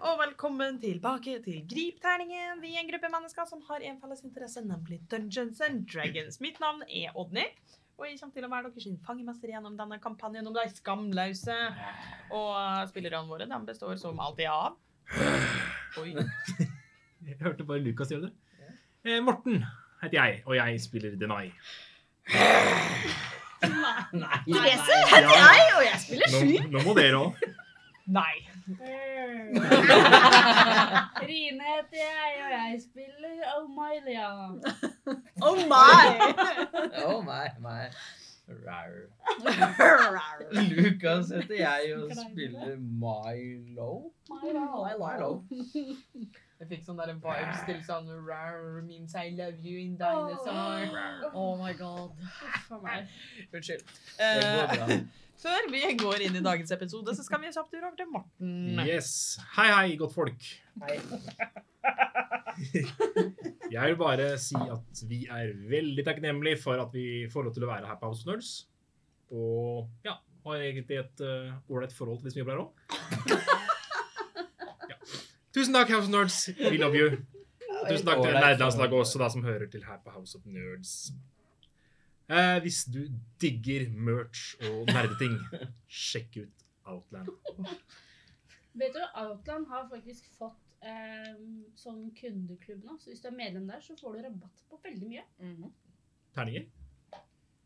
og velkommen tilbake til Gripterningen. Vi er en gruppe mennesker som har en felles interesse, nemlig Dungeons and Dragons. Mitt navn er Odny, og jeg kommer til å være deres sin fangemester gjennom denne kampanjen om de skamløse. Og eh, spillerne våre de består som alltid av Oi. Jeg hørte bare Lukas gjøre det. Eh, Morten heter jeg, og jeg spiller Denai. Therese? heter jeg, og jeg spiller Nå, nå må dere òg. Nei. Rine heter jeg, og jeg spiller Omilia. Oh my! Oh, my, my. Rar. Lukas heter jeg og spiller Milo. Milo. Jeg fikk sånn der vibes til sånn Rar means I love you in dinosaur. Oh my god. Unnskyld. Det Eh, går bra. før vi går inn i dagens episode, så skal vi en kjapp tur over til Morten. Yes. Hei, hei, godt folk. Hei. Jeg vil bare si at vi er veldig takknemlige for at vi får lov til å være her på House of Nerds. Og ja, har egentlig et eh, ålreit forhold til de som jobber her òg. Ja. Tusen takk, House of Nerds. We love you. Tusen takk til Nerdelandslaget også, da, som hører til her på House of Nerds. Eh, hvis du digger merch og nerdeting, sjekk ut Outland. Vet du, Outland har faktisk fått eh, sånn kundeklubb nå, så hvis du er medlem der, så får du rabatt på veldig mye. Terninger.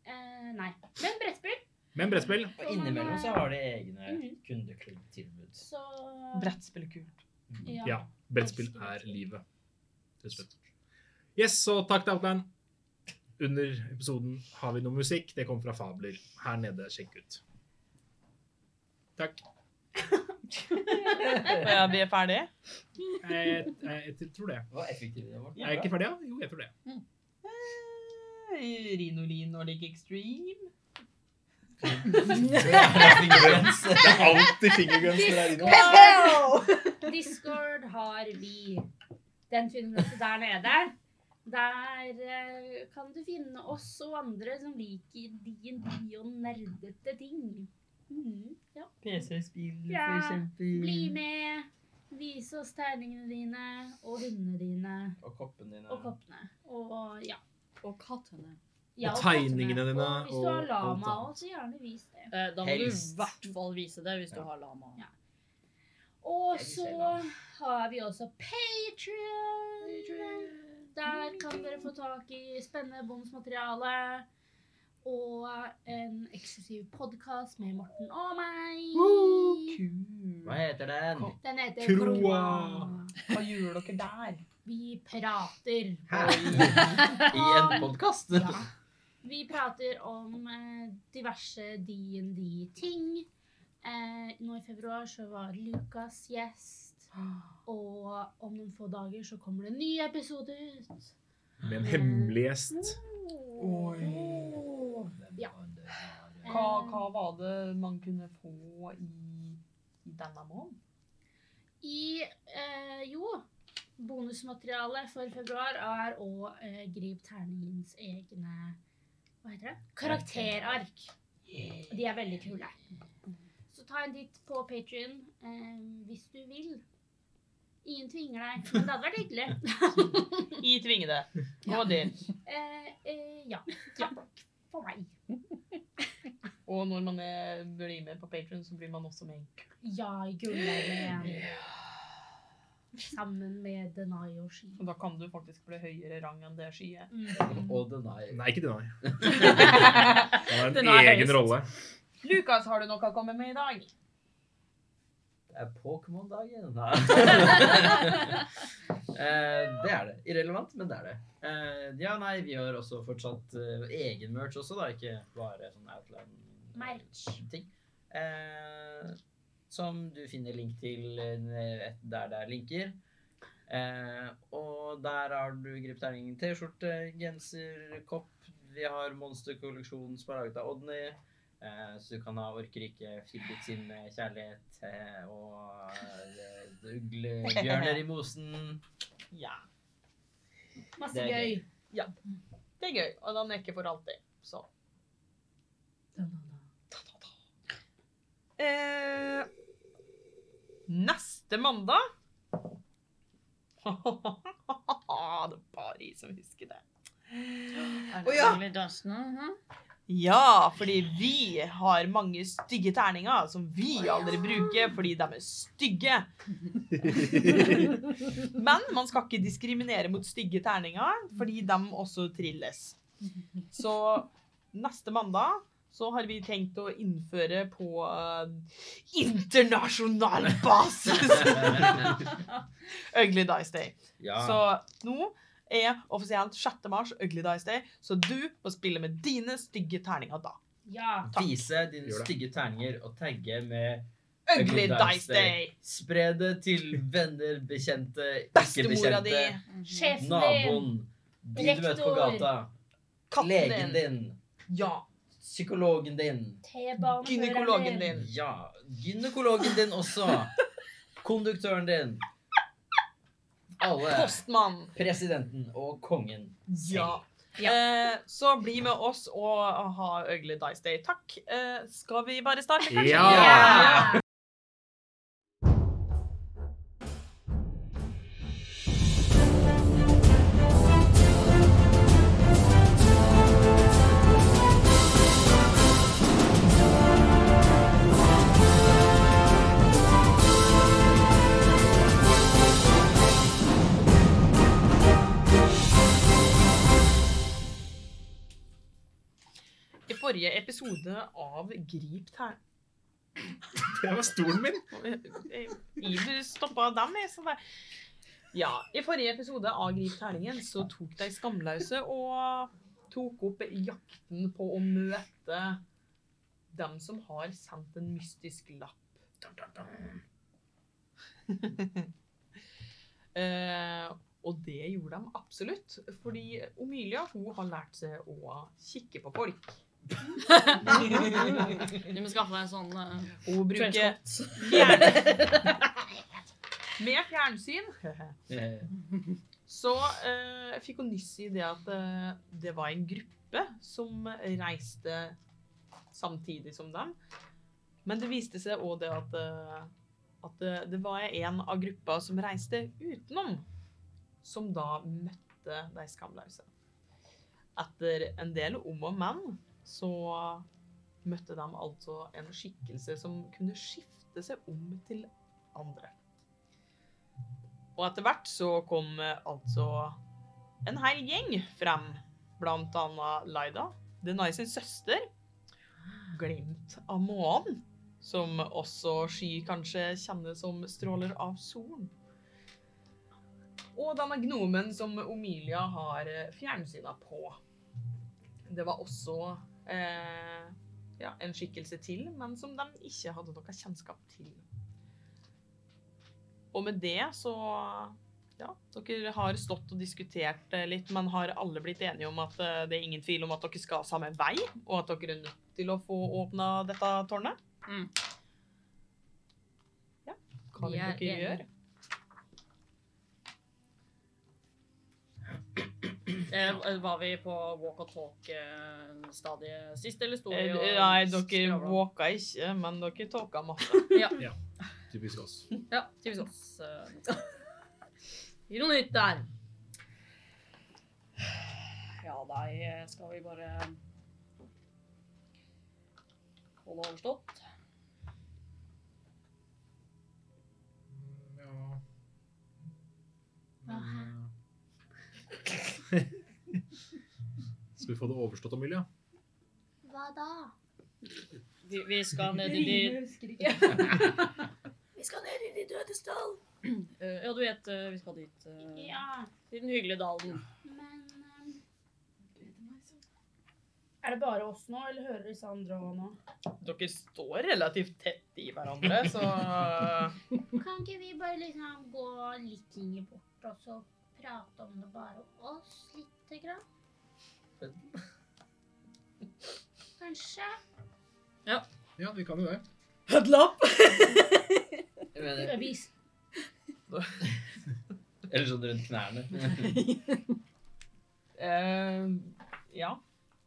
Eh, nei. Men brettspill. Men brettspill. Og innimellom så har de egne Mhm. kundeklubbtilbud. Så Brettspillkult. Ja. Ja. Brettspill er livet. Til slutt. Yes, så takk til Outland. Under episoden har vi noe musikk. Det kommer fra Fabler. Her nede. Sjekk ut. Takk. Ja, vi er ferdige. Jeg, Eh, jeg, jeg tror det. Hva effektiv det var. Er jeg ikke ferdig? ja? Jo, jeg tror det. Eh, Rinolin Nordic Extreme. Det er alltid fingerguns der inne. Discord har vi. Den finner du også der nede. Der eh, kan du finne oss og andre som liker D&D og nerdete ting. Mm-hmm. Mhm, ja. PC-spill, Ja, for eksempel. Bli med, vis oss tegningene dine og hundene dine Og koppene dine. og koppene. Og ja. Og kattene. ja Og koppene. tegningene dine, Og hvis du og har alt lama annet. også, så gjerne vis det. Eh, da må du i Helst. hvert fall vise det hvis du Ja. har lama. Ja. Og Jeg vil så se lama. har vi også Patrion. Der kan dere få tak i spennende bonusmateriale. Og en eksklusiv podkast med Morten og meg. Hva heter den? Den heter Kroa. Hva gjør dere der? Vi prater. Her. I en podkast? Ja. Vi prater om eh, diverse D&D-ting. Eh, nå i februar så var Lukas gjest. Og om noen få dager så kommer det en ny episode ut. Med en hemmelig gjest. Ja. Hva, hva var det man kunne få i, i denne måneden? I eh, Jo, bonusmaterialet for februar er å eh, gripe terningens egne Hva heter det? Karakterark. Og De er veldig kule. Så ta en titt på Patrion eh, hvis du vil. Ingen tvinger deg, men det hadde vært hyggelig. I tvingede. Og det. Eh, eh, ja. Takk for meg. Og når man er, blir med på Patron, så blir man også med. Ja, i gullhjelmen. Sammen med Denai og Ski. Og da kan du faktisk bli høyere rang enn det skyet. Mm. Og den er Nei, ikke Denai. Han Den har er en egen høyest. rolle. Lukas, har du noe å komme med i dag? Det er Pokémon-dagen. Nei. Eh, det er det. Irrelevant, men det er det. Eh, ja, nei, vi har også fortsatt eh, egen merch også, da. Ikke bare sånn Merch. Outland-ting. Eh, som du finner link til eh, et- der det er linker. Eh, og der har du Grip terningen T-skjorte, genser, kopp. Vi har monsterkolleksjonen som er laget av Odny. Eh, Så du kan ha orkerike Philip sin eh, kjærlighet eh, og eh, uglebjørner i mosen. Ja. Masse Det er gøy. gøy. Det er gøy, og den er ikke for alltid. Så. Eh, neste mandag det er bare jeg som husker det. Er Å det ja. Emily Dawson? mhm? Ja, fordi vi har mange stygge terninger som vi aldri bruker fordi de er stygge. Men man skal ikke diskriminere mot stygge terninger, fordi de også trilles. Så neste mandag så har vi tenkt å innføre på eh, internasjonal basis Ugly Dice Day. ja. Så nå er offisielt 6. mars Ugly Dice Day, så du må spille med dine stygge terninger da. Ja. takk. Vise dine Gjør det. stygge terninger og tagge med Ugly Dice Day! Spre det til venner, bekjente, ikke Bestemora di, bekjente, Mhm. Sjefen din. naboen, de du møter på Rektor. gata, legen katten din, din, ja, psykologen din, T-baneføreren din. gynekologen din. ja, gynekologen din også, konduktøren din, alle, Postmann. presidenten og kongen. Ja. Ja. Eh, så bli med oss og ha Ugly Dice Day. Takk. Eh, skal vi bare starte, kanskje? Ja. Ja. I forrige episode av Grip tern... Det var stolen min. Eh, Ibu stoppa dem, jeg. Så det. Ja, I forrige episode av Grip terningen så tok de skamløse og tok opp jakten på å møte dem som har sendt en mystisk lapp. Eh, og det gjorde de absolutt, fordi Omilia hun har lært seg å kikke på folk. Du må skaffe deg en sånn eh, Hun bruker trenchcoat. fjern... Med fjernsyn Eh, så eh, fikk hun nyss i det at eh, det var en gruppe som reiste samtidig som dem. Men det viste seg òg det at, eh, at det, det var en av gruppa som reiste utenom, som da møtte de skamløse. Etter en del om og men så møtte de altså en skikkelse som kunne skifte seg om til andre. Og etter hvert så kom eh, altså en hel gjeng frem. Blant annet Laida, Denai sin søster, Glimt av månen, som også Sky kanskje kjenner som stråler av solen. Og denne gnomen som Omilia har eh, fjernsynet på. Det var også eh, ja, en skikkelse til, men som de ikke hadde noe kjennskap til. Og med det så ja, dere har stått og diskutert eh, litt, men har alle blitt enige om at eh, det er ingen tvil om at dere skal samme vei, og at dere er nødt til å få åpna dette tårnet? Mm. Ja, hva Vi vil er dere enige. gjøre? Eh, Var vi på walk and talk-stadiet sist, eller sto vi Eh, og Nei, dere skravla? walka ikke, men dere talka masse. Typisk oss. Ja, typisk oss. eh. Gir noe nytt der. Ja, nei, eh, skal vi bare holde overstått? Ja. Hva? Skal vi få det overstått, Amelia? Hva da? Vi, vi skal ned i de husker ikke. Vi skal ned i de dødes dal. Ja, du vet eh, vi skal dit. eh, Ja, Til den hyggelige dalen. men ehm, Er det bare oss nå, eller hører disse andre òg nå? Dere står relativt tett i hverandre, så Kan ikke vi bare liksom gå litt lenger bort og så prate om det bare oss lite grann? Kanskje? Ja, vi kan jo det. Huddle up! jeg mener, Vis. Eller sånn rundt knærne. eh, Ja.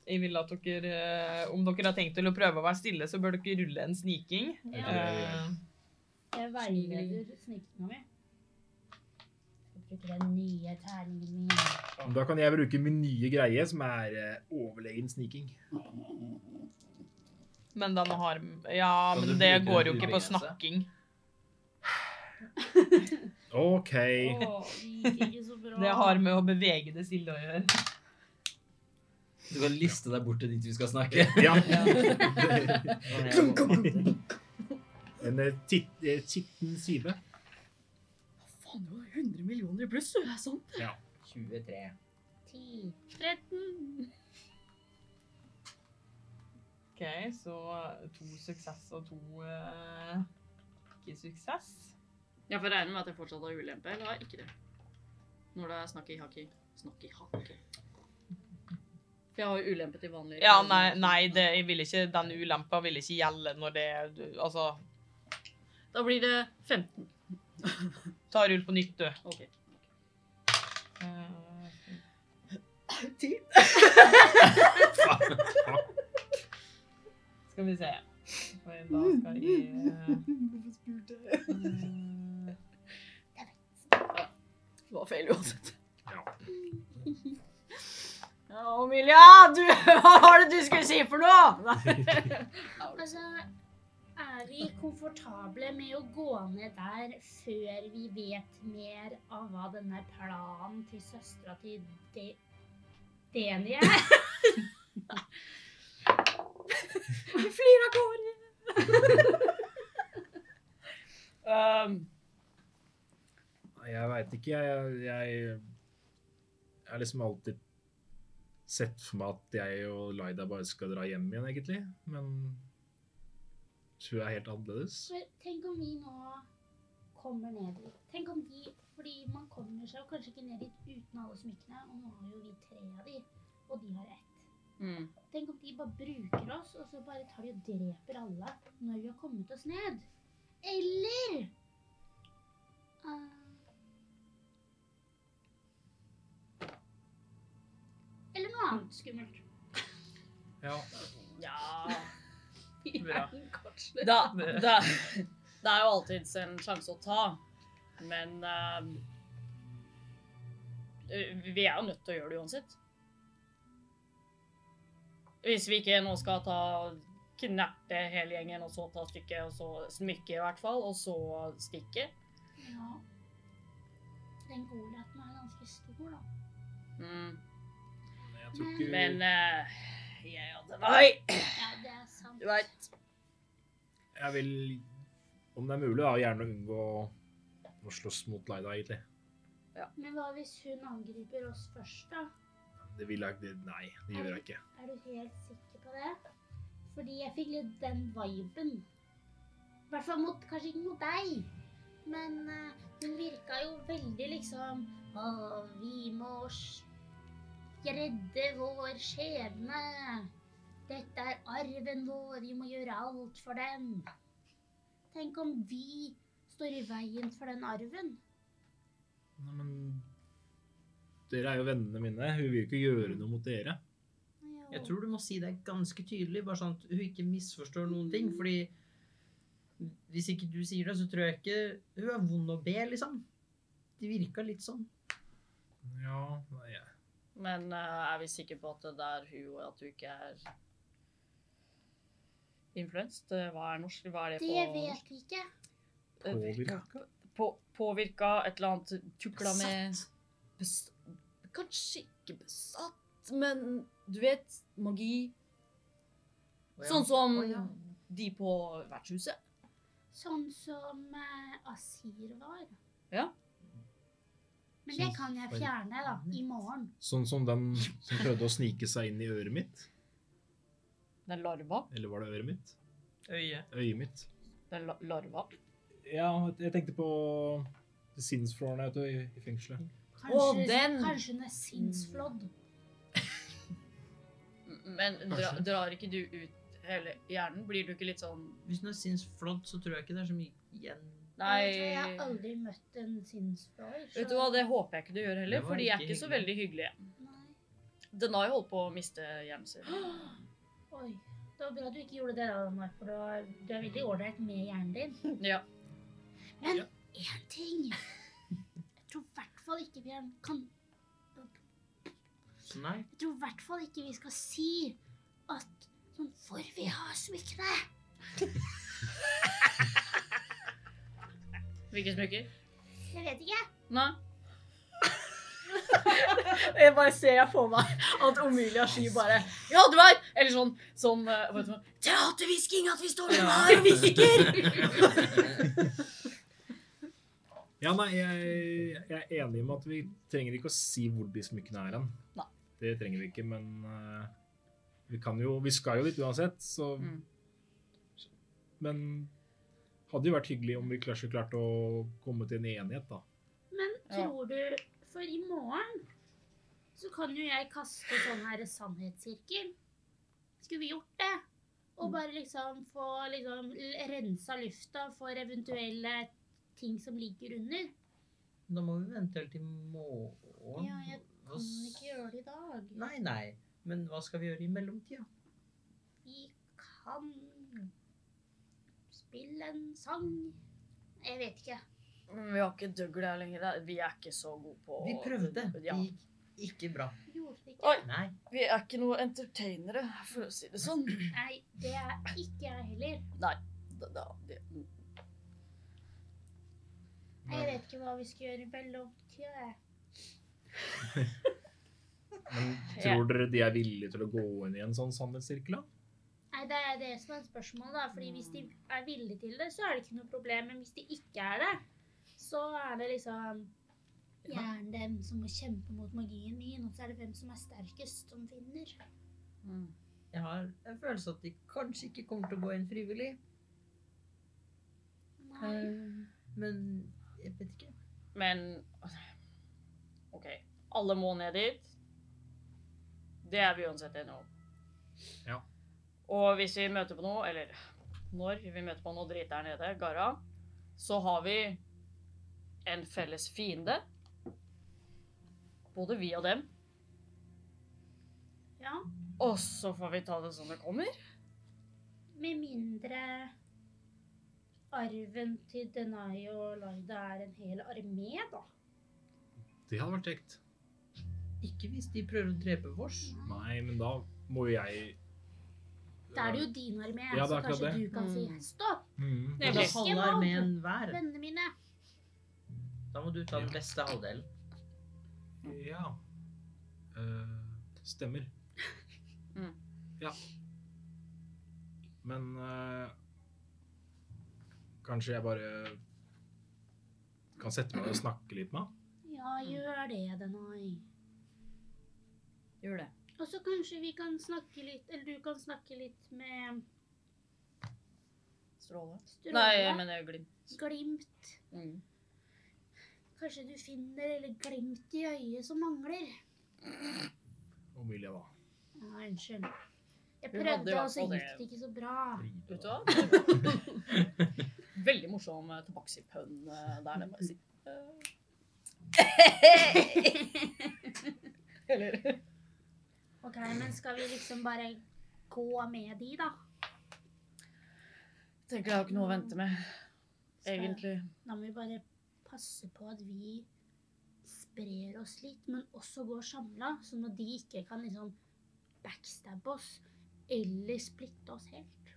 Jeg vil at dere eh, Om dere har tenkt til å prøve å være stille, så bør dere rulle en sniking. Ja, Eh, jeg veileder snikinga mi. bruke den nye terningen min. Da kan jeg bruke min nye greie, som er eh, overlegen sniking. Men den har Ja, Kan du men det bruke går jo den ikke på ubegrenset? snakking. OK. Åh, det gikk ikke så bra. Det har med å bevege det stille å gjøre. Du kan liste deg bort til dit vi skal snakke. Ja. Kom, kom, kom. En eh, tit- eh, skitten syve. Faen, du har 100 millioner i pluss, du. Det er sant. 23. 10, 13. OK, så to suksess og to eh, ikke suksess. Jeg får regne med at jeg fortsatt har ulempe, eller har jeg ikke det? Når det er snakk i haki. Snakk i haki. For jeg har jo ulempe til vanlig. Ja, nei, nei det, jeg vil ikke, den ulempa vil ikke gjelde når det du- Altså, Da blir det 15. ta rull på nytt, du. Ok. Eh, Skal vi se. For da skal jeg Hvorfor spurte jeg? eh, Det var feil uansett. Ja. Ja, Emilia, du, hva var det du skulle si for noe? Altså, er vi komfortable med å gå ned der før vi vet mer av hva denne planen til søstera til De Deni er? Vi flyr av gårde. um, Jeg veit ikke. Jeg, jeg jeg har liksom alltid sett for meg at jeg og Laida bare skal dra hjem igjen, egentlig. Men tror jeg er helt annerledes. For tenk om vi nå kommer ned dit. Tenk om de Fordi man kommer seg jo kanskje ikke ned dit uten alle smykkene, og nå har jo vi tre av de, og de har ett. mm. Tenk om de bare bruker oss, og så bare tar de og dreper alle når vi har kommet oss ned. Eller eh, Eller noe annet skummelt. Ja. Ja Bra. da, da, Det er jo alltids en sjanse å ta, men ehm, Vi er jo nødt til å gjøre det uansett. Hvis vi ikke nå skal ta kneppe hele gjengen, og så ta stykket, og så smykke i hvert fall, og så stikke. Ja. Den golaten er ganske stor, da. Mm. Jeg tror ikke Men eh, jeg hadde Nei! Ja, det er sant. Du veit. Jeg vil, om det er mulig, da, gjerne unngå å slåss mot Laida, egentlig. Men hva hvis hun angriper oss først, da? Det vil jeg ikke. Nei, det gjør jeg ikke. Er du helt sikker på det? Fordi jeg fikk litt den viben. I hvert fall mot, kanskje ikke mot deg. Men eh, hun virka jo veldig liksom Å, vi må s- redde vår skjebne. Dette er arven vår, vi må gjøre alt for den. Tenk om vi står i veien for den arven. Nei, men dere er jo vennene mine. Hun vil jo ikke gjøre noe mot dere. Jeg tror du må si det ganske tydelig, bare sånn at hun ikke misforstår noen ting. Fordi hvis ikke du sier det, så tror jeg ikke hun er vond å be, liksom. Det virka litt sånn. Ja, nei, jeg- Men eh, er vi sikre på at det er hun, og at du ikke er influenset? Hva er norsk? Hva er det, Det på norsk? vet vi ikke. Påvirka. På, påvirka, et eller annet tukla med Bes- Kanskje ikke besatt, men du vet, magi. Å ja. Sånn som Å ja. de på vertshuset. Sånn som eh, Asir var. Ja. Men det Sånn kan jeg for- fjerne da, i morgen. Sånn som den som prøvde å snike seg inn i øret mitt. Den larva. Eller var det øret mitt? Øye. Øyet mitt. Den la larva. Ja, jeg tenkte på sinnsflårene ute i i fengselet. Kanskje, den! Mm. kanskje hun er sinnsflådd. Men dra, Kanskje. drar ikke du ut hele hjernen? Blir du ikke litt sånn Hvis hun er sinnsflådd, så tror jeg ikke det er så mye igjen. Jeg tror Jeg har Nei. aldri møtt en sinnsflåer. så- Vet du hva, det håper jeg ikke du gjør heller, Det var for de er ikke ikke så hyggelig. veldig hyggelige. Nei. Den har jo holdt på å miste hjernen sin. Oi. Det var bra at du ikke gjorde det, da, Mark, for du er, du er veldig ålreit med hjernen din. Ja. Men Ja. én ting Jeg tror i hvert fall eh, kan Nei. Jeg tror i hvert fall ikke vi skal si at sånn For vi har smykkene! Hvilke smykker? Jeg vet ikke. Nei. Jeg bare ser jeg for meg at Omilia Sky bare Ja, du er! Eller sånn, sånn eh, vet du hva? Teaterhvisking at vi står der Ja. og hvisker! Ja, nei, jeg, jeg er enig med at vi trenger ikke å si hvor de smykkene er hen. Nei. Det trenger vi ikke, men eh, vi kan jo Vi skal jo dit uansett, så Mm. Men hadde jo vært hyggelig om vi kanskje klarte å komme til en enighet, da. Men Ja. tror du For i morgen så kan jo jeg kaste sånn her sannhetssirkel. Skulle vi gjort det? Og bare liksom få liksom l- rensa lufta for eventuelle ting som ligger under. Da må vi vente helt til morgen. Ja, jeg Hva Kan vi s- ikke gjøre det i dag? Nei, nei. Men hva skal vi gjøre i mellomtida? Vi kan spille en sang. Jeg vet ikke. Men Vi har ikke døgl her lenger. det er- Vi er ikke så gode på Vi prøvde. Det Ja. gikk ikke bra. Gjorde vi ikke? Oi. Nei. Vi er ikke noe entertainere, for å si det sånn. Nei, det er ikke jeg heller. Da, da, det, mm. Jeg vet ikke hva vi skal gjøre i mellomtida. jeg. Men tror dere de er villige til å gå inn i en sånn sannhetssirkel, da? Nei, det er det som er spørsmålet, da. Fordi hvis de er villige til det, så er det ikke noe problem. Men hvis de ikke er det, så er det liksom Gjerne dem som må kjempe mot magien min, og så er det hvem som er sterkest, som vinner. Mm. Jeg har en følelse at de kanskje ikke kommer til å gå inn frivillig. Eh, Nei. Men jeg vet ikke. Men OK. Alle må ned dit. Det er vi uansett enige om. Ja. Og hvis vi møter på noe, eller når vi møter på noe dritt der nede, Gara, så har vi en felles fiende. Både vi og dem. Ja. Og så får vi ta det som det kommer. Med mindre arven til Denai og Laida er en hel armé, da. Det hadde vært kjekt. Ikke hvis de prøver å drepe vårs. Nei, men da må jo jeg Da er det jo din armé, Ja, det så er akkurat kanskje det. du kan si Mm. stopp, Mm. Da Nemlig. halve armeen hver. vennene mine. Da må du ta den beste halvdelen. Ja. Eh, stemmer. Mm. Ja. Men eh, kanskje jeg bare kan sette meg ned og snakke litt med han? Ja, gjør det, Denai. Gjør det. Og så kanskje vi kan snakke litt Eller du kan snakke litt med stråle. Stråle. Nei, jeg mener Glimt. Glimt. Mm. Kanskje du finner eller glimt i øyet som mangler. Omilia, da. Ja, unnskyld. Jeg Hun hadde i prøvde, hvert og så fall gikk det. det ikke så bra. Vet du hva? Det var- Veldig morsom eh, tobakkspønn eh, der. Det må jeg si. Eh. Eller Ok, men skal vi liksom bare gå med de, da? Tenker jeg har ikke noe å vente med, Skal- egentlig. Da må vi bare passe på at vi sprer oss litt, men også går samla, sånn at de ikke kan liksom backstabbe oss eller splitte oss helt.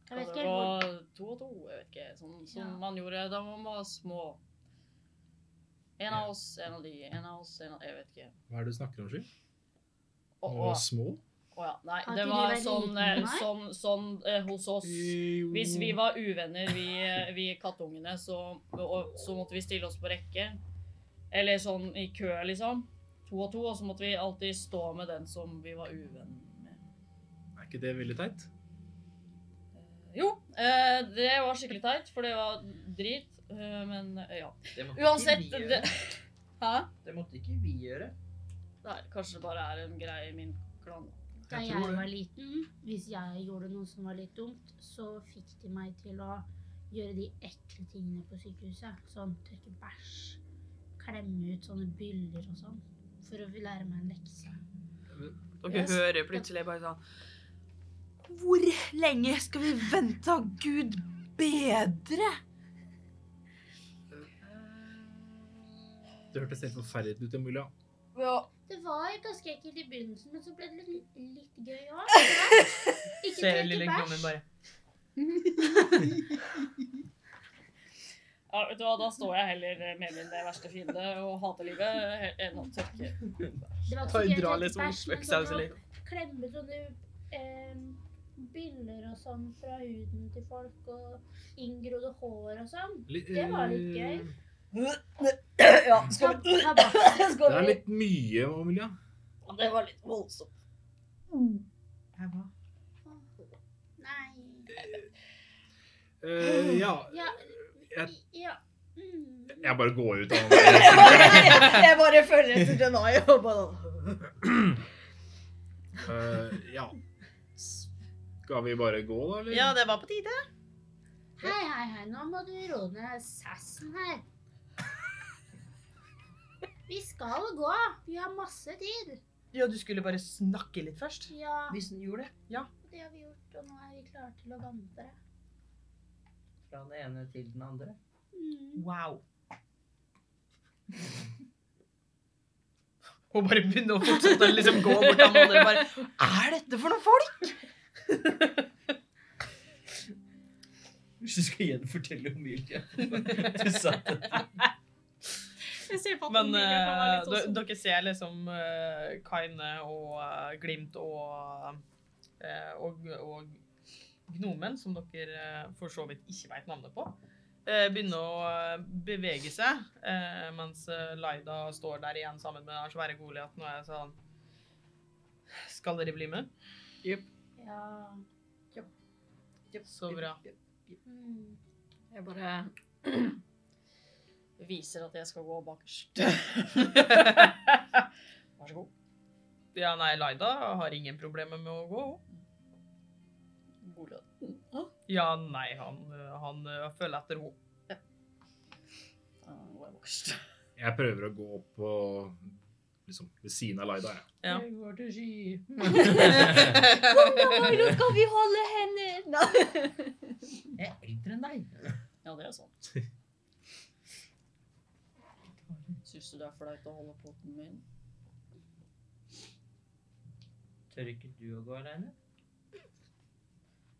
Jeg Kan vet det ikke helt hvor gå to og to? Jeg vet ikke. Sånn som Ja. man gjorde da man var små. En av oss, en av de, en av oss, en av Jeg vet ikke. Hva er det du snakker om, Sky? Å, Å å, være små? å ja. Nei, Har ikke det de var vært sånn, eh, liten, nei? sånn, sånn eh, hos oss. Hvis vi var uvenner, vi, eh, vi kattungene, så, og, så måtte vi stille oss på rekke. Eller sånn i kø, liksom. To og to, og så måtte vi alltid stå med den som vi var uvenn med. Er ikke det veldig teit? Jo, eh, det var skikkelig teit, for det var drit. eh, Men eh, ja. Det måtte Uansett ikke vi det, gjøre. Hæ? Det måtte ikke vi gjøre. Nei, kanskje det bare er en greie i min klan. Da Jeg jeg, tror det. var liten, hvis jeg gjorde noe som var litt dumt, så fikk de meg til å gjøre de ekle tingene på sykehuset. Sånn tørke bæsj, klemme ut sånne byller og sånn. For å lære meg en lekse. Dere hører plutselig bare sånn Hvor lenge skal vi vente? Gud bedre! Det hørtes helt forferdelig ut, Emilia. Ja. Det var ganske ekkelt i begynnelsen, men så ble det litt, litt gøy òg. Ikke Se Eh, lille drikke gnommen bæsj. bare. ja, vet du hva, da står jeg heller med min verste fiende og hater livet eh, he- enn å tørke. Det var Ta ikke og gøy å Dra drikke litt sånn bæsj, men spøksaus sånn eller å klemme sånne eh, biller og sånn fra huden til folk, og inngrodde hår og sånn. Det var litt eh, gøy. Ja, Ta, ta bak. Det er litt mye, Emilia. Det var litt voldsomt. Nei Eh, ja. Ja. Jeg- ja. Mm. Jeg bare går ut av jeg bare følger etter Denai og bare Eh, Ja. Skal vi bare gå, da, eller? Ja, det var på tide. Hei, hei, hei, nå må du roe ned sassen her. Vi skal gå. Vi har masse tid. Ja, du skulle bare snakke litt først. Ja, Hvis den gjorde det. det har vi gjort, og nå er vi klare til å vandre. Fra den ene til den andre. Mm. Wow. Og bare begynne å fortsette å liksom gå bort til andre og bare Er dette for noen folk? Hvis du skal gjenfortelle om hvilken du sa det. Jeg ser på Men Emilie kan være eh, litt d- sånn- dere ser liksom eh, Kaine og eh, Glimt og, eh, og, og Gnomen, som dere eh, for så vidt ikke veit navnet på, eh, begynne å eh, bevege seg, eh, mens eh, Laida står der igjen sammen med den svære Goliaten og er sånn Skal dere bli med? Ja. Så bra. Mm. Jeg bare Viser at jeg skal gå bakerst. Vær så god. Ja, nei, Laida har ingen problemer med å gå. Bolig. Ja, nei, han, eh, han eh, følger etter henne. Da går jeg bakerst. Jeg prøver å gå opp på liksom, ved siden av Laida. Jeg. Ja. Jeg går til ski. Kom da, Milo, skal vi holde hender? Nei. Jeg er eldre enn deg. Ja, det er sant. Syns du det er flaut å holde poten min? Tør ikke du å gå alene?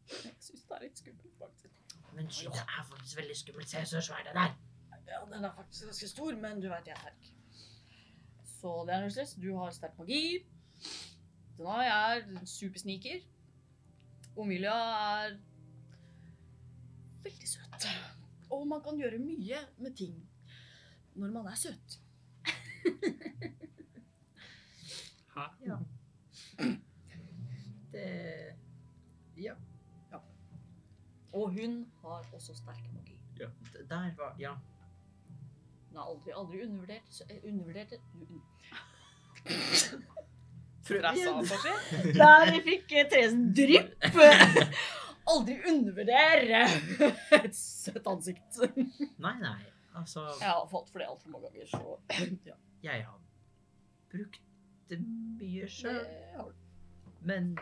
Jeg syns det er litt skummelt, faktisk. Men skyt, det er faktisk veldig skummelt. Se så svær den er. Ja, den er faktisk ganske stor, men du vet jeg er sterk. Så det er Nusles. Du har sterk magi. Dana er supersniker. Omilia er veldig søt. Og man kan gjøre mye med ting når man er søt. Hæ? Det... Ja, Og hun har også sterk magi. ja. D- Der var... Ja. Hun er aldri, aldri undervurdert. sø- eh, Undervurdert un- Stressa, kanskje? Der vi fikk eh, Theresen drypp. Aldri undervurdere et søtt ansikt. Nei, nei. Altså, Jeg har fått for det altfor mange ganger, så ja. jeg har brukt det mye selv. det Eh, har du. Men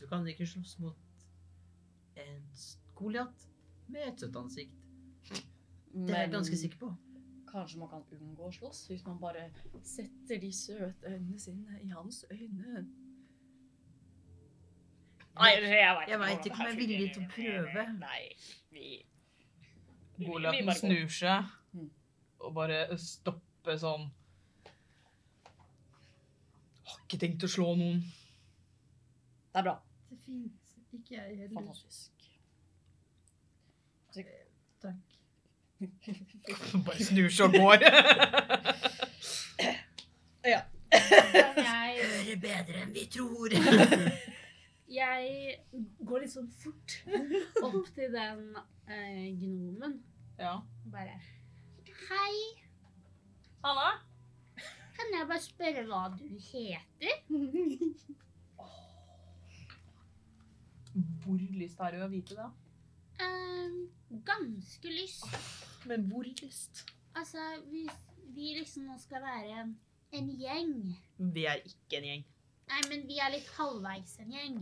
du kan ikke slåss mot en s- Goliat med et søtt ansikt. Det er jeg ganske sikker på. Kanskje man kan unngå å slåss hvis man bare setter de søte øynene sine i hans øyne. Nei, jeg veit Jeg vet ikke om jeg er villig til å prøve. Nei, vi Goliaten snur seg Mm. og bare stopper sånn. Har ikke tenkt å slå noen. Det er bra. Det fins ikke jeg Fantastisk. Takk. Bare snur seg og går. Men Jeg, Dere er bedre enn vi tror. jeg går litt sånn fort opp til den eh, gnomen. ja. Bare Hei, Halla? kan jeg bare spørre hva du heter? Hvor lyst har du å vite det? Ehm, ganske lyst. Men hvor lyst? Altså, hvis vi liksom nå skal være en, en gjeng Vi er ikke en gjeng. Nei, men vi er litt halvveis en gjeng.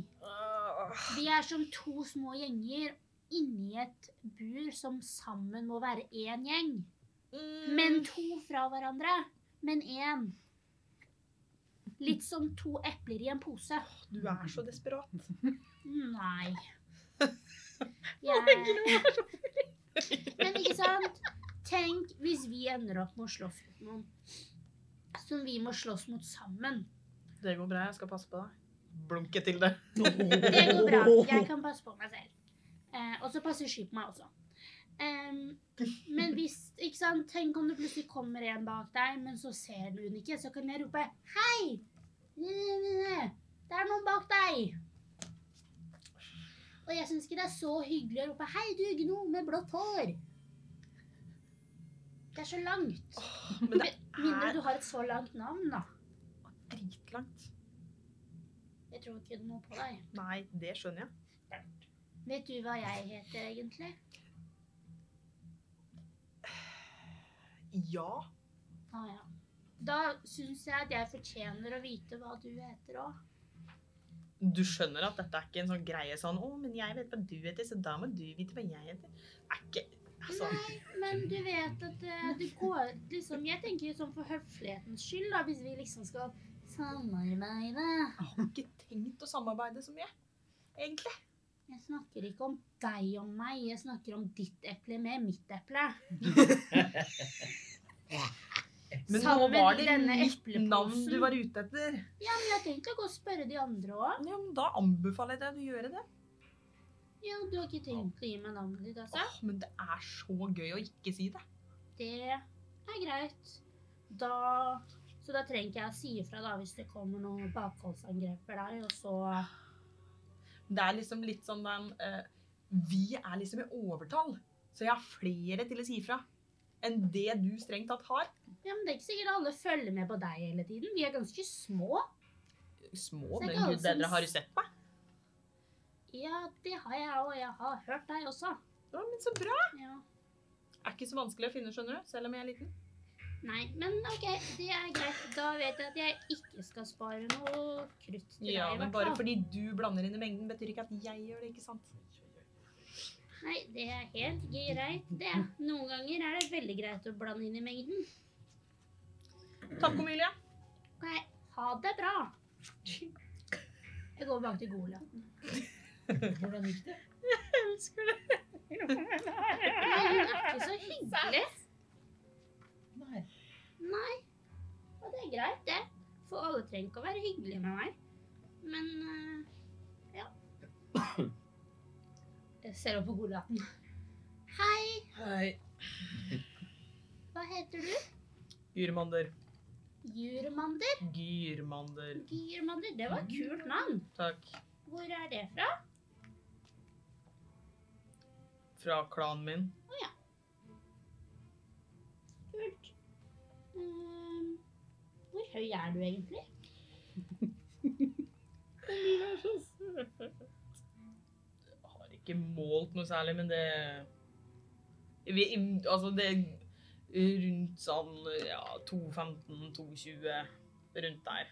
Vi er som to små gjenger inni et Mm. bur som sammen må være én gjeng. Men to fra hverandre. men én. Litt som to epler i en pose. Du er så desperat. Nei. Jeg... Men ikke sant? Tenk hvis vi ender opp med å slåss mot noen som vi må slåss mot sammen. Det går bra, jeg skal passe på deg. Blunke til det. Det går bra. Jeg kan passe på meg selv. Eh, og så passer sky på meg også. Em, men hvis, ikke sant, tenk om det plutselig kommer en bak deg, men så ser du den ikke, så kan jeg rope Hei! Det er noen bak deg! Og jeg syns ikke det er så hyggelig å rope Hei, du gno med blått hår! Det er så langt. Men det Mindre er du har et så langt navn, da. dritlangt. Jeg tror ikke noe på deg. Nei, det skjønner jeg. Vet du hva jeg heter egentlig? Ja. Ah, ja. Da syns jeg at jeg fortjener å vite hva du heter òg. Du skjønner at dette er ikke en sånn greie sånn 'Å, men jeg vet hva du heter, så da må du vite hva jeg heter'. Er ikke Altså, Nei, men du vet at eh, det går liksom Jeg tenker sånn for høflighetens skyld, da, hvis vi liksom skal samarbeide. jeg har ikke tenkt å samarbeide så mye, egentlig. Jeg snakker ikke om deg og meg, jeg snakker om ditt eple med mitt eple. Men nå Sammen var det denne mitt epleposen. navn du var ute etter. Ja, men jeg tenkte å gå og spørre de andre òg. Ja, men da anbefaler jeg deg å gjøre det. Ja, du har ikke tenkt å gi meg navnet ditt, altså? Åh, men det er så gøy å ikke si det. Det er greit. Da, så da trenger ikke jeg å si ifra da, hvis det kommer noen bakholdsangrep der. Og så Det er liksom litt sånn den eh, Vi er liksom i overtall, så jeg har flere til å si ifra enn det du strengt tatt har. Ja, men det er ikke sikkert alle følger med på deg hele tiden. Vi er ganske små. Små, Så men det er gud, altså en dere har jo s- sett meg. Ja, det har jeg og Jeg har hørt deg også. Ja, men så bra. Ja. Er ikke så vanskelig å finne, skjønner du, selv om jeg er liten. Nei, men OK, det er greit. Da vet jeg at jeg ikke skal spare noe krutt til Ja, deg. i men hvert bare fall. fordi du blander inn i mengden, betyr ikke at jeg gjør det, ikke sant? Nei, det er helt greit, det. Noen ganger er det veldig greit å blande inn i mengden. Takk, Omilie. Nei, ha det bra. Jeg går bak til Gola. Hvordan gikk det? Elsker det. Nei, hun er ikke så hyggelig. Nei. Nei. Og det er greit, det. For alle trenger ikke å være hyggelige med meg. Men eh, ja. Jeg ser opp på godlaten. Hei, Hei. hva heter du? Gyrmander. Jurmander? Gyrmander. Jurmander, det var et kult navn. Takk. Hvor er det fra? Fra klanen min. Kult. Ehm, hvor høy er du egentlig? Har ikke målt noe særlig, men det Vi, Altså, det er rundt sånn ja, 215-220. Rundt der.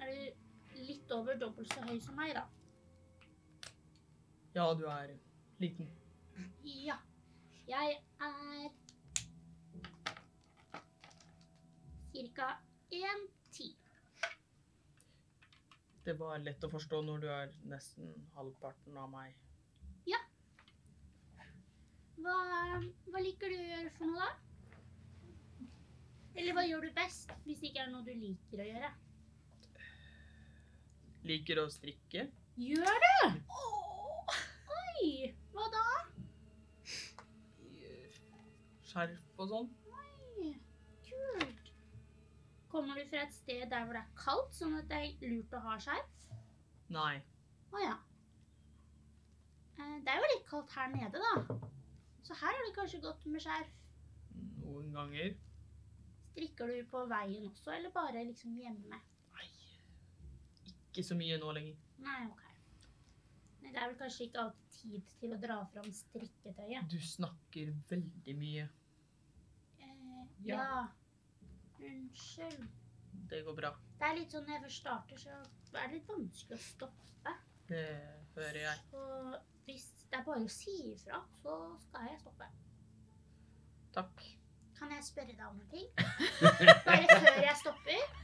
Er du litt over dobbelt så høy som meg, da? Ja, du er liten. Ja. Jeg er Cirka 1,10. Det var lett å forstå når du er nesten halvparten av meg. Hva, hva liker du å gjøre for noe, da? Eller hva gjør du best, hvis det ikke er noe du liker å gjøre? Liker å strikke. Gjør du? Oi! Hva da? eh, Skjerf og sånn. Kult. Kommer du fra et sted der hvor det er kaldt, sånn at det er lurt å ha skjerf? Nei. Å ja. Eh, Det er jo litt kaldt her nede, da. Så her er det kanskje godt med skjerf. Noen ganger. Strikker du på veien også, eller bare liksom hjemme? Nei. Ikke så mye nå lenger. Nei, ok. Nei, det er vel kanskje ikke alltid tid til å dra fram strikketøyet. Du snakker veldig mye. Eh, ja. Ja. Unnskyld. Det går bra. Det er litt sånn når jeg først starter, så er det litt vanskelig å stoppe. Det hører jeg. Og hvis det er bare å si ifra, så skal jeg stoppe. Takk. Kan jeg spørre deg om en ting? Bare før jeg stopper.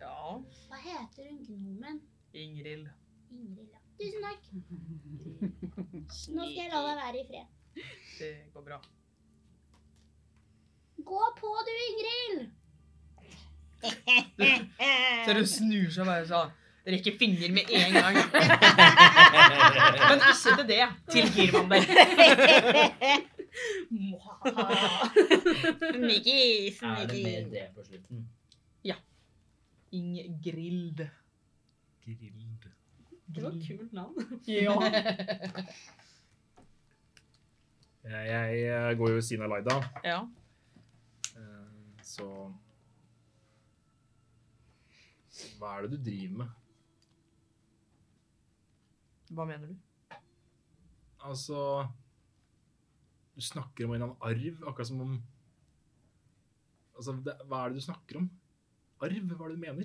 Ja. Hva heter hun gnomen? Ingrid. Ingrid, ja. Tusen takk. Nå skal jeg la deg være i fred. Det går bra. Gå på du, Ingrid! Ser hun snur seg bare sånn. Rekker fingre med en gang. Men ikke til det. Til Girvander. Sneaky, Er det med det på slutten? Ingrid. Grild. Det var Mm. kult navn. Jeg, jeg eh, går jo ved siden av Laida, Ja. eh, så Hva er det du driver med? Hva mener du? Altså Du snakker om en eller annen arv, akkurat som om Altså, det, hva er det du snakker om? Arv? Hva er det du mener?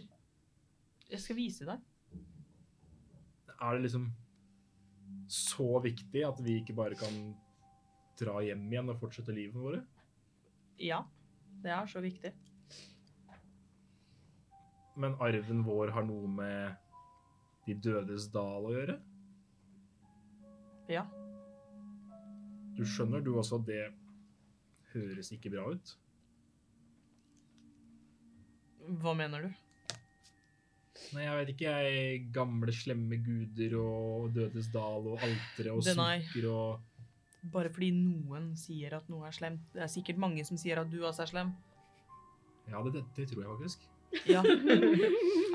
Jeg skal vise deg. Er det liksom så viktig at vi ikke bare kan dra hjem igjen og fortsette livet våre? Ja. Det er så viktig. Men arven vår har noe med De dødes dal å gjøre? Ja. Du skjønner du også at det høres ikke bra ut? Hva mener du? Nei, jeg vet ikke, jeg. Gamle, slemme guder og Dødes dal og altere og Det nei. sukker og Bare fordi noen sier at noe er slemt. Det er sikkert mange som sier at du også er slem. Ja, det, det, det tror jeg faktisk. Ja.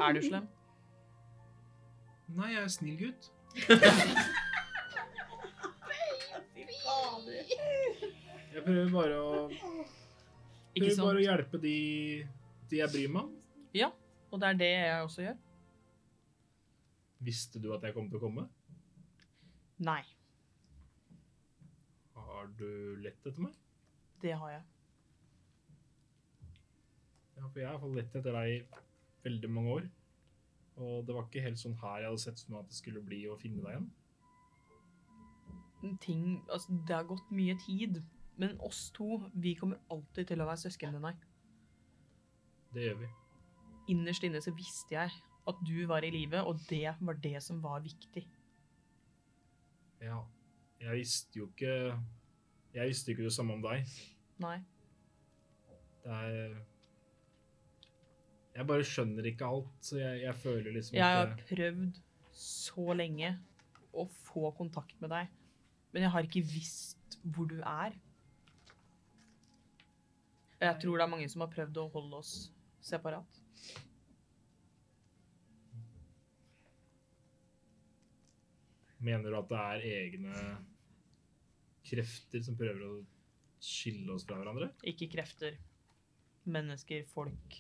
Er du slem? Nei, jeg er snill gutt. Jeg prøver bare å, Ikke prøver bare å sant? hjelpe de, de jeg bryr meg om. Og det er det jeg også gjør. Visste du at jeg kom til å komme? Nei. Har du lett etter meg? Det har jeg. Ja, for jeg har fått lett etter deg i veldig mange år. Og det var ikke helt sånn her jeg hadde sett for meg at det skulle bli å finne deg igjen. Ting Altså, det har gått mye tid. Men oss to, vi kommer alltid til å være søsken til deg. Det gjør vi. Innerst inne så visste jeg at du var i live, og det var det som var viktig. Ja. Jeg visste jo ikke Jeg visste ikke det samme om deg. Nei. Det er Jeg bare skjønner ikke alt, så jeg, jeg føler liksom Jeg har at prøvd så lenge å få kontakt med deg, men jeg har ikke visst hvor du er. Og Jeg tror det er mange som har prøvd å holde oss separat. Mener du at det er egne krefter som prøver å skille oss fra hverandre? Ikke krefter. Mennesker, folk.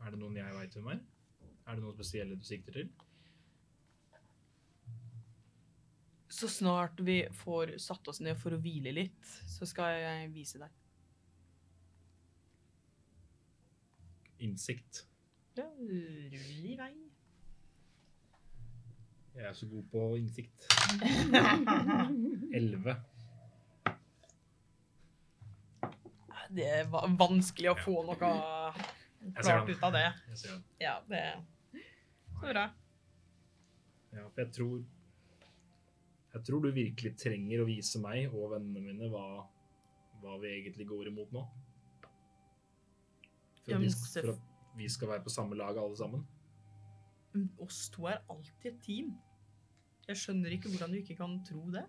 Er det noen jeg veit hvem er? Er det noen spesielle du sikter til? Så snart vi får satt oss ned for å hvile litt, så skal jeg vise deg. Innsikt. Ja, rull i vei. Jeg er så god på innsikt. Elleve. Det var vanskelig å få noe Jeg ser klart den. ut av det. Jeg ser den. Ja, det Så bra. Ja, for jeg tror Jeg tror du virkelig trenger å vise meg og vennene mine hva, hva vi egentlig går imot nå. For Ja, at, men vi, sk- sef- for at vi skal være på samme lag alle sammen. Oss to er alltid et team. Jeg skjønner ikke hvordan du ikke kan tro det.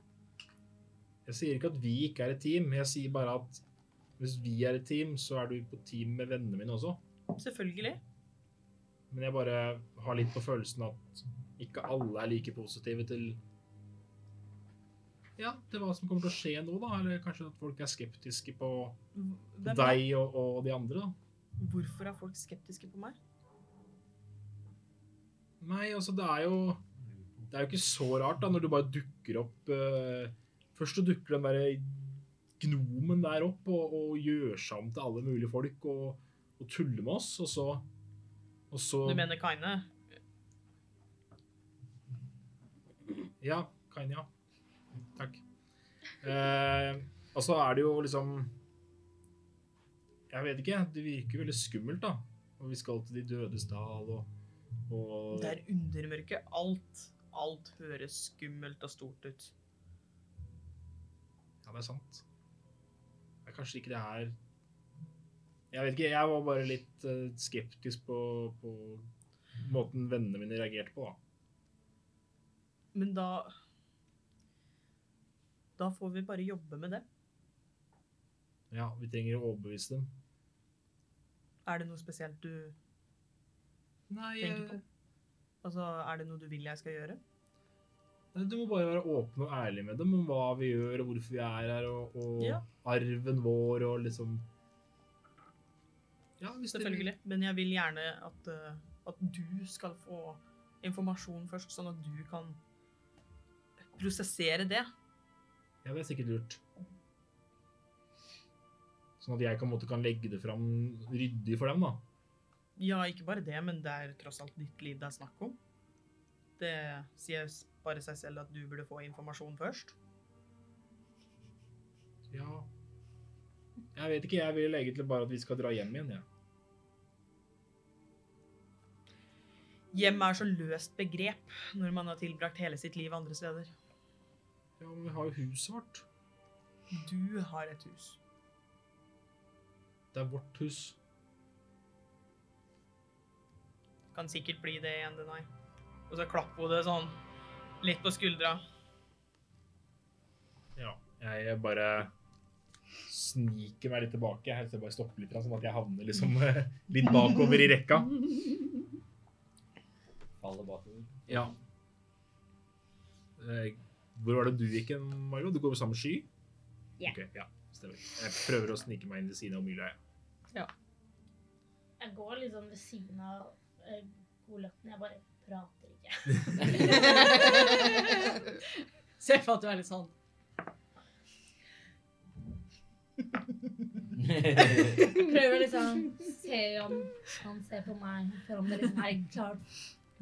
Jeg sier ikke at vi ikke er et team, jeg sier bare at hvis vi er et team, så er du på team med vennene mine også. Selvfølgelig. Men jeg bare har litt på følelsen at ikke alle er like positive til ja, til hva som kommer til å skje nå, da. Eller kanskje at folk er skeptiske på Hvem- deg og, og de andre, da. Hvorfor er folk skeptiske på meg? Nei, altså, det er jo Det er jo ikke så rart, da, når du bare dukker opp eh, Først så dukker den derre gnomen der opp og, og gjør seg om til alle mulige folk og, og tuller med oss, og så Og så Du mener Kaine? Ja, Kanya. Takk. Eh, og så er det jo liksom Jeg vet ikke. Det virker veldig skummelt, da. Og vi skal til De dødes dal og, og Det er undermørke. Alt, alt høres skummelt og stort ut. Ja, det er sant. Det er kanskje ikke det her Jeg vet ikke. Jeg var bare litt eh, skeptisk på, på måten vennene mine reagerte på, da. Men da Da får vi bare jobbe med det. Ja, vi trenger å overbevise dem. Er det noe spesielt du Nei, eh, tenker på? Altså, er det noe du vil jeg skal gjøre? Nei, Du må bare være åpen og ærlig med dem om hva vi gjør, og hvorfor vi er her, og, og Ja. arven vår, og liksom Ja, hvis dere- Selvfølgelig. Men jeg vil gjerne at, eh, at du skal få informasjon først, sånn at du kan prosessere det. Ja, det er sikkert lurt. Sånn at jeg på en måte kan legge det fram ryddig for dem, da. Ja, ikke bare det, men det er tross alt ditt liv det er snakk om. Det sier s- bare seg selv at du burde få informasjon først. Ja. Jeg vet ikke, jeg vil egentlig bare at vi skal dra hjem igjen, jeg. Hjem er så løst begrep når man har tilbrakt hele sitt liv andre steder. Ja, men vi har jo huset vårt. Du har et hus. Det er vårt hus. Kan sikkert bli det igjen, Denai. Og så klapper hun det sånn litt på skuldra. Ja. Jeg bare sniker meg litt tilbake. Jeg helst jeg bare stopper litt, sånn at jeg havner liksom eh, litt bakover i rekka. Faller bakover. Ja. Eh, Hvor var det du gikk hen, Mario? Du går ved samme sky? Ja. Ok, ja, stemmer. Jeg prøver å snike meg inn ved siden av Omylia. jeg. Jeg går litt sånn ved siden av eh, godløtten. Jeg bare prater ikke. Se for at du er litt sånn Prøver liksom se om han ser på meg, for om det liksom er klar,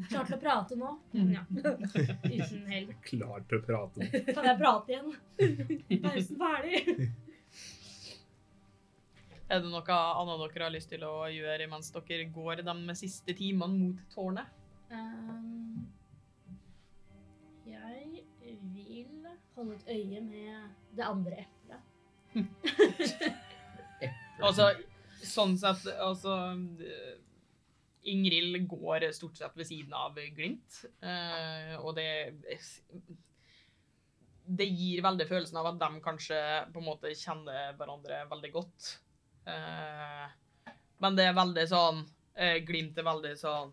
klar til å prate nå. Men ja. Uten hell. Klar til å prate. Kan jeg prate igjen? Pausen ferdig. Er det noe annet dere har lyst til å gjøre mens dere går de siste timene mot tårnet? Ehm, jeg vil holde et øye med det andre eplet. Altså, sånn sett, altså eh, Ingrid går stort sett ved siden av Glint, eh, og det Det gir veldig følelsen av at de kanskje på en måte kjenner hverandre veldig godt. Eh, Men det er veldig sånn eh, Glimt er veldig sånn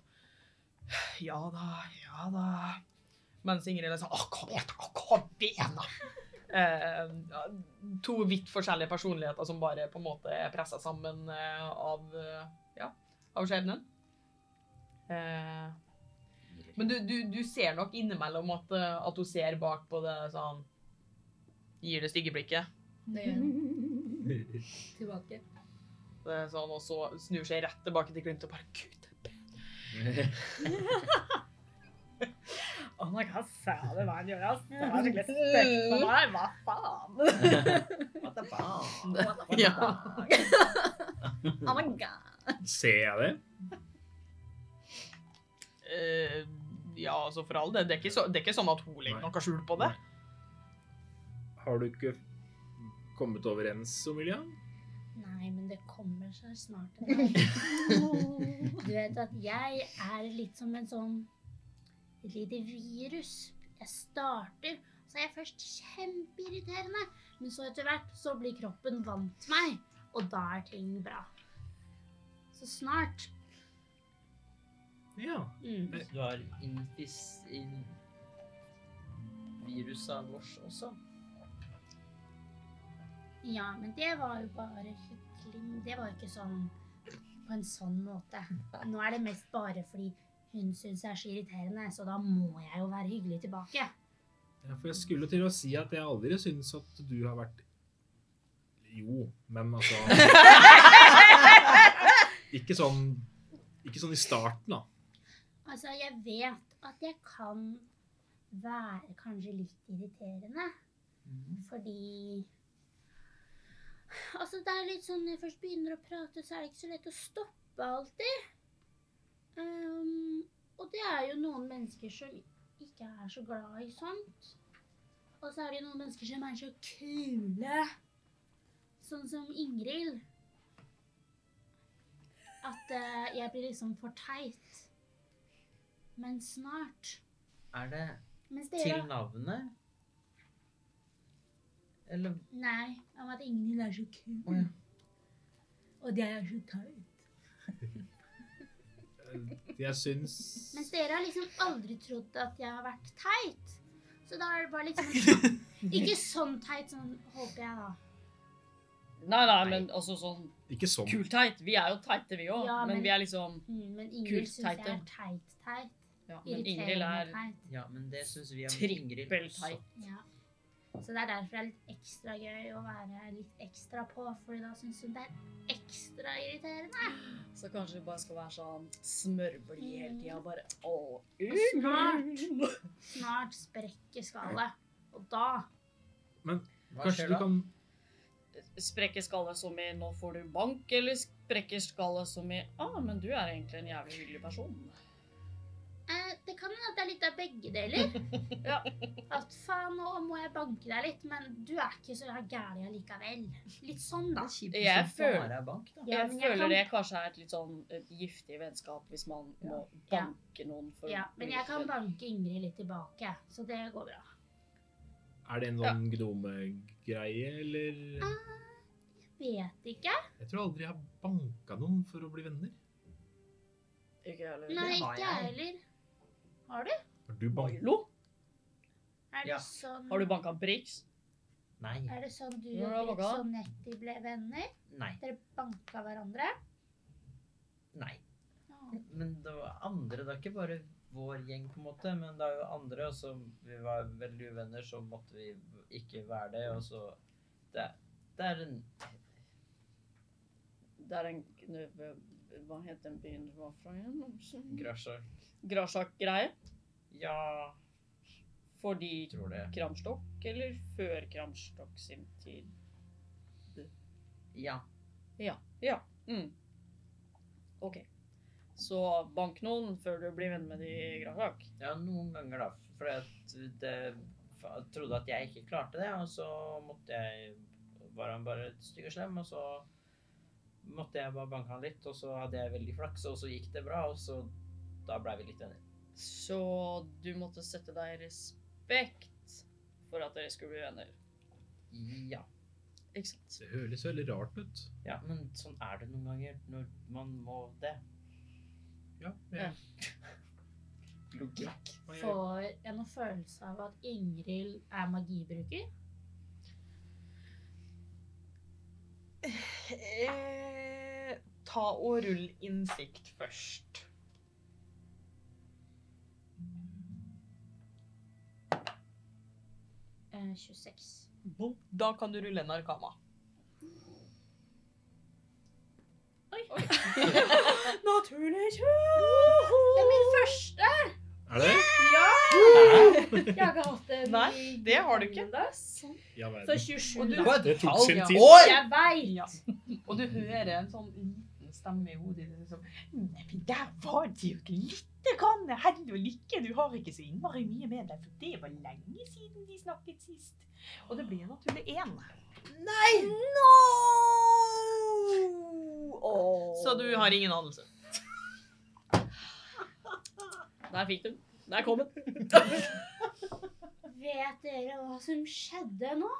Ja da, ja da. Mens Ingrid er sånn Å, kom igjen, da, kom igjen, da. Eh, ja, to vidt forskjellige personligheter som bare på en måte er pressa sammen eh, av, eh, ja, av skjebnen. Eh, men du, du, du ser nok innimellom at, eh, at hun ser bak på det sånn Gir det stygge blikket. Det gjør jeg. Tilbake. Det er sånn, og så snur seg rett tilbake til Glimt og bare Gud. Å, nei, hva sa du hva han gjorde? ass? Det var skikkelig støkt på meg. Hva faen? What the fuck? Ja. Oh my god. Ser jeg det? Eh, ja, altså for all del. Det er ikke, så, det er ikke sånn at hun legger Nei. noe skjul på det. Har du ikke kommet overens, Omylia? Nei, men det kommer seg snart en dag. Du vet at jeg er litt som en sånn et lite virus. Jeg starter, så er jeg først kjempeirriterende. Men så etter hvert så blir kroppen vant meg, og da er ting bra. Så snart Ja. mm. Du har infis... In, virus av vårs også. Ja, men det var jo bare hyggelig. Det var jo ikke sånn på en sånn måte. Nå er det mest bare fordi hun syns jeg er så irriterende, så da må jeg jo være hyggelig tilbake. Ja, For jeg skulle til å si at jeg aldri syns at du har vært Jo, men altså Ikke sånn Ikke sånn i starten, da. Altså, jeg vet at jeg kan være kanskje litt irriterende, Fordi Altså, det er litt sånn når jeg først begynner å prate, så er det ikke så lett å stoppe alltid. Ehm, og det er jo noen mennesker som ikke er så glad i sånt. Og så er det jo noen mennesker som er så kule. Sånn som Ingrid. At eh, jeg blir liksom for teit. Men snart Er det Mens til dere navnet? Eller Nei, om at Ingrid er så kul. Å ja. Og jeg er så teit. Jeg syns Mens dere har liksom aldri trodd at jeg har vært teit. Så da er det bare liksom sånn, Ikke sånn teit, sånn håper jeg, da. Nei, nei, men altså sånn Ikke sånn. Kulteit. Vi er jo teite, vi òg. Ja, men men- vi er liksom Mm, Men Ingrid Kult syns jeg teit, ja. er teit-teit. ja, Men Ingrid Irriterende er teit. Ja, men det syns vi om Ingrid også. trippelteit. Ja. Så det er derfor det er litt ekstra gøy å være litt ekstra på, for da syns hun det er ekstra irriterende. Så kanskje vi bare skal være sånn smørblid hele tida. Bare å, Smart. Snart sprekker skallet. Og da Hva Kanskje skjer du da? kan Sprekke skallet som i 'nå får du bank', eller sprekke skallet som i 'ah, men du er egentlig en jævlig hyggelig person'. eh, Det kan hende at det er litt av begge deler. Ja. At faen, nå må jeg banke deg litt, men du er ikke så gæren allikevel. Litt sånn, da. Jeg føler, Bare er bank, da. Ja, jeg men jeg føler kan- det kanskje er et litt sånn et giftig vennskap hvis man må Ja. banke noen for Ja, men jeg kan banke Ingrid litt tilbake, så det går bra. Er det en sånn gnomegreie, eller Ah, Vet ikke. Jeg tror aldri jeg har banka noen for å bli venner. Ikke jeg heller. Nei, har ikke jeg. jeg heller. Har du banka? Hallo? Er Ja. det sånn Har du banka Brix? Nei. Er det sånn du Når og du har Brix banka? og Nettie ble venner? Nei. Dere banka hverandre? Nei. Å, Men det var andre. Det er ikke bare vår gjeng, på en måte, men det er jo andre. Og så vi var veldig uvenner, så måtte vi ikke være det. Og så Det, det er en Det er en eh, Hva het den byen du var fra igjen? grasja. Grasjak-greie. Ja, Fordi jeg tror det. Kramstokk, eller før Kramstokk sin tid? Ja. Ja. Ja. Mm. OK. Så bank noen før du blir venn med de i Grasjak. Ja, noen ganger, da. For jeg trodde at jeg ikke klarte det, og så måtte jeg Var han bare stygg og slem, og så måtte jeg bare banke han litt, og så hadde jeg veldig flaks, og så gikk det bra, og så Da blei vi litt venner. Så du måtte sette deg i respekt for at dere skulle bli venner. Ja. Ikke sant? Det høres veldig rart ut. ja. Men sånn er det noen ganger når man må det. Ja, Ja. jeg, Logikk. Får jeg noen følelse av at Ingrid er magibruker? Eh, ta og rull innsikt først. eh, 26. Bom. Da kan du rulle en arkama. Oi. Naturlig Det er tjue! min første! Er det? Jeg har ikke hatt det Nei, det har du ikke. Ja, verden. Så 27, Og du- da. Det tok sin Ja. tid. Jeg veit! Ja. Og du hører en sånn liten stemme i hodet ditt som Nei, men der var det jo ikke lite grann hell og lykke. Du har ikke så innmari mye med deg, for det var lenge siden de snakket sist. Og det ble naturlig én. Nei! No! Så du har ingen anelse. Der fikk du den. Der kom den. Vet dere hva som skjedde nå?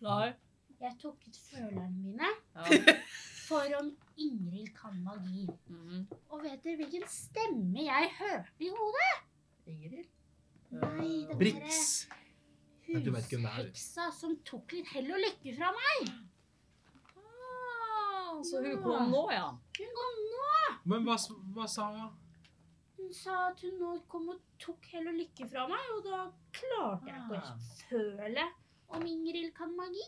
Nei. Jeg tok ut følerne mine Ja. for om Ingrid kan magi. Mhm. Og vet dere hvilken stemme jeg hørte i hodet? Ingrid? Nei, den Eh, Brix. Nei, du derre vet ikke hvem det er. husheksa som tok litt hell og lykke fra meg. Ah, så hun kom nå, ja. Hun kom nå. Men hva, s- hva sa Hun sa at hun nå kom og tok hell og lykke fra meg, og da klarte jeg ikke Ah. å føle om Ingrid kan magi.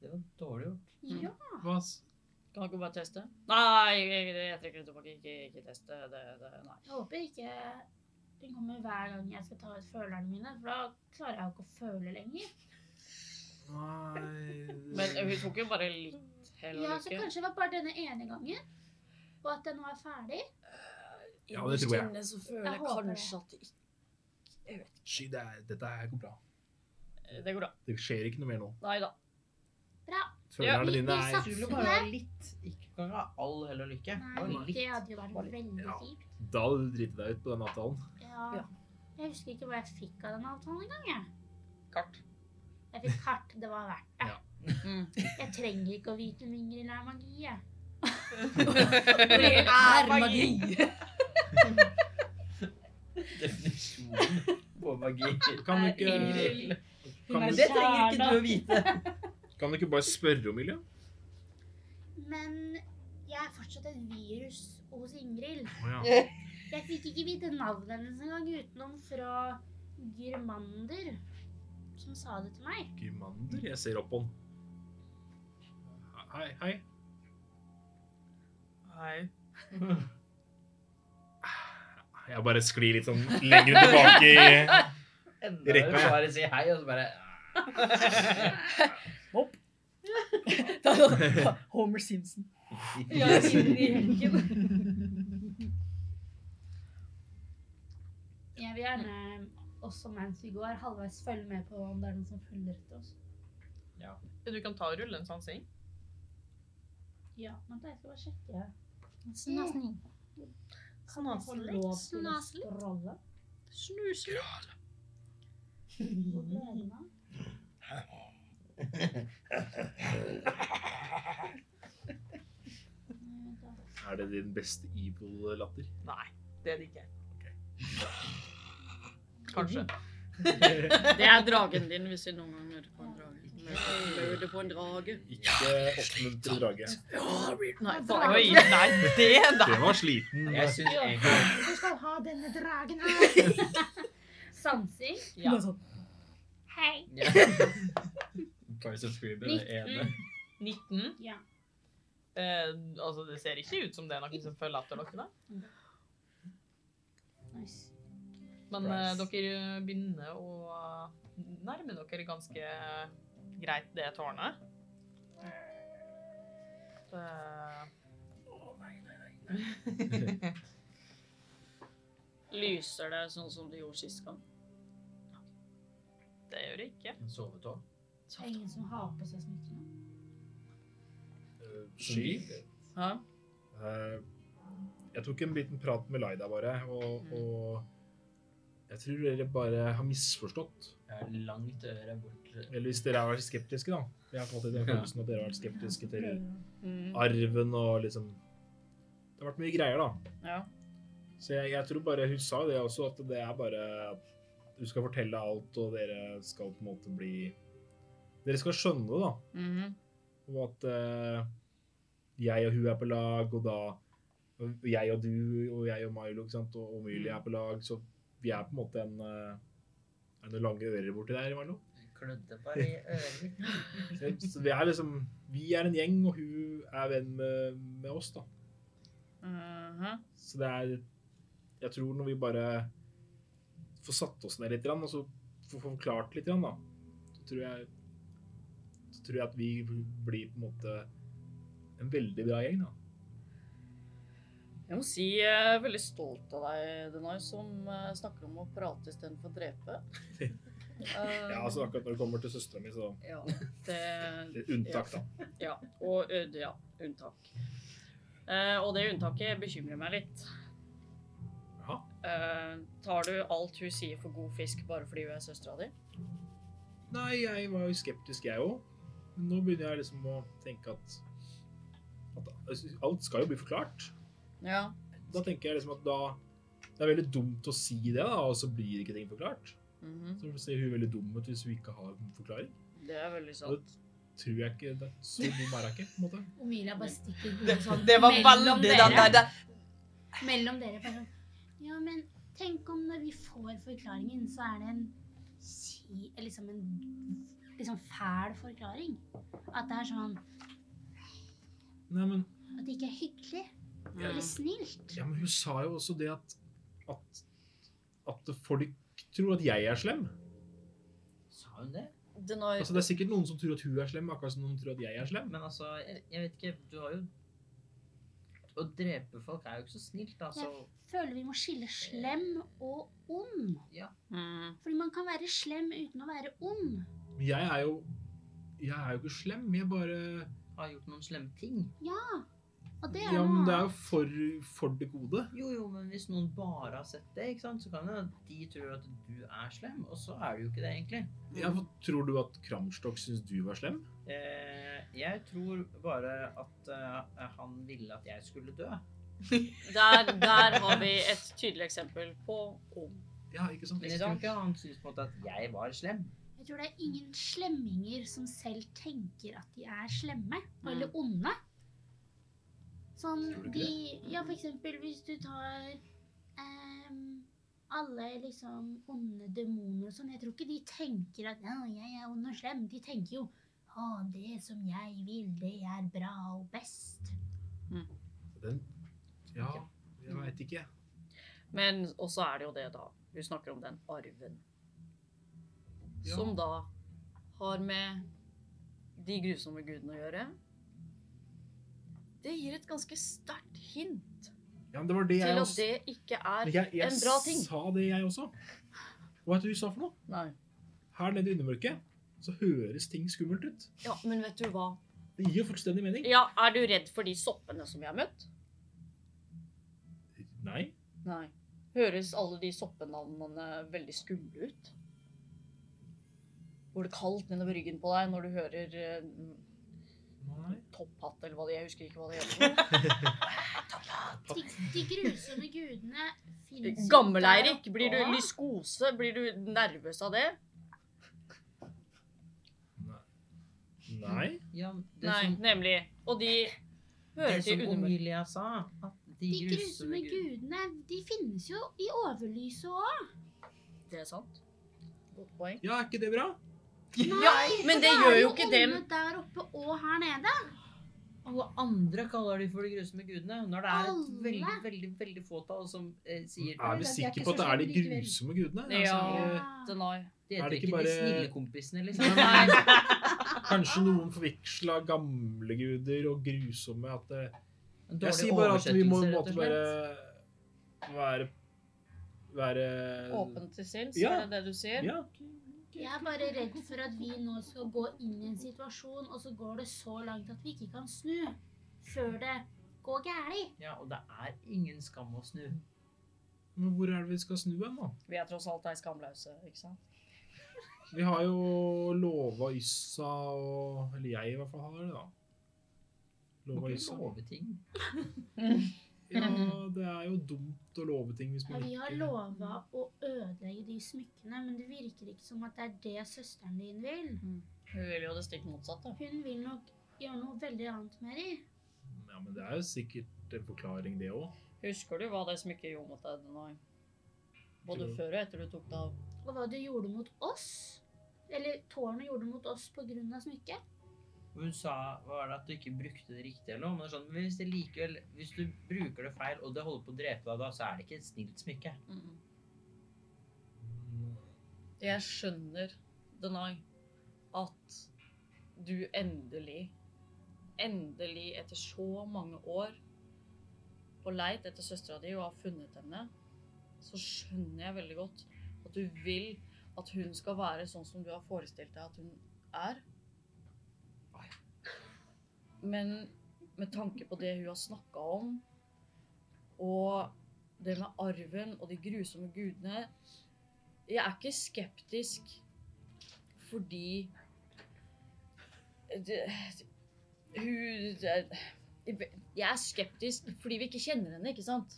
Det var dårlig gjort. Mm. Ja. hva, s- Kan ikke hun bare teste? Nei, jeg, jeg, jeg trekker det tilbake. Ikke, ikke teste. Det, det, nei. Jeg håper ikke Den kommer hver gang jeg skal ta ut følerne mine, for da klarer jeg jo ikke å føle lenger. Men eh, Nei hun tok jo bare litt hell Ja, og så lykke. kanskje det var bare denne ene gangen, og at den nå er ferdig. Ja, det tror jeg. Innerst inne så føler Jeg jeg håper det. kanskje at det ikke Jeg vet ikke. Sky, det er, dette her går bra. Det går bra. Det skjer ikke noe mer nå. Nei da. Følerne vi- dine vi er satser. Skulle bare ha litt. Ikke kan ha all hell og lykke. Nei, Bare det litt. hadde jo vært Bare- veldig Ja. kjipt. Da hadde du driti deg ut på den avtalen. Ja. Ja. Jeg husker ikke hva jeg fikk av den avtalen engang. jeg. Kart. Jeg fikk kart, det var verdt det. Mm. Jeg trenger ikke å vite om Ingrid er magi, jeg. Det er magi! Definisjonen på magi. Kan du ikke, Ingrid. kan du, Det trenger ikke du å vite. kan du ikke bare spørre om Ilja? Men jeg er fortsatt et virus hos Ingrid. Å ja. Jeg fikk ikke vite navnet hennes engang utenom fra Gyrmander, som sa det til meg. Gymander, jeg ser opp på den. Hei, hei. Hei. Jeg bare sklir litt sånn lenger tilbake i Enda Rekker verre meg. å bare si hei, og så bare Homer Simpson. Ja, inn i hekken. Jeg vil gjerne også mens vi går, halvveis følge med på om det er noen som følger etter oss. Du kan ta og rulle en sånn sing. Ja, men da skal jeg bare sjekke. Snasning. Kan jeg få lov til å Snaselig. scrolle? Snuselig. Hvor ble den av? Nei, vent da. Er det din beste evil-latter? Nei, det er det ikke. Kanskje. Det er dragen din, hvis du noen gang møter på en drage. Møter på en drage. Ikke oppmuntre drage. En Nei, faen. drage. Oi, nei, det da. Det var sliten. Jeg syns egentlig Du skal ha denne dragen her! Sansing. Ja. Hei. ja. Price of Freeman er ene. 19. Ja. Eh, altså, det ser ikke ut som det er noen som følger etter dere, da. Nice. Men eh, Nice. dere begynner å nærme dere ganske greit det tårnet. Det- Lyser det sånn som det gjorde sist gang? det gjør det ikke. En sovetog. Det er ingen som har på seg smykkene. Sky? Hæ? Eh, Jeg tok en liten prat med Laida bare, og, og jeg tror dere bare har misforstått. Jeg har langt øre bort Eller hvis dere har vært skeptiske, da. Jeg har fått den følelsen at dere har vært skeptiske til Mm. arven og liksom Det har vært mye greier, da. Ja. Så jeg, jeg tror bare hun sa det også, at det er bare at du skal fortelle alt, og dere skal på en måte bli Dere skal skjønne det, da. Mhm. Og at eh, jeg og hun er på lag, og da og jeg og du og jeg og Milo ikke sant? og Emilie Mm. er på lag, så vi er på en måte en eh, Er det noen lange ører borti der, Milo? Klødde bare i øret. Så, så vi er liksom Vi er en gjeng, og hun er venn med, med oss, da. Mhm. Så det er Jeg tror når vi bare får satt oss ned litt, grann, og så får forklart litt, grann, da, så tror jeg så tror jeg at vi blir på en måte en veldig bra gjeng, da. Jeg må si jeg er veldig stolt av deg, Denai, som eh, snakker om å prate istedenfor å drepe. Eh, Ja, altså akkurat når det kommer til søstera mi, så ja, det, litt unntak, da. ja, og ø, ja, unntak. Eh, og det unntaket bekymrer meg litt. Jaha. Eh, tar du alt hun sier for god fisk bare fordi hun er søstera di? Nei, jeg var jo skeptisk, jeg òg. Men nå begynner jeg liksom å tenke at, at alt skal jo bli forklart. Ja. Da tenker jeg liksom at da Det er veldig dumt å si det, da, og så blir ikke ting forklart. Mhm. Så ser hun veldig dum ut hvis hun ikke har en forklaring. Det er veldig Og sant. det tror jeg ikke det er Så dum er hun ikke, på en måte. Omilia bare stikker Det, hodet sånn det var mellom veldig den der. dere. det- Mellom dere. Bare sånn. Ja, men tenk om når vi får forklaringen, så er det en si- liksom en liksom fæl forklaring. At det er sånn Nei, men, At det ikke er hyggelig Mhm. Ja. eller snilt. ja, men hun sa jo også det at, at at folk tror at jeg er slem. Sa hun det? Deny Altså, det er sikkert noen som tror at hun er slem, akkurat som noen tror at jeg er slem. Men altså, jeg, jeg vet ikke Du har jo Å drepe folk er jo ikke så snilt, da, så Føler vi må skille slem og ond. mm. Fordi man kan være slem uten å være ond. Men jeg er jo Jeg er jo ikke slem. Jeg bare har jeg gjort noen slemme ting. Og det er Ja, men noe det er annet. jo for, for det gode. Jo, jo, men hvis noen bare har sett det, ikke sant, så kan det hende at de tror at du er slem, og så er du jo ikke det, egentlig. Ja, for tror du at Kramstok syns du var slem? Eh, jeg tror bare at eh, han ville at jeg skulle dø. der, der har vi et tydelig eksempel på om. Ja, ikke sant? Men jeg tror ikke han syntes på en måte at jeg var slem. Jeg tror det er ingen slemminger som selv tenker at de er slemme Mm. eller onde. Sånn Tror du ikke de Ja, for eksempel hvis du tar em, alle liksom onde demoner og sånn. Jeg tror ikke de tenker at ja, jeg er ond og slem. De tenker jo å, det som jeg vil, det er bra og best. Den, ja, jeg veit ikke. Men også er det jo det, da. Vi snakker om den arven. Ja. Som da har med de grusomme gudene å gjøre. Det gir et ganske sterkt hint Ja, men det var det jeg til at også det ikke er Men Jeg, jeg en bra ting. sa det, jeg også. Hva er det du sa for noe? Nei. Her nede i undermørket så høres ting skummelt ut. Ja, men vet du hva? Det gir jo fullstendig mening. Ja, er du redd for de soppene som vi har møtt? Nei. Nei. Høres alle de soppenavnene veldig skumle ut? Går det kaldt nedover ryggen på deg når du hører eh, Nei. topphatt, eller hva det Jeg husker ikke hva det heter. De, de grusomme gudene fins Gammel-Eirik, blir du lyskose? Blir du nervøs av det? Nei. Ja, det Nei, som, nemlig. Og de det hører til som undermørket. Omilia sa, at de, De grusomme gudene, de finnes jo i overlyset òg. Det er sant. Godt poeng. Ja, er ikke det bra? Ja, men det gjør jo ikke dem. Det er jo onde der oppe og her nede. Alle andre kaller de for de grusomme gudene, når det er et Alle? veldig, veldig, veldig fåtall som eh, sier Er vi det er sikre ikke på at det så er de slemt likevel. grusomme gudene? Ja. Altså, Denai. De Er heter det ikke ikke de bare- snille kompisene, liksom. Nei. kanskje noen forveksla gamle guder og grusomme at det, Jeg En dårlig sier bare at vi må på en oversettelse, måte rett og bare slett. være Være Åpen til sinns, Ja. er det det du sier? Ja. Jeg er bare redd for at vi nå skal gå inn i en situasjon, og så går det så langt at vi ikke kan snu før det går galt. Ja, og det er ingen skam å snu. Men hvor er det vi skal snu hen, da? Vi er tross alt ei skamlause, ikke sant? Vi har jo lova Yssa og Eller jeg, i hvert fall, har det, da. Du må Lova ikke Yssa. love ting. Ja, det er jo dumt å love ting hvis Ja, man vi har ikke lova å ødelegge de smykkene, men det virker ikke som at det er det søsteren din vil. Hun vil jo det stikk motsatte. Hun vil nok gjøre noe veldig annet med de. Ja, men det er jo sikkert en forklaring, det òg. Husker du hva det smykket gjorde mot deg, Denai? Både Jo. før og etter du tok det av. Og hva du gjorde mot oss. Eller tårnet gjorde mot oss pga. smykket. Og hun sa var det at du ikke brukte det riktig eller noe, men det er sånn, men hvis det likevel, hvis du bruker det feil, og det holder på å drepe deg da, så er det ikke et snilt smykke. Mm. Jeg skjønner, Denai, at du endelig, endelig etter så mange år på leit etter søstera di og har funnet henne, så skjønner jeg veldig godt at du vil at hun skal være sånn som du har forestilt deg at hun er. Men med tanke på det hun har snakka om, og det med arven og de grusomme gudene Jeg er ikke skeptisk fordi det, Hun det, Jeg er skeptisk fordi vi ikke kjenner henne, ikke sant?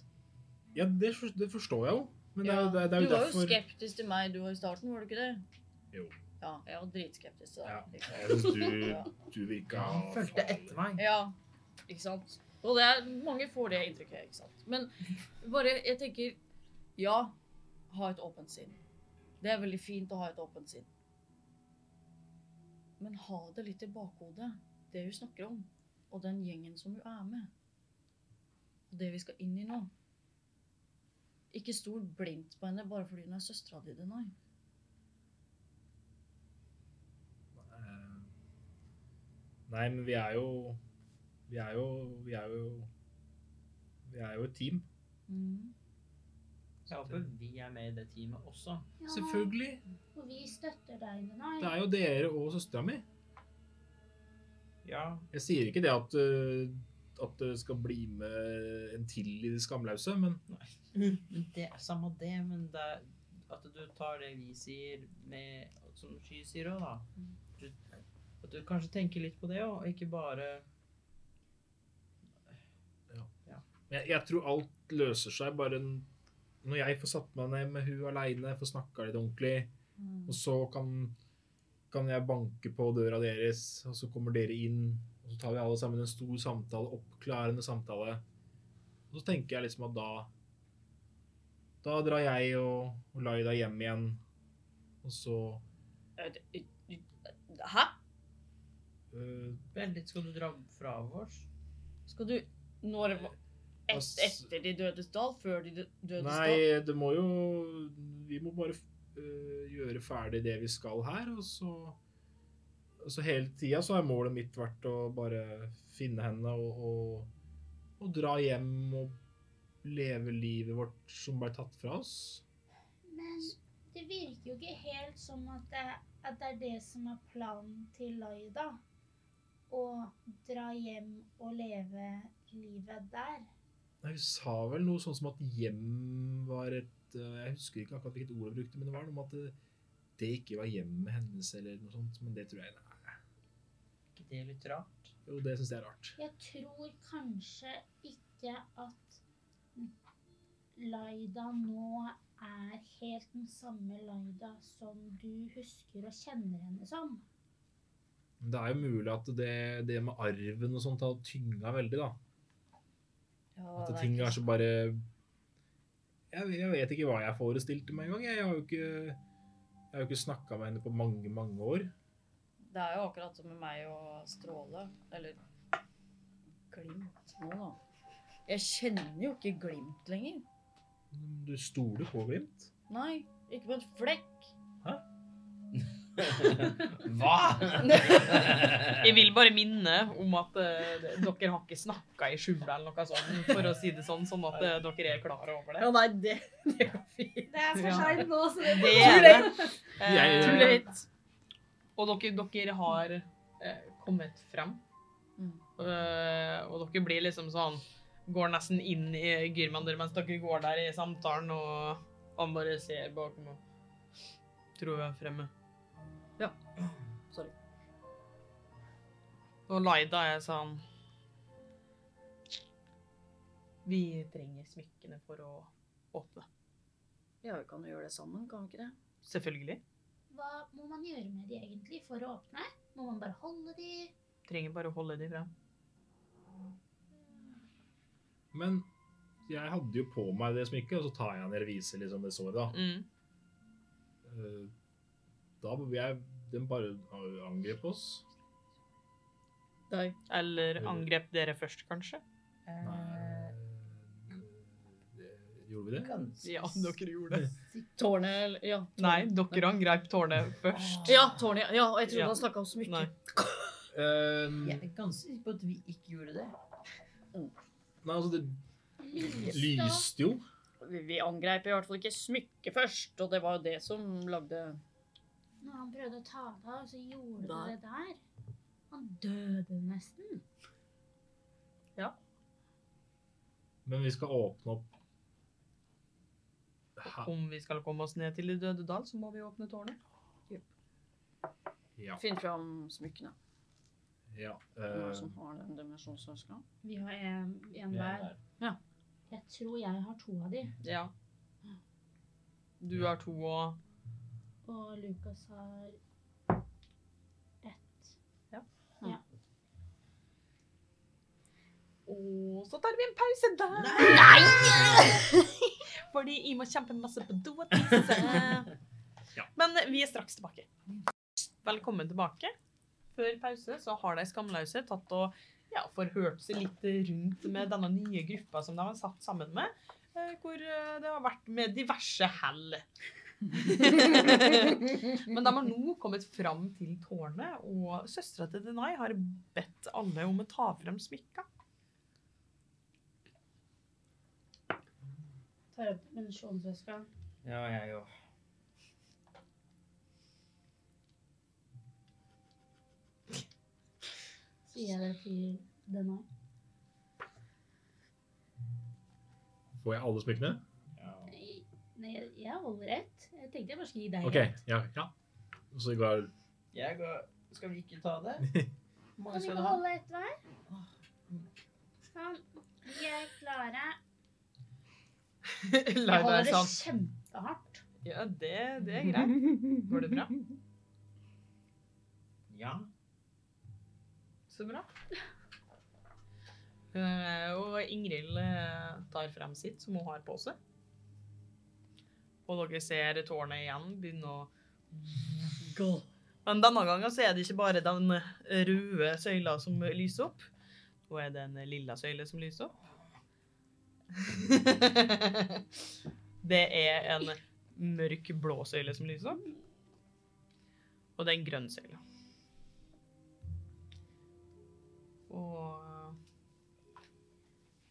Ja, det, for- det forstår jeg jo. Men det er, jo- det, er- det er jo du var derfor jo skeptisk til meg du var i starten, var du ikke det? Jo. Ja, jeg var dritskeptisk til deg. Liksom. Jeg synes Ja. du, du virka Han fulgte etter meg. Ja, ikke sant? Og det er, mange får det inntrykket, ikke sant? Men bare, jeg tenker, ja, ha et åpent sinn. Det er veldig fint å ha et åpent sinn. Men ha det litt i bakhodet, det hun snakker om, og den gjengen som hun er med. Og det vi skal inn i nå. Ikke stol blindt på henne bare fordi hun er søstera di, nei. Eh, Nei, men vi er jo Vi er jo Vi er jo, vi er jo et team. Mm. Jeg håper vi er med i det teamet også. Ja, Selvfølgelig. Og vi støtter deg, Det Nenai. er jo dere og søstera mi. Ja, Jeg sier ikke det at eh, at det skal bli med en til i det skamlause, men men det er samme det, men det er at du tar det vi sier med Som Sky sier òg, da. Du, at du kanskje tenker litt på det òg, og ikke bare jeg, jeg tror alt løser seg bare en, når jeg får satt meg ned med hun aleine, får snakka litt ordentlig, og så kan, kan jeg banke på døra deres, og så kommer dere inn, og så tar vi alle sammen en stor samtale, oppklarende samtale. Og så tenker jeg liksom at da Da drar jeg og, og Laida hjem igjen, og så Hæ? øh, Vent litt, skal du dra fra vårs? Skal du Når var- et, Eh, Ass- Etter de dødes dal? Før de dø- dødes dal? Nei, det må jo Vi må bare øh, gjøre ferdig det vi skal her, og så og så hele tida så har målet mitt vært å bare finne henne og, og, og dra hjem og leve livet vårt som ble tatt fra oss. Men det virker jo ikke helt som at det, at det er det som er planen til Laida. Å dra hjem og leve livet der. Nei, Hun sa vel noe sånn som at hjem var et øh, Jeg husker ikke akkurat hvilket ord hun brukte, men det var noe om at det, det ikke var hjemmet hennes eller noe sånt. Men det tror jeg nei. Ikke det litt rart? Jo, det syns jeg er rart. Jeg tror kanskje ikke at Laida nå er helt den samme Laida som du husker og kjenner henne som. Men Det er jo mulig at det, det med arven og sånt har tynga veldig, da. Ja, At det er ting ikke- er så bare jeg, jeg vet ikke hva jeg forestilte meg engang. Jeg har jo ikke, jeg har jo ikke snakka med henne på mange, mange år. Det er jo akkurat som med meg og Stråle. Eller Glimt nå, da. Jeg kjenner jo ikke Glimt lenger. Du stoler på Glimt. Nei, ikke på en flekk. Hva?! Jeg vil bare minne om at eh, det- dere har ikke snakka i skjula eller noe sånt, for å si det sånn, sånn at eh, dere er klare over det. nei, det, det går fint. Det er for seint nå, så det Det Too er late. det. Eh, Too Og dere, dere har eh, kommet frem. Mm. Eh, og dere blir liksom sånn Går nesten inn i Gyrmander mens dere går der i samtalen, og han bare ser bakom og tror jeg er fremme. Ja. Sorry. Og Laida er sånn Vi trenger smykkene for å åpne. Ja, vi kan jo gjøre det sammen, kan vi ikke det? Selvfølgelig. Hva må man gjøre med de egentlig for å åpne? Må man bare holde de? Trenger bare å holde de frem. Men jeg hadde jo på meg det smykket, og så tar jeg ned og viser liksom det såret, da. Mm. Eh, Da vil jeg Den bare angrep oss. Nei. Eller angrep dere først, kanskje? Nei det- Gjorde vi det? Eh, Ganske Ja, dere gjorde det. Tårnet eller- Ja. tårnet. Nei, dere angrep tårnet først. Ja, tårnet. Ja, og jeg trodde Ja. han snakka om smykker. Nei. Jeg Eh, er ganske sikker på at vi ikke gjorde det. Nei, altså, det Lysstoff? lyste jo. Vi, vi angreip i hvert fall ikke smykket først, og det var jo det som lagde Når han prøvde å ta det av, så gjorde du Nei. det der. Han døde nesten. Men vi skal åpne opp Her. Om vi skal komme oss ned til De døde dal, så må vi åpne tårnet. Ja. Finn fram smykkene. ja. Hvem er det eh, som har den dimensjonsønska? Vi har en, en Vi hver. er der. Jeg tror jeg har to av de. Ja. Du har to og Og Lukas har ett. Og så tar vi en pause der. Fordi jeg må kjempe masse på do og tisse. Ja. Men vi er straks tilbake. Velkommen tilbake. Før pause så har de skamløse tatt og ja, forhørt seg litt rundt med denne nye gruppa som de har satt sammen med. eh, hvor eh, det har vært med diverse hell. Men de har nå kommet fram til tårnet, og søstera til Denai har bedt alle om å ta frem smykka. Tar opp dimensjonsveska. Ja, jeg òg. Sier jeg det til den òg? Får jeg alle smykkene? Nei, jeg- jeg holder ett. Jeg tenkte jeg bare skulle gi deg OK. ett. Ja. ja. Og så går Jeg går Skal vi ikke ta det? Hvor Kan mange vi skal ikke du ha? holde ett hver? Sånn. Vi er klare. Lei Jeg deg holder det sånn. kjempehardt. Ja, det, det er greit. Går det bra? Ja. Så bra. Eh, og Ingrid eh, tar frem sitt, som hun har på seg. Og dere ser tårnet igjen begynne å Men denne gangen så er det ikke bare den røde søyla som lyser opp. Nå er det en lilla søyle som lyser opp. det er en mørk blå søyle som lyser opp. Og det er en grønn søyle. Og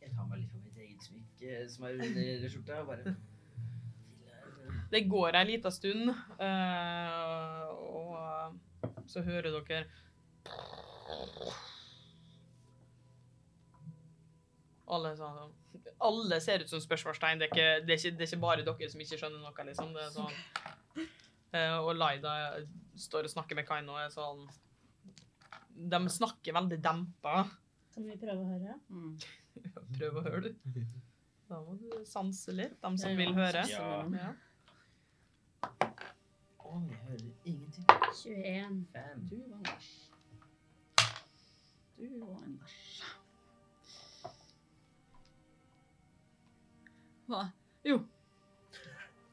Jeg tar meg litt på mitt eget smykke eh, som er under skjorta, og bare Det går ei lita stund, eh, og eh, så hører dere alle, sånn, alle ser ut som spørsmålstegn. Det er, ikke, det, er ikke, det er ikke bare dere som ikke skjønner noe, liksom. Det er sånn. Eh, og Laida står og snakker med Kaino og er sånn De snakker veldig dempa. Kan vi prøve å høre? Mm. Prøv å høre, du. Da må du sanse litt, de som vil høre. Ja. Ja. Å, jeg hører ingenting. 21. Fem. Du var en bæsj. Du var en bæsj. Hva? Jo.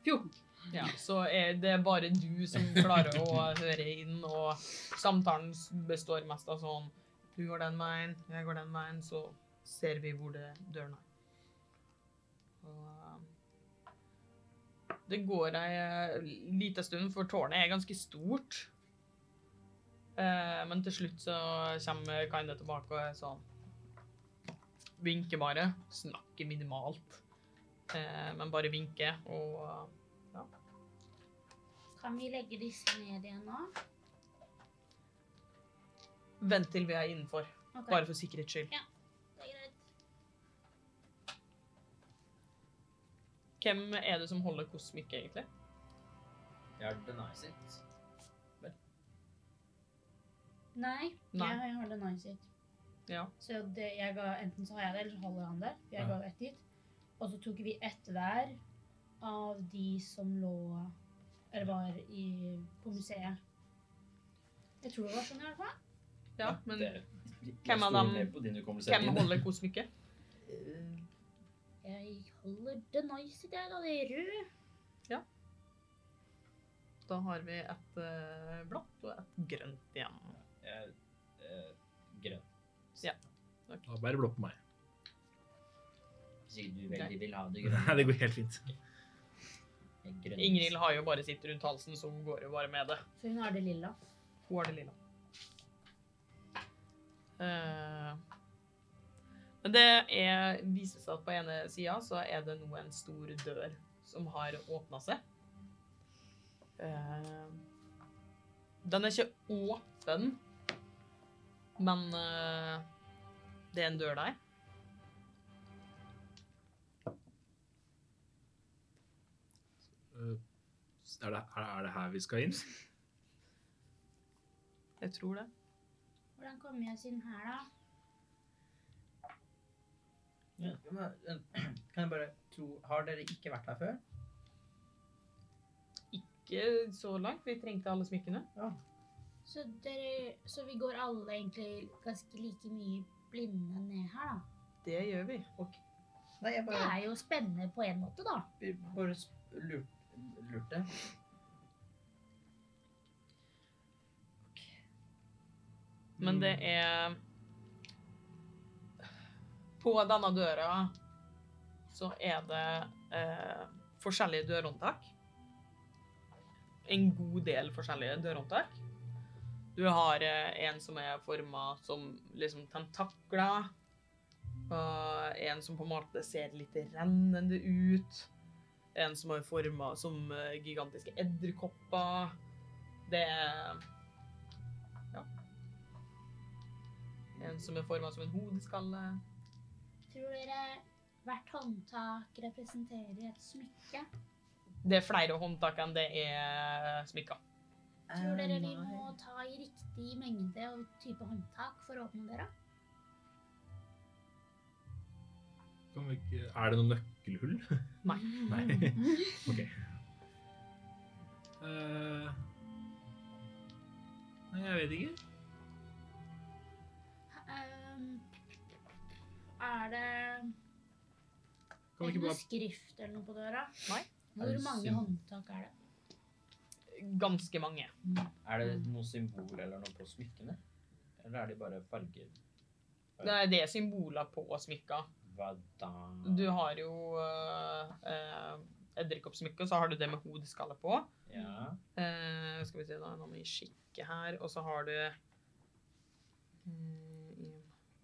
14. Ja, så er det bare du som klarer å høre inn, og samtalen s- består mest av sånn Du går den veien, jeg går den veien, så ser vi hvor det dørene er. Og, eh, Det går ei eh, lita stund, for tårnet er ganske stort. Eh, Men til slutt så kommer Kaine tilbake og er sånn Vinker bare. Snakker minimalt. eh, Men bare vinker og eh, Kan vi legge disse ned igjen nå? Vent til vi er innenfor, Ok, bare for sikkerhets skyld. det er greit. Hvem er det som holder hvordan smykke, egentlig? Jeg har deny sitt. Nei, Nei. Jeg, jeg har det nice hit. Ja. Så det, jeg ga, enten så har jeg det, eller så holder han det. For jeg Ja. ga jo ett dit. Og så tok vi ett hver av de som lå Eller var i, på museet. Jeg tror det var sånn i hvert fall. ja, men Det- Hvem av Jeg stoler dem- mer på din hukommelse hvem enn min. holder hvordan smykke? Eh, Jeg holder det nice, det er da det er rød. Da har vi et eh, blått og et grønt igjen. Jeg eh, grønn. Da bærer blå på meg. Hvis ikke du Nei. veldig vil ha det Nei, det grønne. går helt fint. Jeg grønn. Ingrid har jo bare sitt rundt halsen, så hun går jo bare med det. Så hun har det lilla. Hun har det lilla. Eh, men det er, viser seg at på ene sida så er det nå en stor dør som har åpna seg. Eh, den er ikke åpen, men eh, det er en dør der. Eh, Er det, er, er det her vi skal inn? Jeg tror det. Hvordan kommer jeg oss inn her, da? Ja, men, eh, Kan jeg bare tro Har dere ikke vært her før? Ikke så langt. Vi trengte alle smykkene. Så, dere, så vi går alle egentlig ganske like mye blinde ned her, da. Det gjør vi. Nei, jeg Det bare, er jo spennende på en måte, da. bare sp- lurt, lurte. Men det er På denne døra så er det eh, forskjellige dørhåndtak. En god del forskjellige dørhåndtak. Du har eh, en som er forma som liksom tentakler. Og en som på en måte ser litt rennende ut. En som er forma som eh, gigantiske edderkopper. Det er Ja. En som er forma som en hodeskalle. Tror dere hvert håndtak representerer et smykke? Det er flere håndtak enn det er smykker. Tror dere vi må ta i riktig mengde og type håndtak for å åpne døra? Kan vi ikke, er det noen nøkkelhull? Nei. Nei. Ok. Eh, Nei, jeg vet ikke. Ehm, er det Kan ikke vi ikke noe bare skrift eller noe på døra? Nei. Er Hvor det mange syn- håndtak er det? Ganske mange. Er det noe symbol eller noe på smykkene? Eller er de bare farger? Det er, det er symboler på smykker. Hva da? Du har jo øh, øh, edderkoppsmykke, og så har du det med hodeskalle på. Ja. Eh, skal vi se, da er noen i skikket her. Og så har du mm,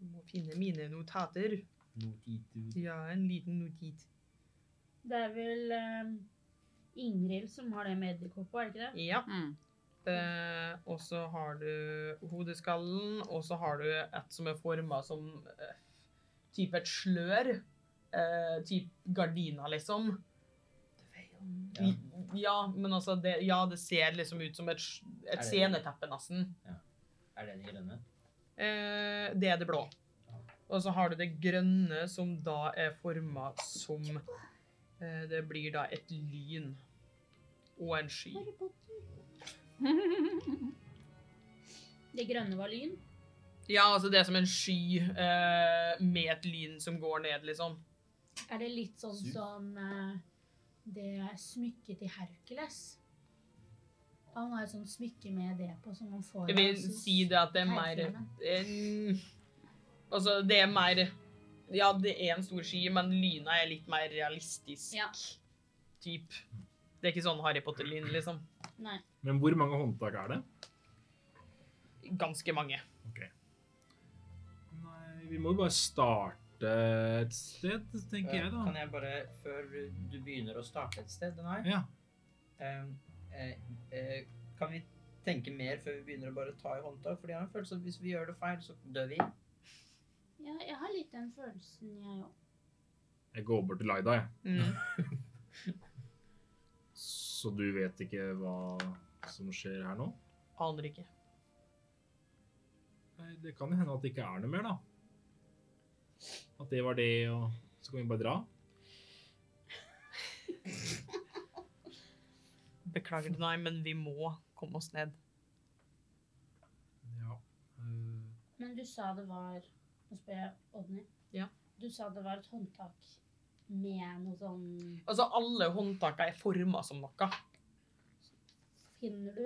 Jeg må finne mine notater. Notitu. Ja, en liten notit. Det er vel ehm, Ingrid som har det med edderkopper, er det ikke det? Ja. Mm. Eh, og så har du hodeskallen, og så har du et som er forma som eh, type et slør. Eh, type gardina, liksom. Ja. Ja. men altså det, Ja, det ser liksom ut som et, s- Er et det- sceneteppe, nesten. Er det den grønne? Eh, det er det blå. Og så har du det grønne, som da er forma som eh, Det blir da et lyn. Og en sky. Det grønne var lyn. Ja, altså det er som en sky eh, med et lyn som går ned, liksom. Er det litt sånn Sus. som eh, det smykket til Hercules? Han har et sånt smykke med det på som han får Jeg vil av Zeus. si det at det er mer en, Altså, det er mer Ja, det er en stor sky, men lyna er litt mer realistisk Ja. typ. Det er ikke sånn Harry Potter-lyn, liksom. Nei. Men hvor mange håndtak er det? Ganske mange. Nei, vi må jo bare starte et sted, tenker jeg, da. Eh, Kan jeg bare, før du begynner å starte et sted, den her, Ja. Ehm, eh, eh, Kan vi tenke mer før vi begynner å bare ta i håndtak? Fordi jeg har en følelse at hvis vi gjør det feil, så dør vi. Ja, jeg har litt den følelsen, jeg òg. Jeg går bort til Laida, jeg. Mm. Så du vet ikke hva som skjer her nå? Aner ikke. Nei, det kan jo hende at det ikke er noe mer, da. At det var det, og så kan vi bare dra. Beklager, nei, men vi må komme oss ned. Ja. eh, Men du sa det var Nå spør jeg Odny. Ja. Du sa det var et håndtak med noe sånn Altså, alle håndtakene er forma som noe. Finner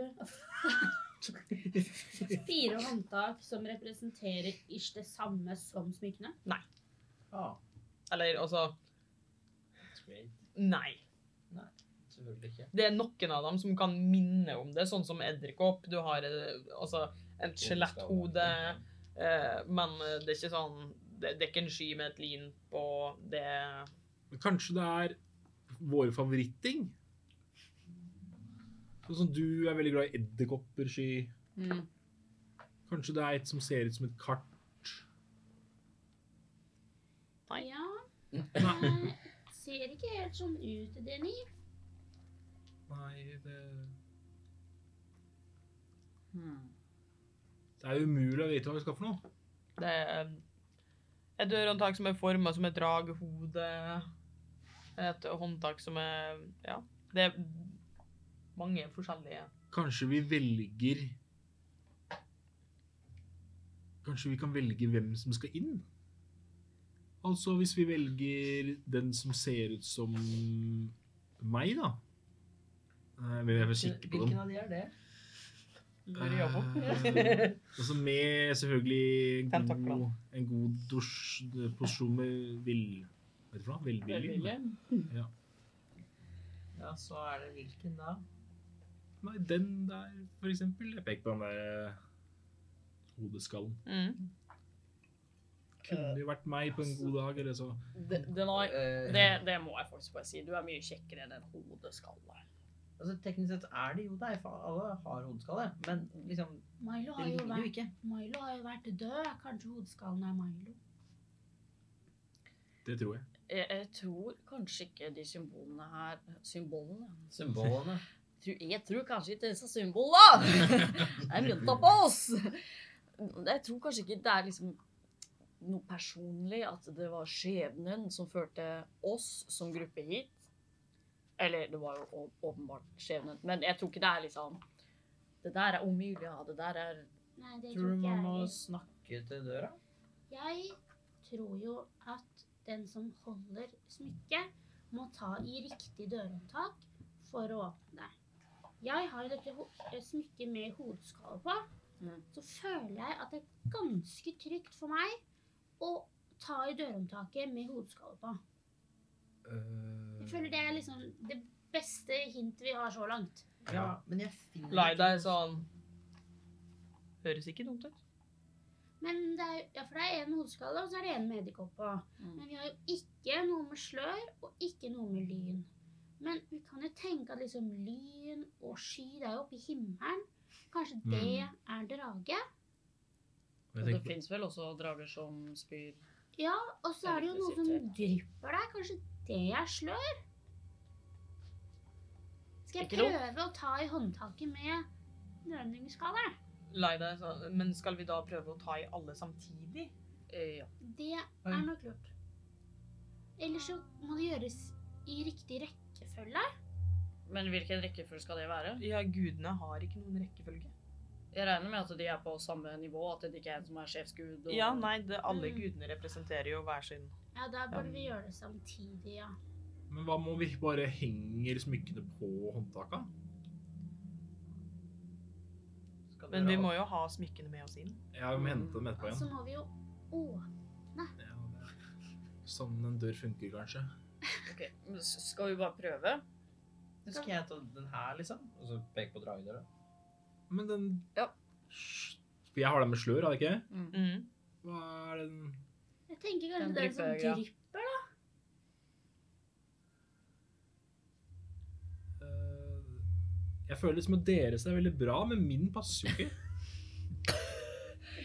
du fire håndtak som representerer ish det samme som smykkene? Ah, Eller altså great. Nei. Selvfølgelig ikke. Det er noen av dem som kan minne om det, sånn som edderkopp. Du har eh, altså et skjeletthode. Eh, men eh, det er ikke sånn det, det er ikke en sky med et lin på det Men kanskje det er våre favoritting? Sånn som du er veldig glad i edderkopper, sky. Mm. Kanskje det er et som ser ut som et kart? Nei. Ja. Jeg Eh, ser ikke helt sånn ut, Denny. Nei, det, Mm. det er umulig å vite hva vi skal for noe. Det er et dørhåndtak som er forma som et dragehode. Et håndtak som er Ja. Det er mange forskjellige Kanskje vi velger Kanskje vi kan velge hvem som skal inn? Altså, hvis vi velger den som ser ut som meg, da Nei, men Jeg er for sikker på Hvilken dem. av de er det? lurer jeg på. Eh, altså med selvfølgelig en god, Tentaklene. en god dusj, posisjon med vill Vet du hva? Velvillig? Velvillig. Ja, så er det hvilken da? Nei, den der, for eksempel. Jeg peker på den der eh, hodeskallen. Mm. Kunne jo vært meg på en god dag, eller så. Det- Den har, Eh, det, det må jeg faktisk bare si. Du er mye kjekkere enn en hodeskalle. Altså, teknisk sett er det jo deg, for alle har hodeskalle. Men liksom, Milo det har jo ligger jo vært, ikke. Milo har jo vært død. Kanskje hodeskallen er Milo. Det tror jeg. Jeg, jeg tror kanskje ikke de symbolene her Symbolene? Symbolene. Tror- Jeg tror kanskje ikke disse symbolene er mynta på oss! Jeg tror kanskje ikke det er liksom noe personlig at det var skjebnen som førte oss som gruppe hit. Eller det var jo å- åpenbart skjebnen, men jeg tror ikke det er liksom Det der er umulig, ja. Det der er Nei, det Tror tror du ikke man jeg må heller. snakke til døra? Jeg tror jo at den som holder smykket, må ta i riktig dørhåndtak for å åpne det. Jeg har jo dette ho- eh, smykket med hodeskalle på. Mm. Så føler jeg at det er ganske trygt for meg å ta i dørhåndtaket med hodeskalle på. Jeg føler det er liksom det beste hintet vi har så langt. Ja, men jeg finner Lei ikke deg noe- sånn Høres ikke dumt ut. Men det er, jo- ja, for det er én hodeskalle, og så er det én med edderkopp på. Mm. Men vi har jo ikke noe med slør og ikke noe med lyn. Men vi kan jo tenke at liksom lyn og sky, det er jo oppe i himmelen. Kanskje Mm. det er drage? Jeg Og det tenker- fins vel også drager som spyr Ja, og så Det er er det jo riktig å noe si som til. drypper der. Kanskje det er slør? Skal jeg Ikke dumt. prøve å ta i håndtaket med nødnummerskala? Lei deg sånn. Men skal vi da prøve å ta i alle samtidig? eh, ja. Det er nok lurt. Eller så må det gjøres i riktig rekkefølge. Men hvilken rekkefølge skal det være? Ja, gudene har ikke noen rekkefølge. Jeg regner med at de er på samme nivå, at det ikke er en som er sjefsgud. Og... Ja, nei, det, alle Mm. gudene representerer jo hver sin. Ja, da burde vi gjøre det samtidig, ja. Men hva om vi bare henger smykkene på håndtaka? Skal Men døra vi opp? må jo ha smykkene med oss inn. Jeg må hente dem etterpå Og så Sånn. igjen. må vi jo åpne Ja, det- Sånn en dør funker kanskje. Ok, men s- Skal vi bare prøve? Skal jeg ta den her, liksom? Og så peke på dragedøra? Men den Ja. Hysj. For jeg har den med slør, har jeg ikke? Mm. Hva er den Jeg tenker kanskje Den det er en sånn drypper, ja. drypper. Eh, Jeg føler liksom at deres er veldig bra, men min passer jo ikke.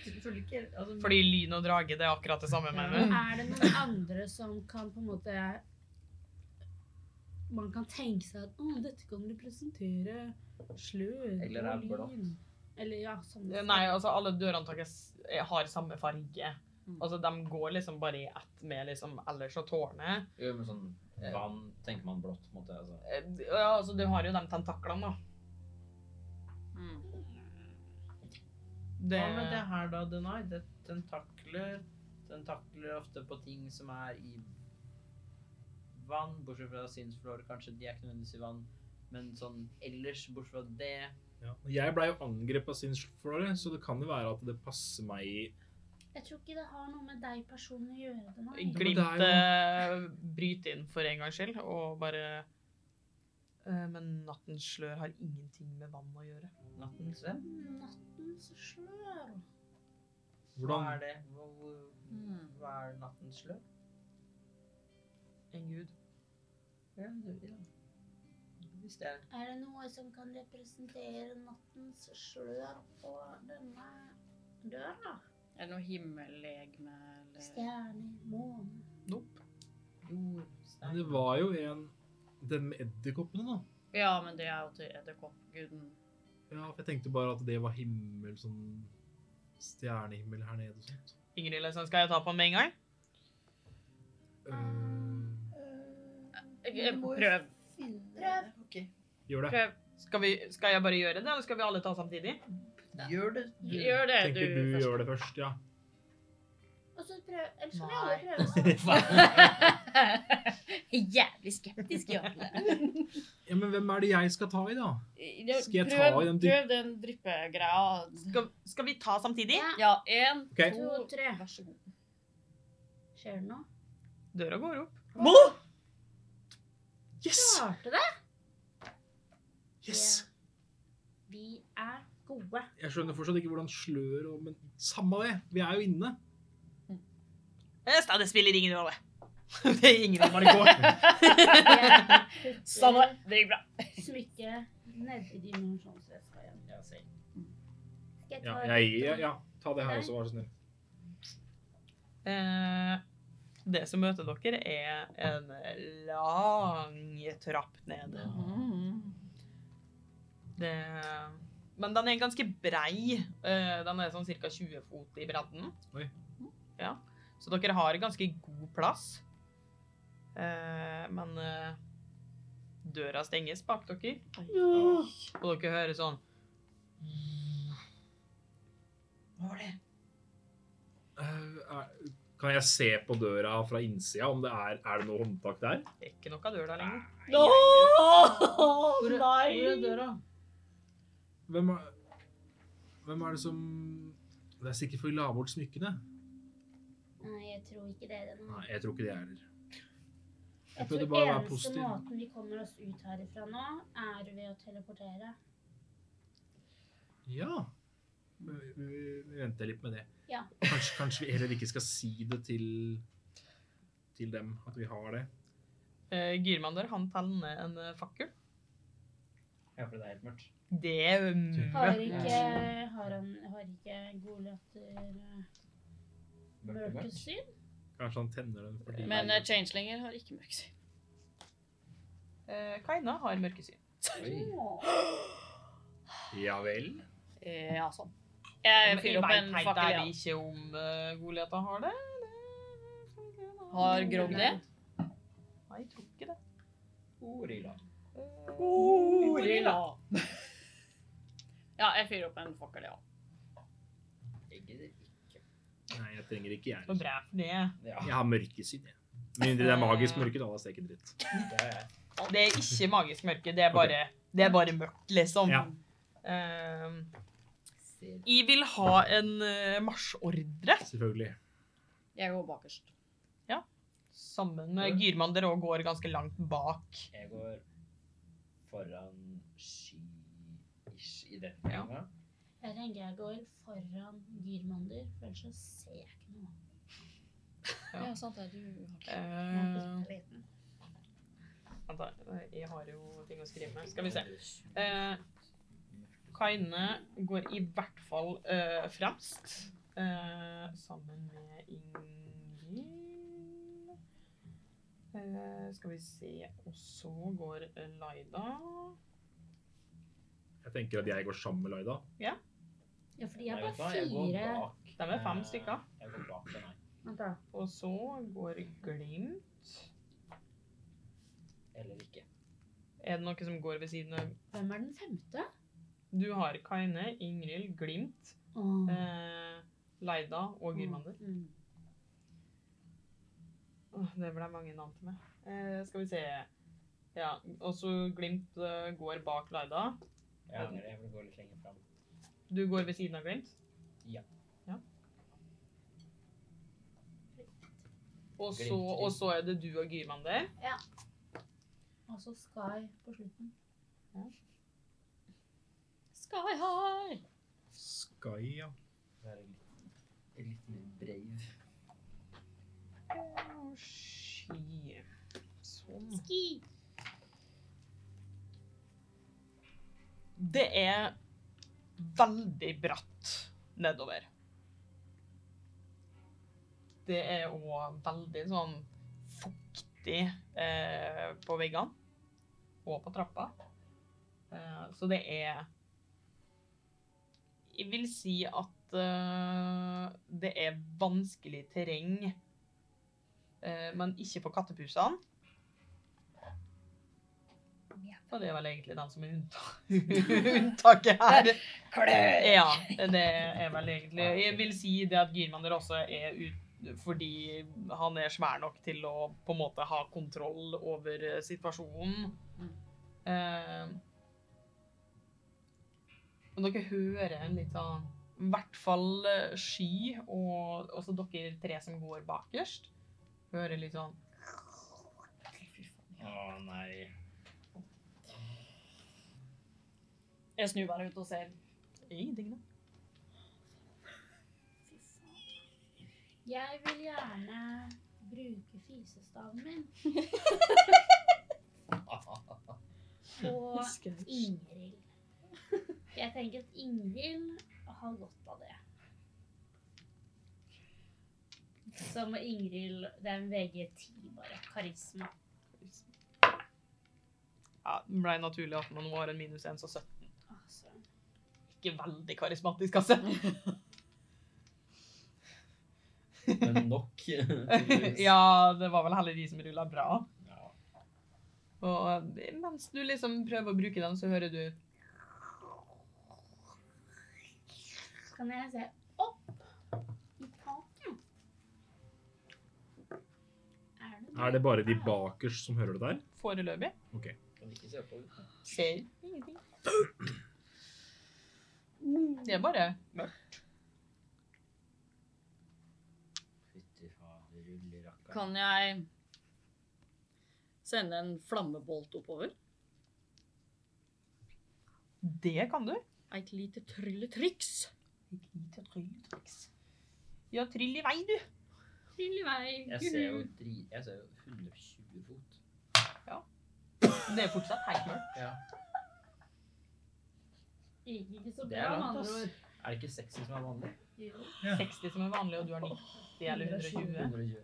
Jeg føler ikke altså, Fordi lyn og drage, det er akkurat det samme, mener du? Er det noen andre som kan på en måte Man kan tenke seg at å, dette kan representere slør Eller er og blått. lyn. Eller ja, sånn Nei, altså alle dørhåndtak har samme farge. Mm. Altså, de går liksom bare i ett med liksom ellers og tårnet. Jo, men sånn vann tenker man blått, på en måte. Altså. Eh, Ja, altså, du har jo de tentaklene, da. Det, Hva Eh, med det her, da, Denai? Det tentakler Tentakler ofte på ting som er i vann, bortsett fra sinnsflår. Kanskje de er ikke nødvendigvis i vann, men sånn ellers, bortsett fra det Ja. og Jeg blei jo angrepet av sin flåre, så det kan jo være at det passer meg i Jeg tror ikke det har noe med deg personlig å gjøre. det nei. Glimt Ja, men det eh, bryter inn for en gangs skyld, og bare eh, Men nattens slør har ingenting med vann å gjøre. nattens venn. Nattens slør. Hva Hvordan er det? Hva, hvor- Mm. hva er nattens slør? En gud. Ja, det- ja. Visste jeg. Er det noe som kan representere nattens slør på denne døra? Er det noe himmellegeme eller Stjerner, måne Nope. Jord, Men stein det var jo en Den med edderkoppene, da. Ja, men det er jo til edderkoppguden. Ja, for jeg tenkte bare at det var himmel, sånn stjernehimmel her nede og sånt. Ingrid, liksom, skal jeg ta på den med en gang? Eh, Eh, Prøv. Prøv. Ok. gjør det. Prøv. Skal, vi, skal jeg bare gjøre det, eller skal vi alle ta samtidig? Gjør det. Gjør det, du, Tenker du først. gjør det først, ja. Og så prøv, eller så kan vi Nei. alle prøve sammen. Jævlig skeptisk, ja. Ja, Men hvem er det jeg skal ta i, da? Ja, Skal jeg ta prøv- i den dyp- Prøv den dryppegreia. Skal, skal vi ta samtidig? Ja. Ja, én, Ok. To, to tre. Vær så god. Skjer det noe? Døra går opp. Må! Yes! Klarte det. Yes! Vi er gode. Jeg skjønner fortsatt ikke hvordan slør og Men samme det, vi er jo inne. Øst, det Eh, spiller ingen rolle. Det er ingen rolle, bare går. Jeg Samme, putter det gikk bra. smykket nedi dimensjonsveska igjen. Ja, selv. Skal jeg Ja, ta jeg, ja, ja. ta det her også, vær så snill. Eh, Det som møter dere, er en lang trapp ned. Det Men den er ganske brei. Eh, Den er sånn ca. 20 fot i bredden. Oi. Ja. Så dere har ganske god plass. Eh, Men eh, døra stenges bak dere, Øh, og dere hører sånn Hva var det? Eh, er- kan jeg se på døra fra innsida om det er, er det noe håndtak der? Det er ikke noe av døra lenger. Åh, Hvor er- Hvor er nei! døra? Hvem er, hvem er det som Det er sikkert for å la bort smykkene. Nei, jeg tror ikke det. Den. Nei, jeg tror ikke det er der. Jeg prøvde tror bare å være eneste positiv. måten vi kommer oss ut herifra nå, er ved å teleportere. Ja. Vi, vi- vi venter litt med det. Ja. Kanskje, kanskje vi heller ikke skal si det til, til dem at vi har det. Eh, Gyrmander, han teller ned en eh, fakkel. Ja, for det er helt mørkt. Det er jo Har mørkt. ikke, har han, har ikke eh, godlatter Mørkt og mørkt. mørkesyn? Kanskje han tenner den fordi Men eh, Changelinger har ikke mørkt syn. Eh, Kaina har mørkesyn. Oi. Ja vel? Eh, Ja, sånn. Jeg fyller opp en fakkel, ja. ja. ikke om uh, Goliata har det. Har Grog det? Nei, jeg tror ikke det. Eh, Gorilla. Gorilla. Ja, jeg fyrer opp en fakkel, ja. Jeg gidder ikke. Nei, jeg trenger ikke Så jeg. bra for det. Ja, Jeg har mørkesyn, jeg. Med mindre det er magisk mørke, da. Da ser jeg ikke dritt. det er jeg. Det er ikke magisk mørke, det er bare, det er bare mørkt, liksom. Ja. Eh, jeg vil ha en eh, marsjordre Selvfølgelig. Jeg går bakerst. sammen med Gyrmander og går ganske langt bak. Jeg går foran sky-ish i den gangen. Jeg tenker jeg går foran Gyrmander, for ellers så ser jeg ikke noe. Ja. Ja, sant det. Du har ikke Eh, Vent da, jeg har jo ting å skrive med. Skal vi se. Eh, Kaine går i hvert fall eh, fremst. Eh, sammen med Ingrid. Eh, skal vi se. Og så går eh, Laida. Jeg tenker at jeg går sammen med Laida. Ja, fordi Nei, jeg vet du hva? bare Jeg går fire. bak. De er fem eh, stykker. Jeg går bak den her. Vent da. Og så går Glimt. Eller ikke. Er det noe som går ved siden av Hvem er den femte? Du har Kaine, Ingrid, Glimt, Åh. eh, Laida og Gyrmander. Mm. Åh, det ble mange navn til meg. Eh, skal vi se. Ja, og så Glimt eh, går bak Laida. Jeg angrer, jeg vil gå litt lenger fram. Du går ved siden av Glimt? Ja. Ja. Og så, Glimt, Glimt. og så er det du og Gyrmander. Og så Sky på slutten. Sky high! Sky, ja. Være litt, litt mer brave. Å, sky. Sånn. Ski! Det er veldig bratt nedover. Det er òg veldig sånn fuktig eh, på veggene og på trappa. Eh, så det er Jeg vil si at eh, det er vanskelig terreng, eh, men ikke for kattepusene. Og det er vel egentlig den som er unnta- unntaket her. Klør! Ja, det er vel egentlig Jeg vil si det at Gyrmander også er ut fordi han er svær nok til å på en måte ha kontroll over eh, situasjonen. Eh, men dere hører en litt sånn I hvert fall eh, sky, og også dere tre som går bakerst, hører litt sånn Å nei. Jeg snur meg ut og ser. Ingenting, da. Fy faen. Jeg vil gjerne bruke fisestaven min på Ingrid. Jeg tenker at Ingrid har godt av det. Så må Ingrid Det er en VG10, bare. Karisma. Ja, det ble naturlig at man var en minus 1, så 17. Altså. Ikke veldig karismatisk, altså. Men nok. tydeligvis. ja, det var vel heller de som rulla bra. Ja. Og mens du liksom prøver å bruke den, så hører du Kan jeg se opp i taket? Er det Er det bare de bakerst som hører det der? foreløpig Kan ikke se på det. Ser ingenting. Det er bare mørkt. Fytti fader, ruller rakkeren. Kan jeg sende en flammebolt oppover? Det kan du. Et lite trylletriks. Et lite trylletriks. Ja, tryll i vei, du. Trill i vei. Jeg ser jo dri... Jeg ser jo 120 fot. Det er fortsatt helt mørkt. Ja. Det gikk ikke så Det bra, er med langt, andre ass. ord. Er det ikke 60 som er vanlig? Jo. 60 som er vanlig, og du har 90 eller 120. 120.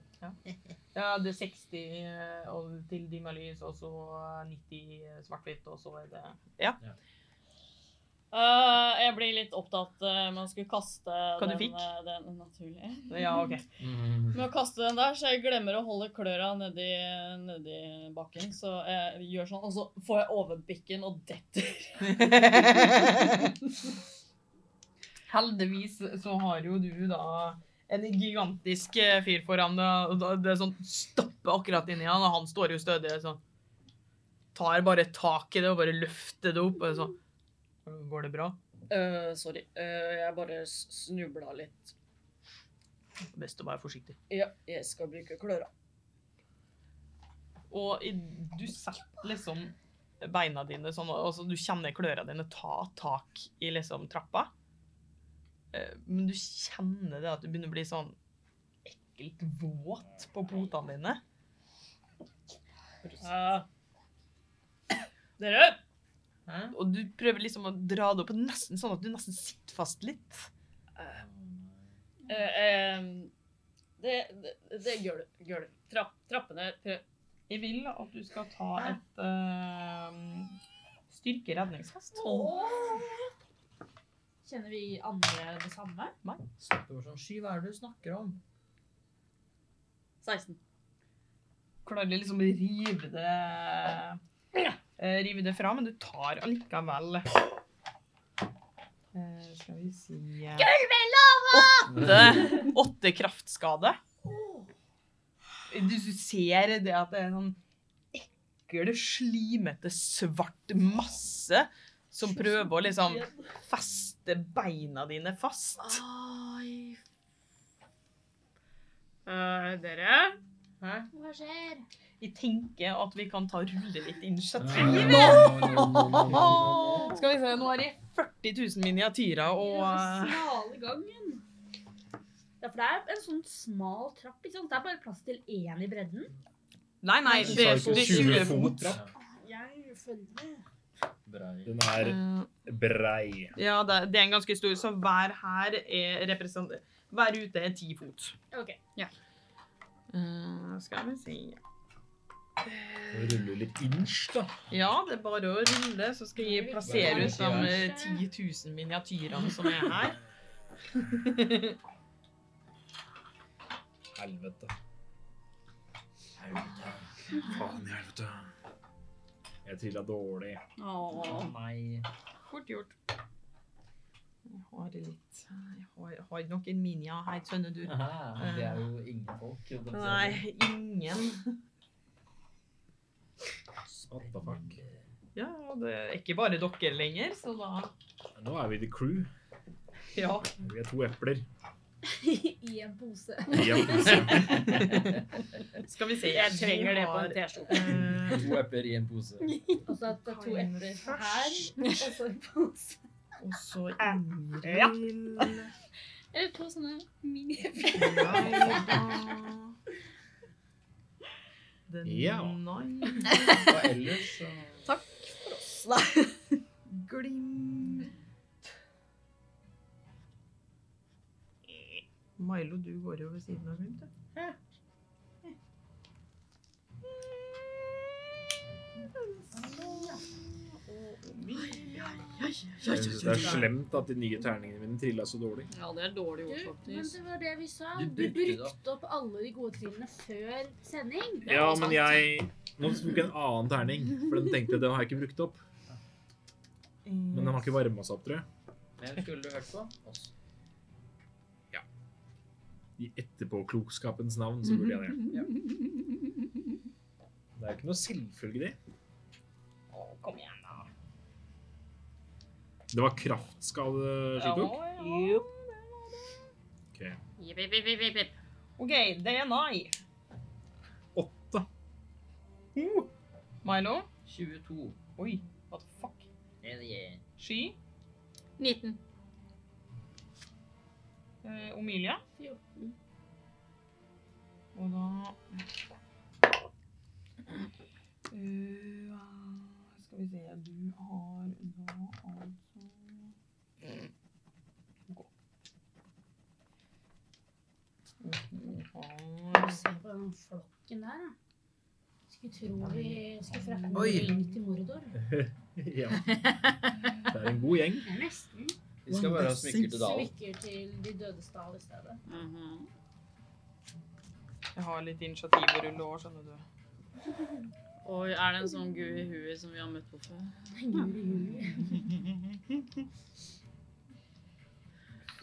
Ja, det er 60 eh, og til dimma lys, og så 90 svart-hvitt, og så er det Øh, jeg blir litt opptatt øh, med å skulle kaste Hva du den, fikk? øh, den naturlig. Ja, OK. Mm. Med å kaste den der, så jeg glemmer å holde kløra nedi, nedi bakken. Så jeg gjør sånn, og så får jeg overbikken og detter. Heldigvis så har jo du da en gigantisk eh, fyr foran deg, og da- det er sånn stopper akkurat inni han, og han står jo stødig sånn. Tar bare tak i det og bare løfter det opp, og sånn. Går det bra? Øh, sorry. Øh, jeg bare s- snubla litt. Best å være forsiktig. Ja, jeg skal bruke kløra. Og i, du setter liksom beina dine sånn, og så du kjenner klørene dine ta tak i liksom trappa. Eh, Men du kjenner det at du begynner å bli sånn ekkelt våt på potene dine. Ja. Dere! Hæ? Og du prøver liksom å dra det opp, og nesten sånn at du nesten sitter fast litt. Eh, eh, det, det, det gjør du. Gjør du. Trapp, trappene prøv. Jeg vil at du skal ta et uh, styrkeredningsfest. Kjenner vi andre det samme? Snakker bare sånn, Sky, hva er det du snakker om? 16. Klarer du liksom å rive det eh, Rive det fra, men du tar allikevel Eh, Skal vi si eh, åtte, åtte kraftskade. Du du ser det at det er en sånn ekle, slimete, svart masse som prøver å liksom feste beina dine fast. Eh, dere? Hæ? Hva skjer? Vi tenker at vi kan ta og rulle litt initiativ. Nå! Skal vi se, nå er det 40 000 miniatyrer og eh, Smale gangen. Ja, for det er en sånn smal trapp. ikke sant? Det er bare plass til én i bredden. Nei, nei, Du det sa er ikke det er 20 20 fot. fot. trapp. Jeg følger med. Bra. Den er brei. Eh, Ja, det, det er en ganske stor, så hver her er represent... Hver ute er 10 fot. Ok. Eh, skal vi se Den ruller litt inch, da. Ja, det er bare å rulle, så skal jeg plassere ut de eh, 10 000 miniatyrene som er her. Helvete. Helvete. Faen i helvete. Jeg trilla dårlig. Å Åh. nei. Fort gjort. Jeg har litt Jeg har, har noen minia her, skjønner du. Hæ? Det er jo ingen folk. jo, de ser det. Nei, ingen. What the fuck. Ja, og det er ikke bare dere lenger, så da Nå er vi the crew. Ja. Vi er to epler. I en pose. Ja. Skal vi se. Jeg trenger det på en T-skjorte. T-skjorte. Mm. To epler i en pose. Og så Altså at det er to Kain epler her, først. og så en pose. Og så Ingrid. Eller to sånne mini Den Ja. nine. Og ellers så Glimt. Milo, du går jo ved siden av Glimt, du. Jeg synes det er slemt at de nye terningene mine trilla så dårlig. Ja, det er dårlig Du, ord, men faktisk. det var det vi sa. Du Du brukte det brukte opp alle de gode trillene før sending. Ja, men jeg Nå tok jeg en annen terning, for den tenkte jeg den har jeg ikke brukt opp. Eh, Men den har ikke varma seg opp, tror jeg. Hvem skulle du hørt på? Oss. I etterpåklokskapens navn så burde jeg det. Det er jo ikke noe selvfølge, det. Kom igjen, da. Det var kraftskade, Shitok. Jupp. Ok. Jipp, jipp, jipp, jipp, jipp. OK, DNA. Åtte. Milo. 22. Oi, what the fuck? Yeah, yeah. Sky. 19. Eh, Omilia. 14. Og da Eh, Skal vi se Du har da altså Gå. Du har Se på den flokken der, da. Skulle tro vi skulle frakte Oi. en ring til Mordor. Ja. Det er en god gjeng. Det er nesten. Vi skal bare ha smykker til Dalen. Smykker til De dødes dal i stedet. Mhm. Jeg har litt initiativ å rulle over, skjønner du. Oi, er det en sånn gud i huet som vi har møtt på før? Juli, juli.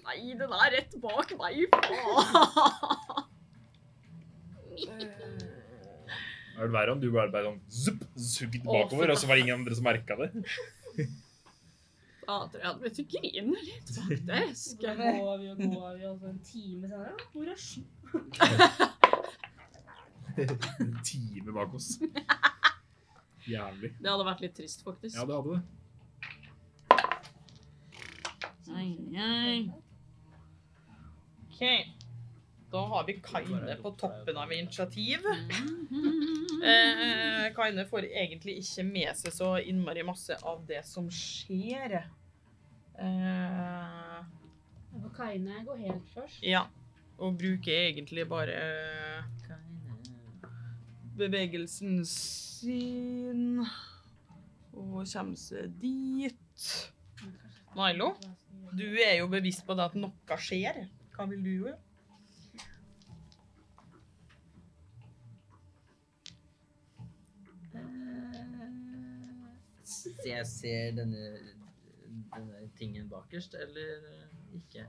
Nei, den er rett bak meg, faen! Det hadde vært verre om du bare ble sånn zup, sugd bakover, og så var det ingen andre som merka det. Da tror jeg hadde begynt å grine litt, faktisk. Hvordan går vi og går vi, og så en time senere «Å, Hvor er sky? En time bak oss. Jævlig. Det hadde vært litt trist, faktisk. Ja, det hadde det. Nei, nei. OK. Da har vi Kaine på toppen av initiativ. Eh, Kaine får egentlig ikke med seg så innmari masse av det som skjer. Eh, Jeg får Kaine gå helt først. ja. Og bruker egentlig bare eh, bevegelsen sin. Og kommer seg dit. Milo, du er jo bevisst på det at noe skjer. Hva vil du gjøre? Så jeg ser denne, denne tingen bakerst, eller ikke?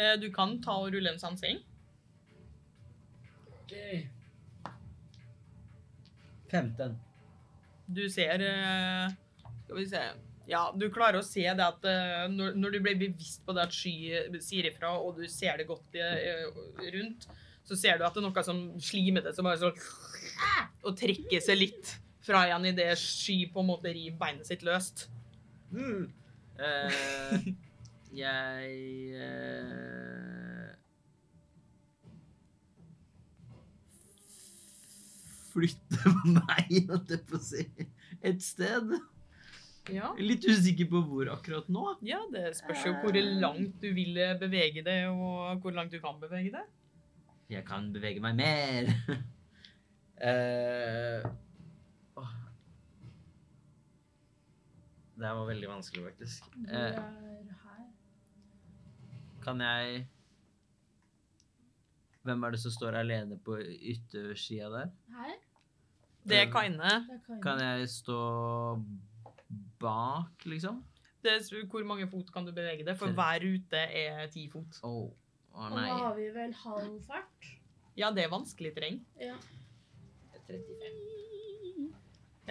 Eh, Du kan ta og rulle en sansing. 15. Du ser eh, Skal vi se. Ja, du klarer å se det at eh, når, når du blir bevisst på det at sky sier ifra, og du ser det godt eh, rundt, så ser du at det er noe som slimer det, som bare sånn Og trekker seg litt fra igjen idet sky på en måte river beinet sitt løst. Eh, jeg eh, Flytte meg, holdt jeg på å si, et sted. Ja. Litt usikker på hvor akkurat nå. ja, det spørs jo hvor langt du vil eh, bevege det, og hvor langt du kan bevege det. Jeg kan bevege meg mer. Eh, åh. Det her var veldig vanskelig, faktisk. Hvor Eh, er her? kan jeg Hvem er det som står alene på yttersida der? Her? Det Kaine Det er Kaine. Kan jeg stå bak, liksom? det, er- Hvor mange fot kan du bevege det? For hver rute er ti fot. Å, å Og nå nei. har vi vel halv fart. Ja, det er vanskelig terreng. Ja. 35.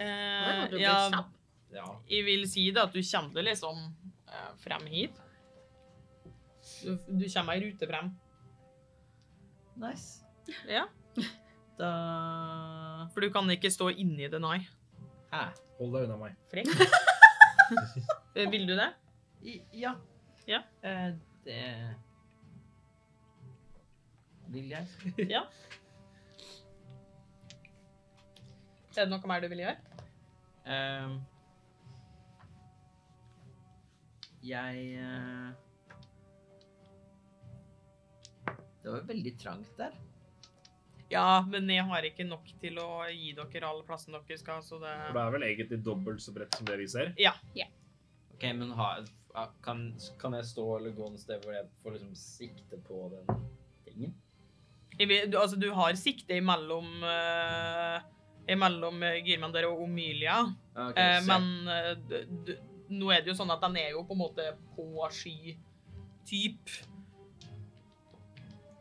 Det Eh, var jo ja, blitt kjapp. Ja. jeg vil si det at du kommer deg liksom eh, frem hit. Du, du kommer ei rute frem. Nice. Da For du kan ikke stå inni det, nei. Hæ? Hold deg unna meg. Frekk. Eh, Vil du det? I- Ja. Ja. Eh, det Vil jeg? Er det noe mer du vil gjøre? Ehm, jeg eh, Det var jo veldig trangt der. Ja, men jeg har ikke nok til å gi dere alle plassen dere skal, så det For det er vel egentlig dobbelt så bredt som det vi ser. Ok, men ha, ha- kan, kan jeg stå eller gå noe sted hvor jeg får liksom sikte på den tingen? Jeg vil, du, altså, du har sikte imellom uh, Imellom eh, Girmander og Omylia, Ah, Ok, eh, så jeg- men eh, d- d- nå er det jo sånn at den er jo på en måte på sky-typ.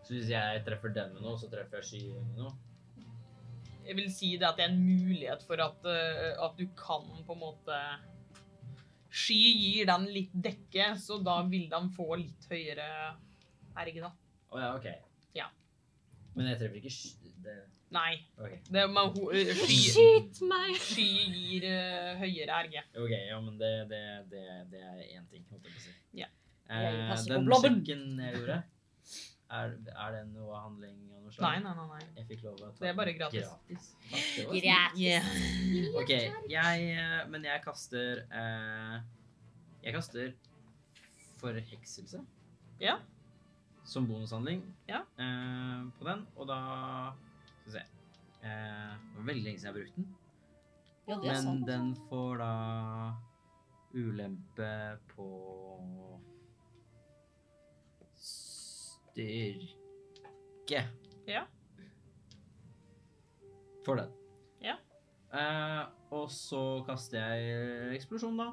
Så hvis jeg treffer den med noe, så treffer jeg skyen med noe? Jeg vil si det at det er en mulighet for at, eh, at du kan på en måte Sky gir den litt dekke, så da vil den få litt høyere erge, da. Å ja, OK. Ja. Men jeg treffer ikke sk... Det, Nei. OK. Det, er- men, ho- eh, sky, Skyt meg! sky gir eh, høyere erge. Ok, ja, men det, det, det, det er én ting, holdt jeg på å si. Ja. Jeg Eh, passer på den blobben. musikken jeg gjorde, er, er det noe handling av Nei, noe slag? nei, nei. nei. Jeg fikk lov å ta Det er bare den gratis. Takk, det var fint. Greit. OK, jeg eh, Men jeg kaster eh, Jeg kaster forhekselse. Ja. Som bonushandling Ja. eh, på den, og da Skal vi se eh, Det var veldig lenge siden jeg brukte den. Ja, det er Men sant. den får da ulempe på styrke. Ja. For den. Ja. Eh, og så kaster jeg eksplosjon, da.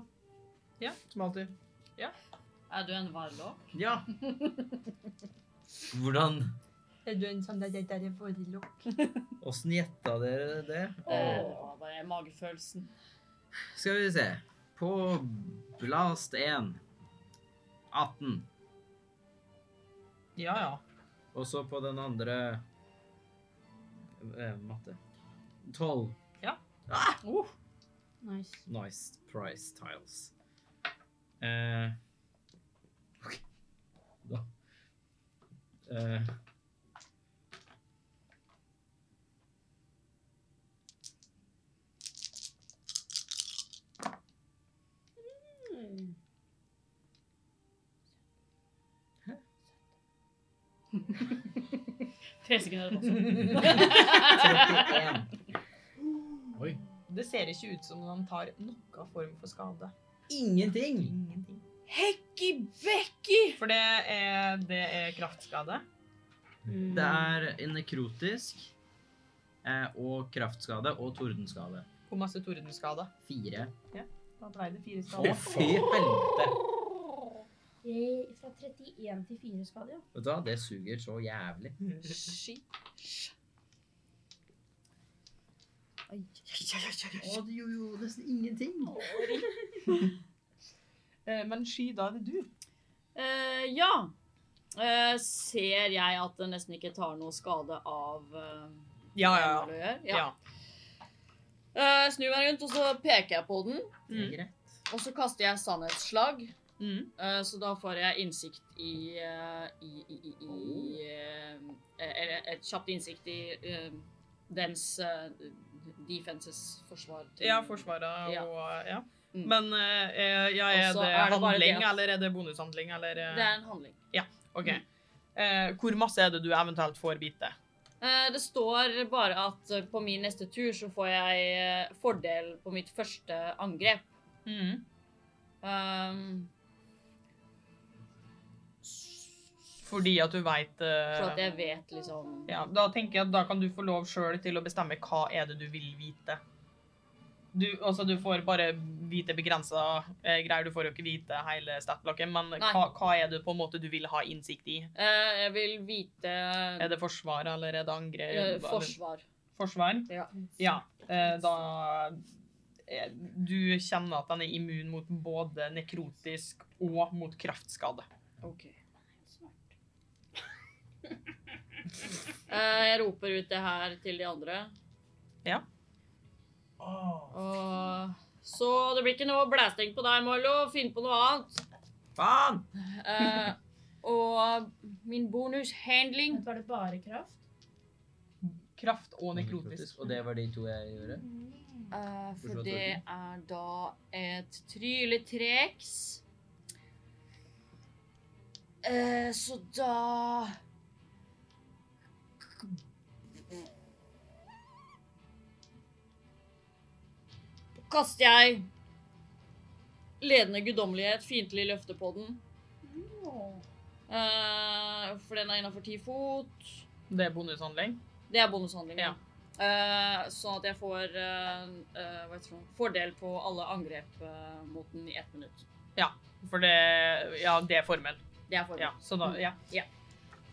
Ja, som alltid. Er du en varlok? Ja. Hvordan Er du en sånn der, der, der forlokk? Åssen gjetta dere det? Eh, Det var bare magefølelsen. Skal vi se. På blast 1 18. Ja, ja. Og så på den andre eh, matte. 12 Uh, Nice. nice price tiles. Eh, ok. Da. Eh. Tre sekunder også. 31. Oi. det ser ikke ut som om han tar noen form for skade. Ingenting! Ingenting. Hekki Bekki! For det er, det er kraftskade. Det er en nekrotisk eh, og kraftskade og tordenskade. Hvor masse tordenskade? Fire. Da ble det fire Å, skader. fy helvete! Jeg, fra 31 til 4 skal det jo. Vet du hva, det suger så jævlig. Shit. Å, du gjorde jo nesten ingenting. Eh, Men sky, da er det du. Eh, ja. Eh, ser jeg at det nesten ikke tar noe skade av eh, Ja, ja, det ja. du gjør? Ja. ja. Eh, snur meg rundt, og så peker jeg på den. Det er Mm. greit. Og så kaster jeg sannhetsslag, Mm. eh, så da får jeg innsikt i, eh, i, i, i, i eh, Eller et kjapt innsikt i eh, dens eh, defenses forsvar. til- Ja, forsvaret Ja. og ja. Mm. Men eh, ja, er Og så det er det bare handling, det at- eller er det bonushandling, eller eh, Det er en handling. OK. Eh, hvor masse er det du eventuelt får bite? Eh, Det står bare at eh, på min neste tur så får jeg eh, fordel på mitt første angrep. Mm. Um, Fordi at du veit for at jeg vet liksom Ja, da tenker jeg at da kan du få lov sjøl til å bestemme hva er det du vil vite. Du, altså, du får bare vite begrensa eh, greier. Du får jo ikke vite hele statblokken, men Nei. hva, hva er det på en måte du vil ha innsikt i? Eh, Jeg vil vite Er det forsvaret eller er det eh, angrep? forsvar. forsvar? Ja. Ja. Eh, da eh, Du kjenner at den er immun mot både nekrotisk og mot kraftskade. Ok. Eh, jeg roper ut det her til de andre. Ja. Og- så det blir ikke noe blæsting på deg, Milo. Finn på noe annet. Faen! Eh, og min bonushandling eh, Var det bare kraft? Kraft og nekrotisk. Og det var de to jeg gjorde? Eh, Forstår for det er da et trylletreks. Eh, så da Kaster jeg ledende guddommelighet, fiendtlig løfte på den. Eh, for den er innafor ti fot. Det er bonushandling. Det er bonushandlingen. Eh, sånn at jeg får eh, eh, hva heter det, fordel på alle angrep eh, mot den i ett minutt. For det Ja, det er formel. Det er fordel. Ja, så da, ja. Mm. Ja.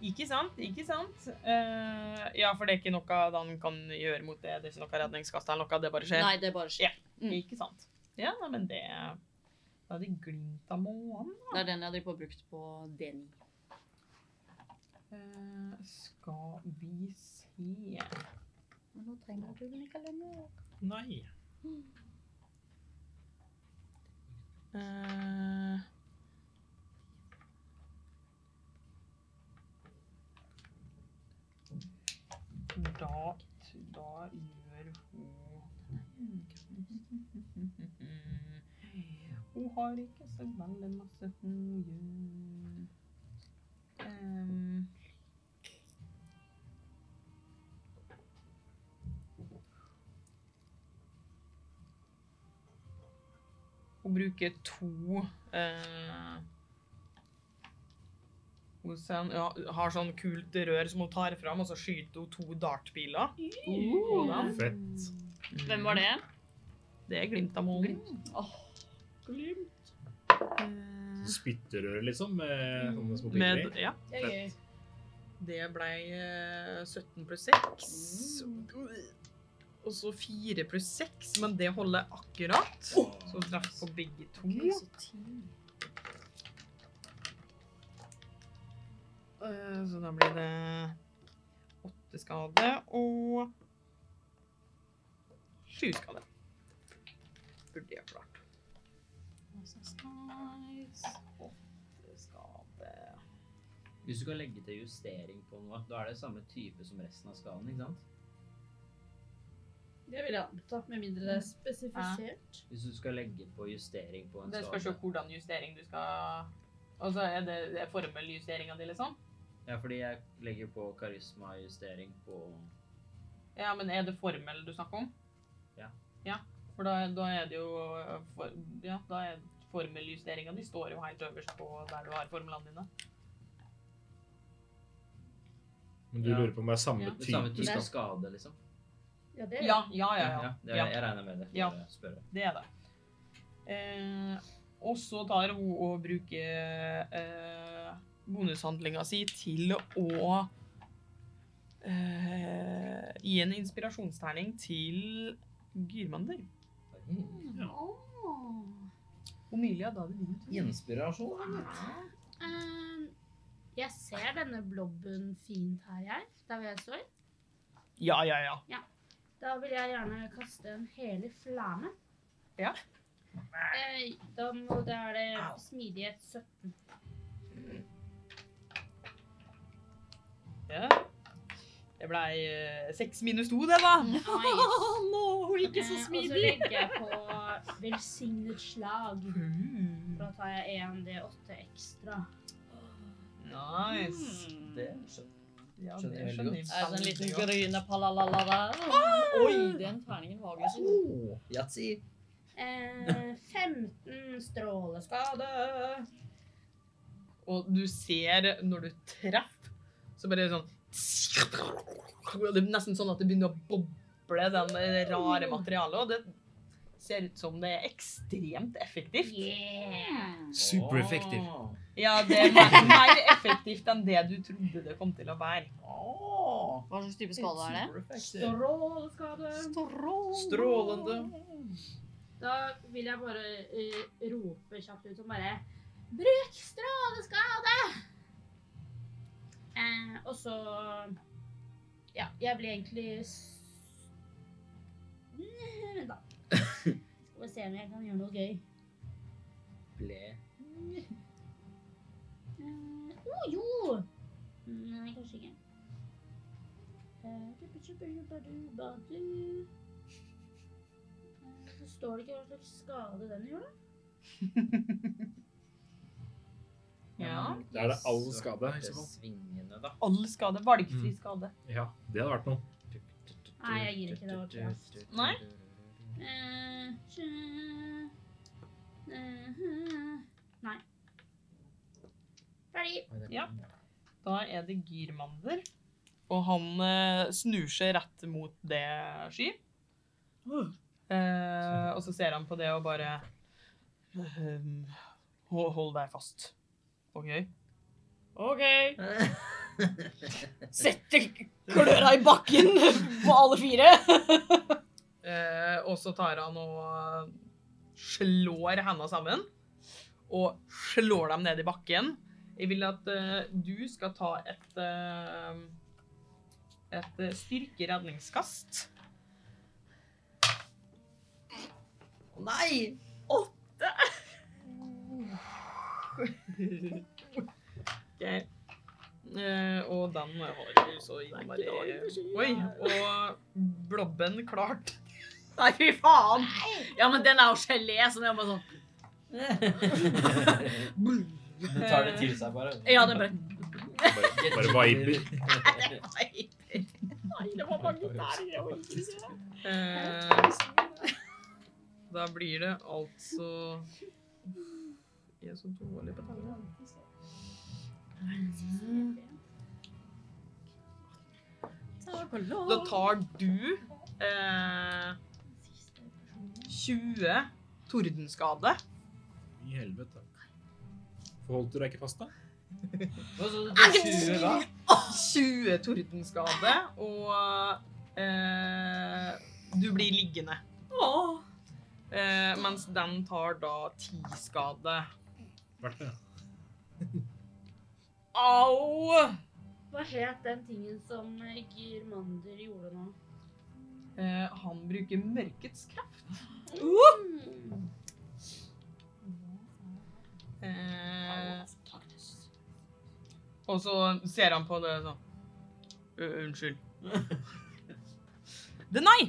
Ikke sant, ikke sant. Eh, ja, for det er ikke noe han kan gjøre mot det. Det er ikke noe redningskast eller noe, det bare skjer. Nei, det bare skjer. mm. Ikke sant. Ja, nei, men det Da er det glimt av månen. Det er den jeg driver på og brukt på den. Eh, skal vi se Men nå trenger du den ikke lenger. Nei. Eh, da, da gjør hun Hun har ikke så veldig masse hun gjør. Ehm, Hun bruker to eh, Hun sen- ja, har sånn kult rør som hun tar fram, og så skyter hun to dartpiler. på dem. Fett. Hvem var det? Det er glimt av månen. Så Spytterøre, liksom? Med sånne små Eh, Mm. Med, pigger i. ja. Det er gøy. Det ble eh, 17 pluss 6. Og så 4 pluss 6, men det holder akkurat. Så hun traff på begge to. Eh, Så da blir det 8 skade og 7 skade. Burde jeg klart. Nice. 8 skade. Hvis du kan legge til justering på noe, da er det samme type som resten av skalaen, ikke sant? Det vil jeg anta, med mindre det er spesifisert. Hvis du skal legge på justering på en Det spørs jo skala. hvordan justering du skal Altså, er det, det er formeljusteringa di, liksom? Ja, fordi jeg legger på karismajustering på Ja, men er det formel du snakker om? Ja. Ja, for da, da er det jo eh, for, Ja, da er formeljusteringa di står jo helt øverst på der du har formlene dine. Men du Ja. lurer på om det er samme Ja. det samme type skap? type skade, liksom. Ja, det er Ja, ja, ja. ja. det er, ja. Jeg regner med det. for Ja. å Spørre. Det er det. Eh, og så tar hun og bruker eh, bonushandlinga si til å eh, gi en inspirasjonsterning til Gyrmander. Åh. Omilia, da er det din tur. Inspirasjon? eller? Ehm, jeg ser denne blobben fint her, jeg. Der hvor jeg står. Ja, ja, ja. Da vil jeg gjerne kaste en helig flamme. Ja. Eh, da må det er det Au. smidighet 17. ja. Det blei eh, seks minus to, det, da. Nice. no, ikke så Eh, Og så smidig! legger jeg på velsignet slag. Da tar jeg 1D8 ekstra. Nice. Hmm. Det er skjønt. Ja, Skjønner det jeg veldig skjønner jeg. godt. Er det veldig godt. en liten gryne palalala der? Oi, den terningen var gøy. Åh, Oh, Yatzy. Eh, 15 stråleskade. Og du ser når du treffer, så bare sånn Det er nesten sånn at det begynner å boble, den Mm. rare materialet. Og det ser ut som det er ekstremt effektivt. Yeah! Supereffektiv. Åh. Ja, det er mer, mer effektivt enn det du trodde det kom til å være. Åh. Hva slags type skade er det? Supereffektiv. Stråleskade. Strålende. Da vil jeg bare eh, rope kjapt ut og bare Bruk stråleskade! Eh, og så Ja, jeg blir egentlig s- Nei, Vent, da. Skal vi se om jeg kan gjøre noe gøy. Ble Eh, Å jo! Mm, Nei, kanskje ikke. Eh, du-du-du-du-du-du-du. Eh, Så står det ikke hva slags skade den gjør, da. Ja. Da er det all skade, i så fall. Svingene, da. All skade. Valgfri skade. Ja, det hadde vært noe. Nei, jeg gir ikke det var kraft. Nei? Eh, tjø- eh, Nei. Ferdig. Ja. Da er det Girmander. Og han eh, snur seg rett mot det sky. Eh, og så ser han på det og bare ehm, ho- Hold deg fast. OK? OK. Setter kløra i bakken på alle fire. eh, og så tar han og eh, slår hendene sammen. Og slår dem ned i bakken. Jeg vil at eh, du skal ta et eh, et eh, styrkeredningskast. Nei! Ok. Eh, og den har du så innmari Oi! Og blobben klart. Nei, fy faen! Ja, men den er jo gelé, så den er bare sånn Den tar det til seg, bare. Ja, den bare Bare, bare viber. Nei, det var mange der. Jeg orker ikke se Eh, Da blir det altså Jeg er så dårlig på tallene. Da tar du eh, 20 tordenskade. I helvete. Forholdt du deg ikke fast, da? Hva så du tok 20, hva? 20 tordenskade, og eh, du blir liggende. Eh, mens den tar da 10 skade. Vært det. Au! Hva het den tingen som eh, Girmander gjorde nå? Eh, han bruker mørkets kraft. Eh, og så ser han på det sånn «Ø, Unnskyld. Det nei!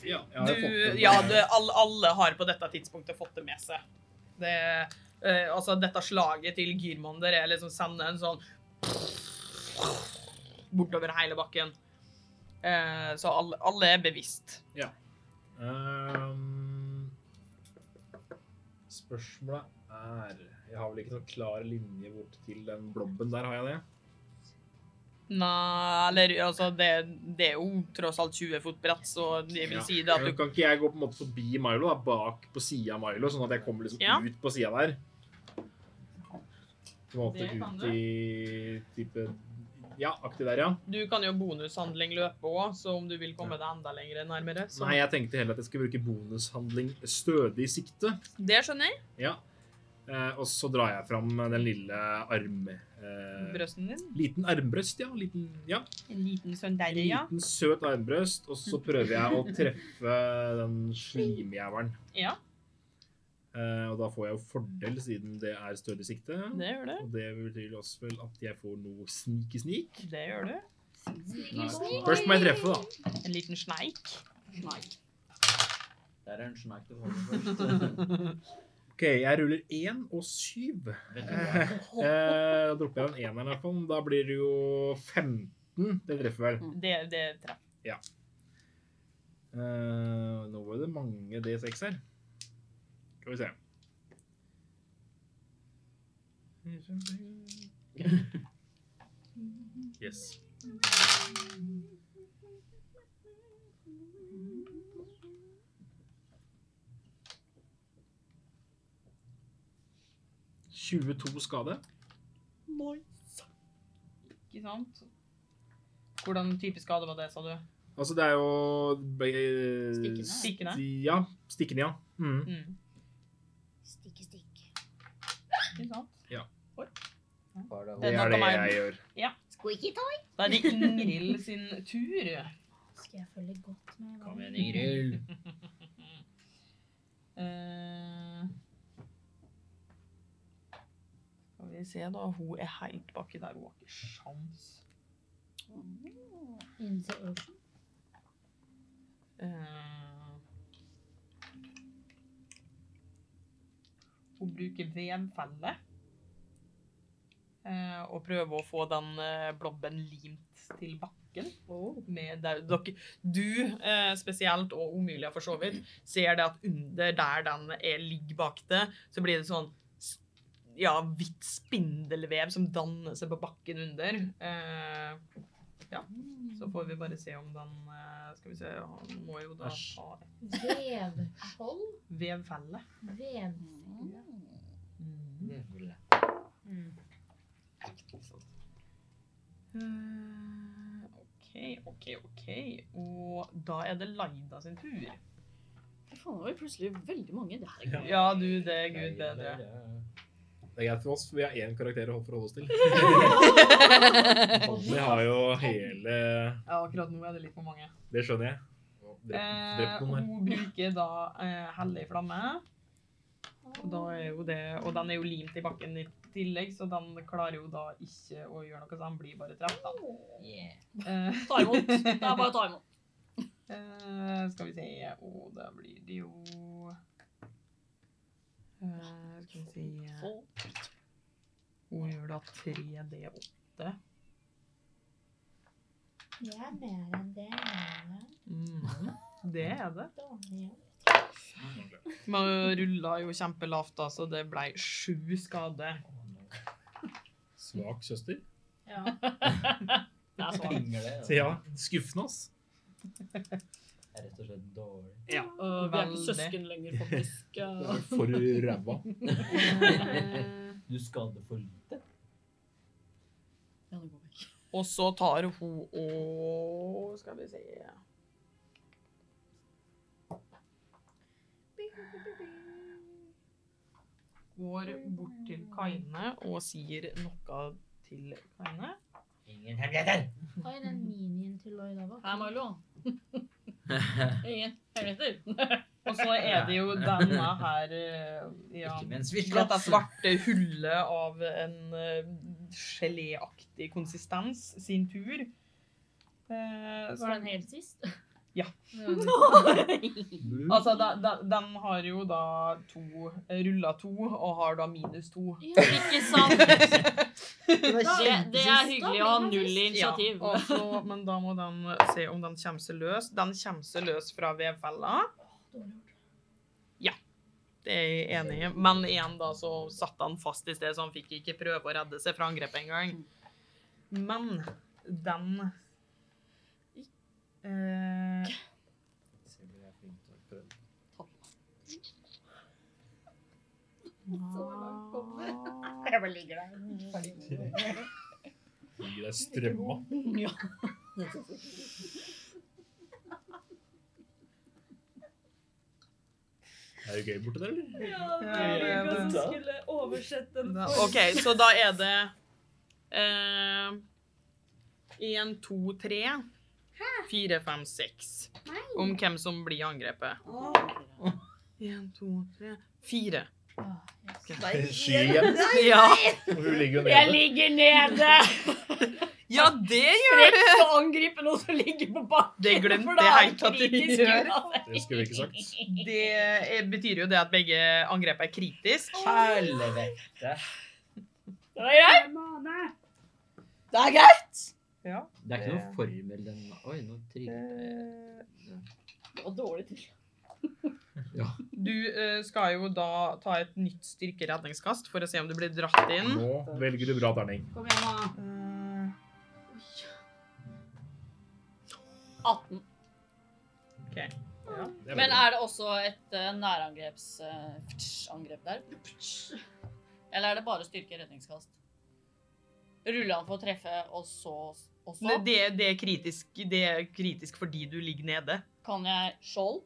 Ja, jeg har jo fått Du, det. ja, det, alle, alle har på dette tidspunktet fått det med seg. Det, eh, altså, dette slaget til Gyrmander er liksom sende en sånn bortover hele bakken. Eh, så alle, alle er bevisst. Ehm, spørsmålet er Jeg har vel ikke noen klar linje bort til den blobben der, har jeg det? Nei, eller altså, det, det er jo tross alt 20 fot bredt, så det vil Ja. si det at Men du Kan ikke jeg gå på en måte forbi Milo, da, bak på sida av Milo, sånn at jeg kommer liksom Ja. ut på sida der? På en måte Det kan ut du. i type Ja, aktig der, ja. Du kan jo bonushandling løpe òg, så om du vil komme deg enda lenger nærmere. Så. Nei, jeg tenkte heller at jeg skulle bruke bonushandling stødig sikte. Det skjønner jeg. Ja. Eh, og så drar jeg fram den lille arm... Eh, Brøsten din. liten armbrøst, ja. Liten, ja. En liten sånn der, En ja. liten søt armbrøst, og så prøver jeg å treffe den slimjævelen. Ja. Eh, og da får jeg jo fordel, siden det er stødig sikte. Det gjør du. Og det betyr også vel at jeg får noe snikesnik. Det gjør du. Først må jeg treffe, da. En liten sneik. Der er en snak du holder først. OK, jeg ruller én og syv. Eh, da dropper jeg den eneren, i hvert fall. Da blir det jo 15. Det treffer vel. Det, det treffer. Eh, nå var det mange D6 her. Skal vi se. Yes. Tjueto skade. Ikke sant? Hvordan type skade var det, sa du? Altså, det er jo eh, Stikkende. Stikkende? sti- Ja. Stikkende, ja. Mm. Mm. Stikke, stikk. Ikke sant? Var det Det er noe er det meg. jeg gjør. Ja. Squeaky toy. Da er det Ingrid sin tur. Skal jeg følge godt med? hva Kom det- igjen, Ingrid. Eh, Skal vi se, da. Hun er helt baki der. Hun har ikke sjans. Innen the ocean. Eh, hun bruker vevfelle. eh, og prøver å få den eh, blobben limt til bakken. Med der, dere, du eh, spesielt, og Omulia for så vidt, ser det at under der den er, ligger bak det, så blir det sånn s- ja, hvitt spindelvev som danner seg på bakken under. Eh, ja, så får vi bare se om den eh, Skal vi se, han må jo da Æsj. ha Vevskjold? vevfelle. Vev... Mm. Eh, OK, OK, OK. Og da er det Laida sin tur. Fy faen, det var jo plutselig veldig mange. Det her er gøy. Ja, du, det er gud bedre. Det er greit for oss, for vi har én karakter å holde- forholde oss til. Og Vi har jo hele Ja, akkurat nå er det litt for mange. Det skjønner jeg. Å, Drept Eh, drept og noen her. hun bruker da eh, hellig flamme. Og, da er jo det, og den er jo limt i bakken i tillegg, så den klarer jo da ikke å gjøre noe, så han blir bare truffet. da. Yeah. Eh, Ta imot. Det er bare å ta imot. eh, skal vi se Og da blir det jo eh, Skal vi se Få. Hun gjør da 3D8. Det er mer enn det. Mm. Det er det. Dårlig. Man rulla jo kjempelavt, da, så det ble sju skader. Svak søster. Ja. Det er svart. Plinger det? altså. Så ja, skuffende, ass. Det er rett og slett dårlig. Øh, vi er ikke Veldig. søsken lenger, faktisk. Det Øh, er For ræva. Eh, Du skader for lite. ja, det går vekk. Og så tar hun og Skal vi se Går bort til Kaine og sier noe til Kaine. Ingen hemmeligheter! Oi, den minien til Lloyd da var Hei, Milo. Ingen hemmeligheter. Og så er det jo denne her eh, ja, Ikke med en Dette svirtlatt. svarte hullet av en eh, geléaktig konsistens sin tur. Eh, Var den helt sist? Ja. Blue. Altså, da, da, den har jo da to rulla to, og har da minus to. Ja. Ikke sant? Det, det er Da hyggelig blir å ha man null frisk. initiativ. og så, men da må den se om den kommer seg løs. Den kommer seg løs fra vevfella. Det er jeg enig i. Men igjen da, så satt han fast i sted, så han fikk ikke prøve å redde seg fra angrepet engang. Men den eh, Jeg bare ligger der. Gir deg strømma. Ja. Er det gøy borte der, eller? Ja, det er det. skulle oversette Da, OK, så da er det én, to, tre, fire, fem, seks. Om hvem som blir angrepet. Én, to, tre, fire. Skyen. Ja, Og hun ligger jo Jeg nede. ligger nede! ja det gjør Frekk å angripe noen som ligger på bakken. Det glemte for da jeg er helt at du kritisk gjør. uansett. Det skulle vi ikke sagt. Det eh, betyr jo det at begge angrep er kritisk. Helvete. Det er greit. Det er greit. Ja. Eh, Det Eh, er ikke noe formel den Oi, nå trigger jeg. Det var dårlig til. Du eh, skal jo da ta et nytt styrkeredningskast for å se om du blir dratt Mm. inn. Nå velger du bra terning. Kom igjen, da. Eh, 18. Det er Men veldig er det også et uh, nærangrepsangrep der? Eller er det bare styrke redningskast? Ruller han for å treffe, og så også? det, det, er kritisk, det er kritisk fordi du ligger nede. Kan jeg skjold?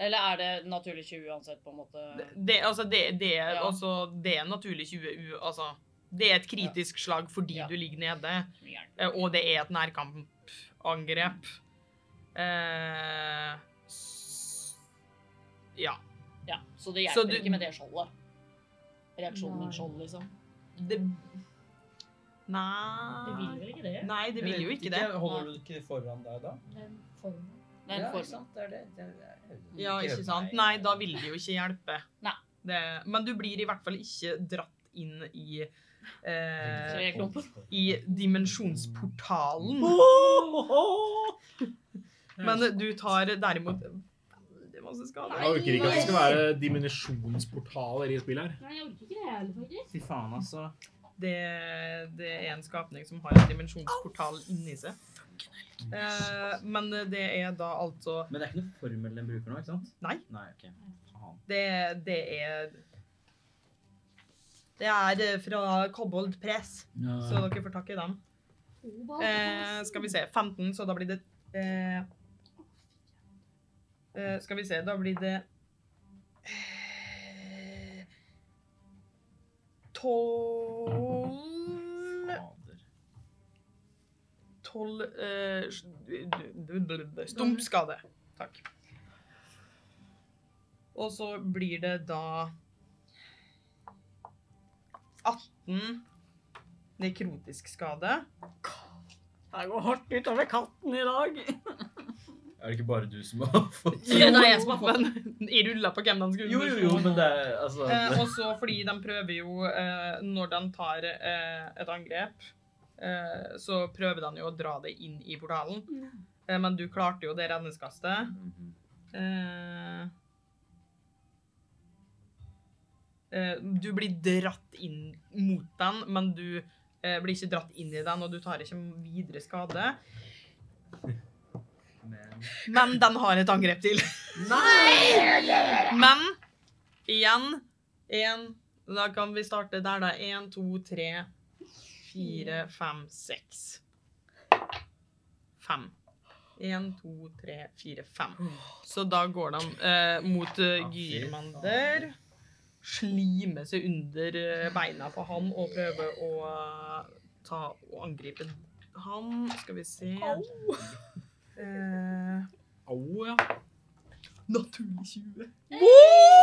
Eller er det naturlig 20 uansett, på en måte? Det, altså, det, det, er- Ja. altså, det er naturlig 20 u... Altså, Det er et kritisk slag fordi Ja. du ligger nede, Gjerne. eh, og det er et nærkampangrep. Eh, s- ja. Ja, så det Så hjelper du- ikke med det skjoldet. Reaksjonen Nei. min skjold, liksom. Det Det vil Nei vel ikke det? Nei, det vil jo ikke det. Holder du det ikke foran deg da? Den formen. Det er en ikke form. sant? Det er det. det, er, det er, Ja, ikke sant? Nei, da vil det jo ikke hjelpe. Nei. Det, men du blir i hvert fall ikke dratt inn i Så eh, jeg klumper. I dimensjonsportalen. Men du tar derimot veldig masse skade. Jeg orker ikke at det skal være dimensjonsportaler i spill her. Nei, jeg orker ikke det heller, faktisk. Fy faen, altså. Det, det er en skapning som har en dimensjonsportal inni seg. Eh, men det er da altså Men det er ikke noe formel den bruker nå, ikke sant? Nei. Nei, ok. Faen. Det, det er Det er eh, fra Kobold Press, så dere får tak i dem. Kobolt. Eh, skal vi se. 15, så da blir det eh, eh, Skal vi se, da blir det eh, 12 Fader. 12 eh, s- d- d- d- d- Stumpskade. Takk. Og så blir det da 18 nekrotisk skade. Det går hardt utover katten i dag. Er det ikke bare du som har fått Jo, det er jeg som har fått den. I rulla på hvem den skulle Jo, jo, jo, men det er altså Eh, og så fordi de prøver jo, eh, når de tar eh, et angrep, eh, så prøver de jo å dra det inn i portalen. Eh, men du klarte jo det redningskastet. Mhm. Eh, eh, du blir dratt inn mot den, men du eh, blir ikke dratt inn i den, og du tar ikke videre skade. Men Men den har et angrep til. Men igjen én Da kan vi starte der, da. Én, to, tre, fire, fem, seks. Fem. Én, to, tre, fire, fem. Så da går de eh, mot eh, Ah, fy Gyrmander. Slime seg under eh, beina på han og prøve å eh, ta og angripe han. Skal vi se eh, Au, ja. Naturlig 20.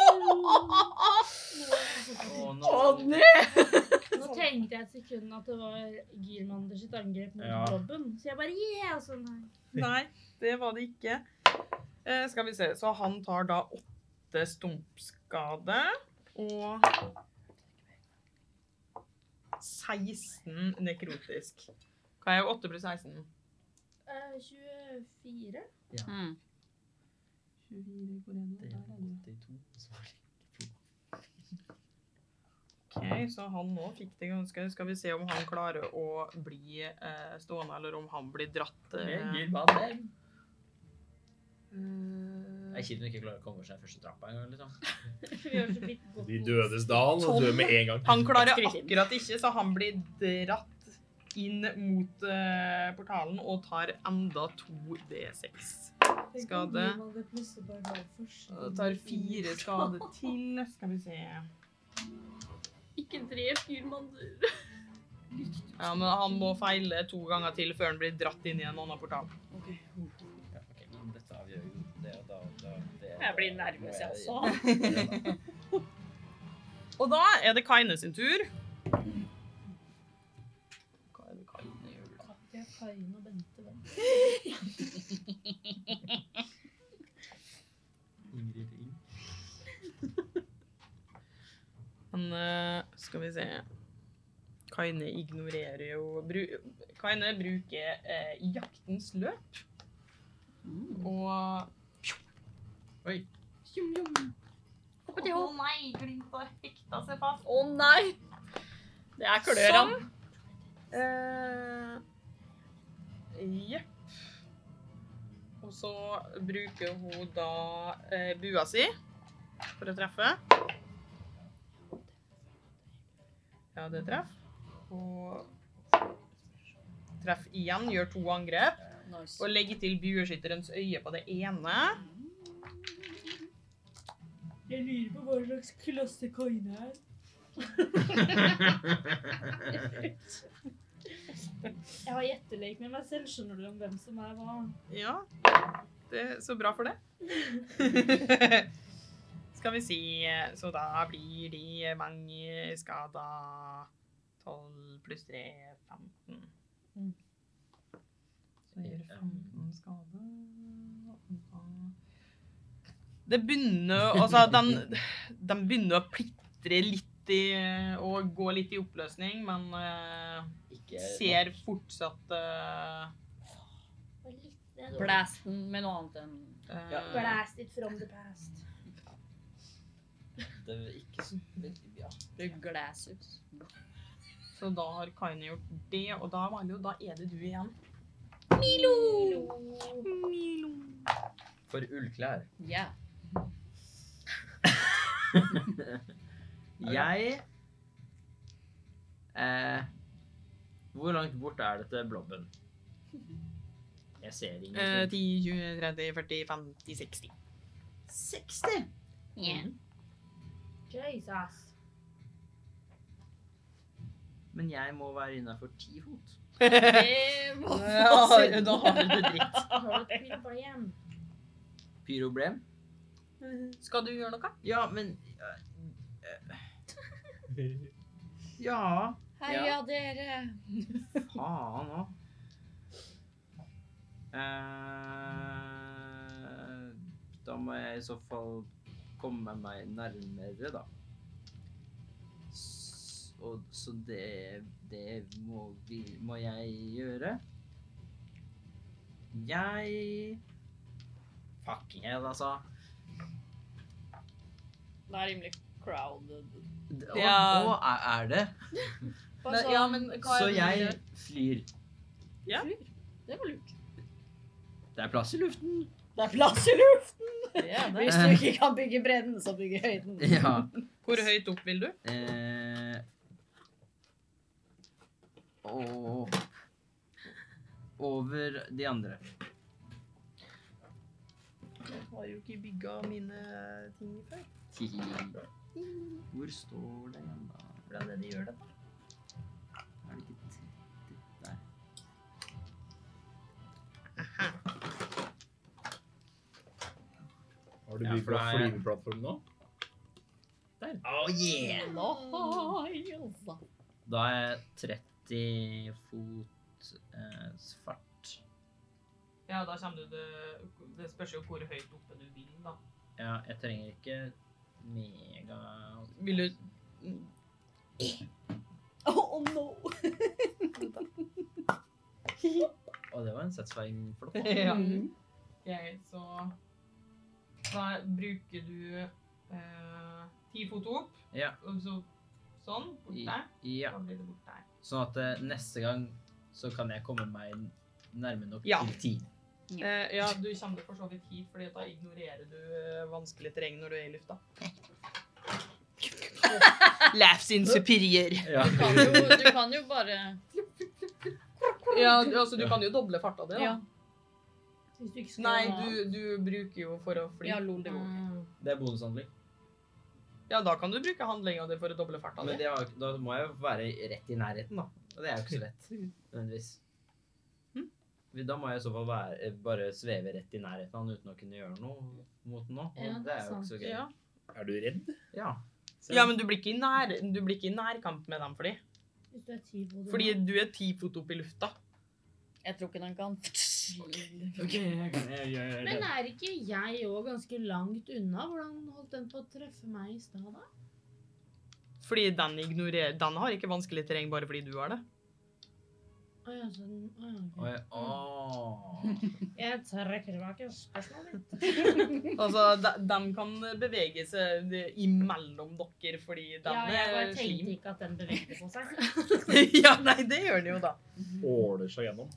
Å, nå- Odny! Nå tenkte jeg et sekund at det var Gyrmander sitt angrep mot Ja. Robben. Så jeg bare yeah! Og sånn her. Nei, det var det ikke. Eh, skal vi se. Så han tar da åtte stumpskade og 16 nekrotisk. Hva er 8 pluss 16? Eh, 24? Mm. Det er 82, så var det ikke to. OK, så han nå fikk det ganske Skal vi se om han klarer å bli eh, stående, eller om han blir dratt Det er eh. gul mann, det. eh, Det er kjipt hun ikke klarer å komme over seg første trappa engang. Liksom. Vi har så vidt gått De mot- dødes dal og dør med en gang. Han klarer Skritt inn. akkurat ikke, så han blir dratt inn mot eh, portalen og tar enda to D6. Skade. Og det tar fire skade til. Skal vi se Ikke drep Gyrmander. Ja, men Han må feile to ganger til før han blir dratt inn i en annen portal. Ja, ok, men dette avgjør jo det og da, da det, Jeg blir nervøs, jeg også. Og da er det Kaine sin tur. Hva er det Kaine gjør da? Katja, Kain og Bente. hvem? Ingrid Ing. Men eh, skal vi se Kaine ignorerer jo bru Kaine bruker eh, jaktens løp Mm. og Tjum, tjum. Å nei, Glimta hekta altså, seg fast. nei! Det er klør, han. Eh, Jepp. Og så bruker hun da eh, bua si for å treffe. Ja, det treff. Og treff igjen, gjør to angrep. Nice. Og legger til bueskytterens øye på det ene. Jeg lurer på hva slags klasse Kaine er. lett. Jeg har gjettelek med meg selv, skjønner du, om hvem som er hva. Ja. Det, så bra for det. skal vi si Så da blir de mange skada 12 pluss 3 15. Mm. Så gjør 15 skade og da- Det begynner Altså, den, den begynner å plitre litt i, og gå litt i oppløsning, men eh, Ikke ser fortsatt eh, Og litt ned. Blast den med noe annet enn Ja. eh, Blast it from the past. Det er ikke så veldig ja. glasshus. Så da har Kaine gjort det, og da, Marlo, da er det du igjen. For ullklær. Yeah. Jeg eh, Hvor langt bort er dette blobben? Jeg ser Eh, ingenting. 10, 20, 30, 40, 50, 60. 60! Mm. Jesus. Men jeg må være innafor ti fot. Det var Ja, da har du det dritt. Har du et problem? Pyroblem? Skal du gjøre noe? Ja, men eh, eh, Ja, Heia dere! faen òg. Eh, da må jeg i så fall komme meg nærmere, da. S- Og, så det, det må, vi, må jeg gjøre. Jeg Fucking hell, altså. Det er rimelig crowded. D- Å, Ja. å, er, er det? Bare sånn, Så jeg flyr. Ja. Flyr. Det var lurt. Det er plass i luften. Det er plass i luften! Hvis du ikke kan bygge bredden, så bygg høyden. Ja. Hvor høyt opp vil du? Eh, og over de andre. Jeg har jo ikke bygga mine ting før. Ti. Hvor står det igjen, da? Hvordan er det de gjør det? da? Er det ikke 30 der? Har du Ja, bygd for da er jeg- flyveplattform nå? Oh, yeah! Nei, altså. Da er jeg 30 fot eh, svart. Ja, da kommer du det Det spørs jo hvor høyt oppe du vil, da. Ja, jeg trenger ikke mega Vil du Oh, no. Å, det var en settsving for dere. Ja. Mm. Ok, så Da bruker du eh, ti fot opp. Ja. Og så sånn. Bort der. Ja. Da blir det bort der. Sånn at eh, neste gang så kan jeg komme meg nærme nok Ja. til 10. Eh, ja, du kommer for så vidt hit, fordi da ignorerer du eh, vanskelig terreng når du er i lufta. Laughs in superior. Ja. Du kan jo, du kan jo bare Ja, du- altså, du kan jo doble farta di, da. Ja. Hvis du ikke skal Nei, gjøre noe du, du bruker jo for å fly. Mm. Ja, lol, det går ikke. annet. Det er bonushandling. Ja, da kan du bruke handlinga di for å doble farta Men di. det har, jo- da må jeg jo være rett i nærheten, da. Og det er jo ikke så lett. Nødvendigvis. Hm? Da må jeg i så fall være, eh, bare sveve rett i nærheten av han uten å kunne gjøre noe mot den nå. Og Ja, det er jo ikke så gøy. Ja. Er du redd? Ja. ja, men du blir ikke i, nær, du blir ikke i nærkamp med dem for de. Hvis du er tyv og du Fordi du er ti fot opp i lufta. Jeg tror ikke den kan Men er ikke jeg òg ganske langt unna? Hvordan holdt den på å treffe meg i stad, da? Fordi den ignorerer Den har ikke vanskelig terreng bare fordi du har det. Å ja, så altså, den Å Og ja. jeg, åh. ok. Jeg trekker tilbake spørsmålet mitt. Altså, de, den kan bevege seg imellom dere fordi den Ja, jeg er bare tenkte slim. ikke at den bevegde på seg. ja, nei, det gjør den jo, da. Åler seg gjennom.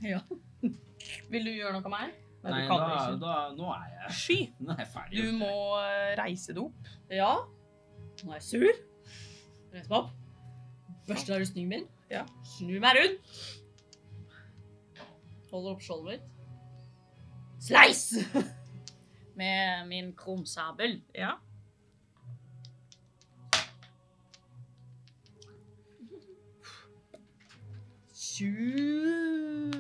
Vil du gjøre noe mer? Nei, Nei, du kan da, ikke. da, nå er jeg Sky. Nå er jeg ferdig. Du må eh, reise deg opp. Ja. Nå er jeg sur. Reis meg opp. Børster av rustningen min. Ja. Snur meg rundt. Holder opp skjoldet mitt. Sleis! Med min krumsabel. Ja. 26.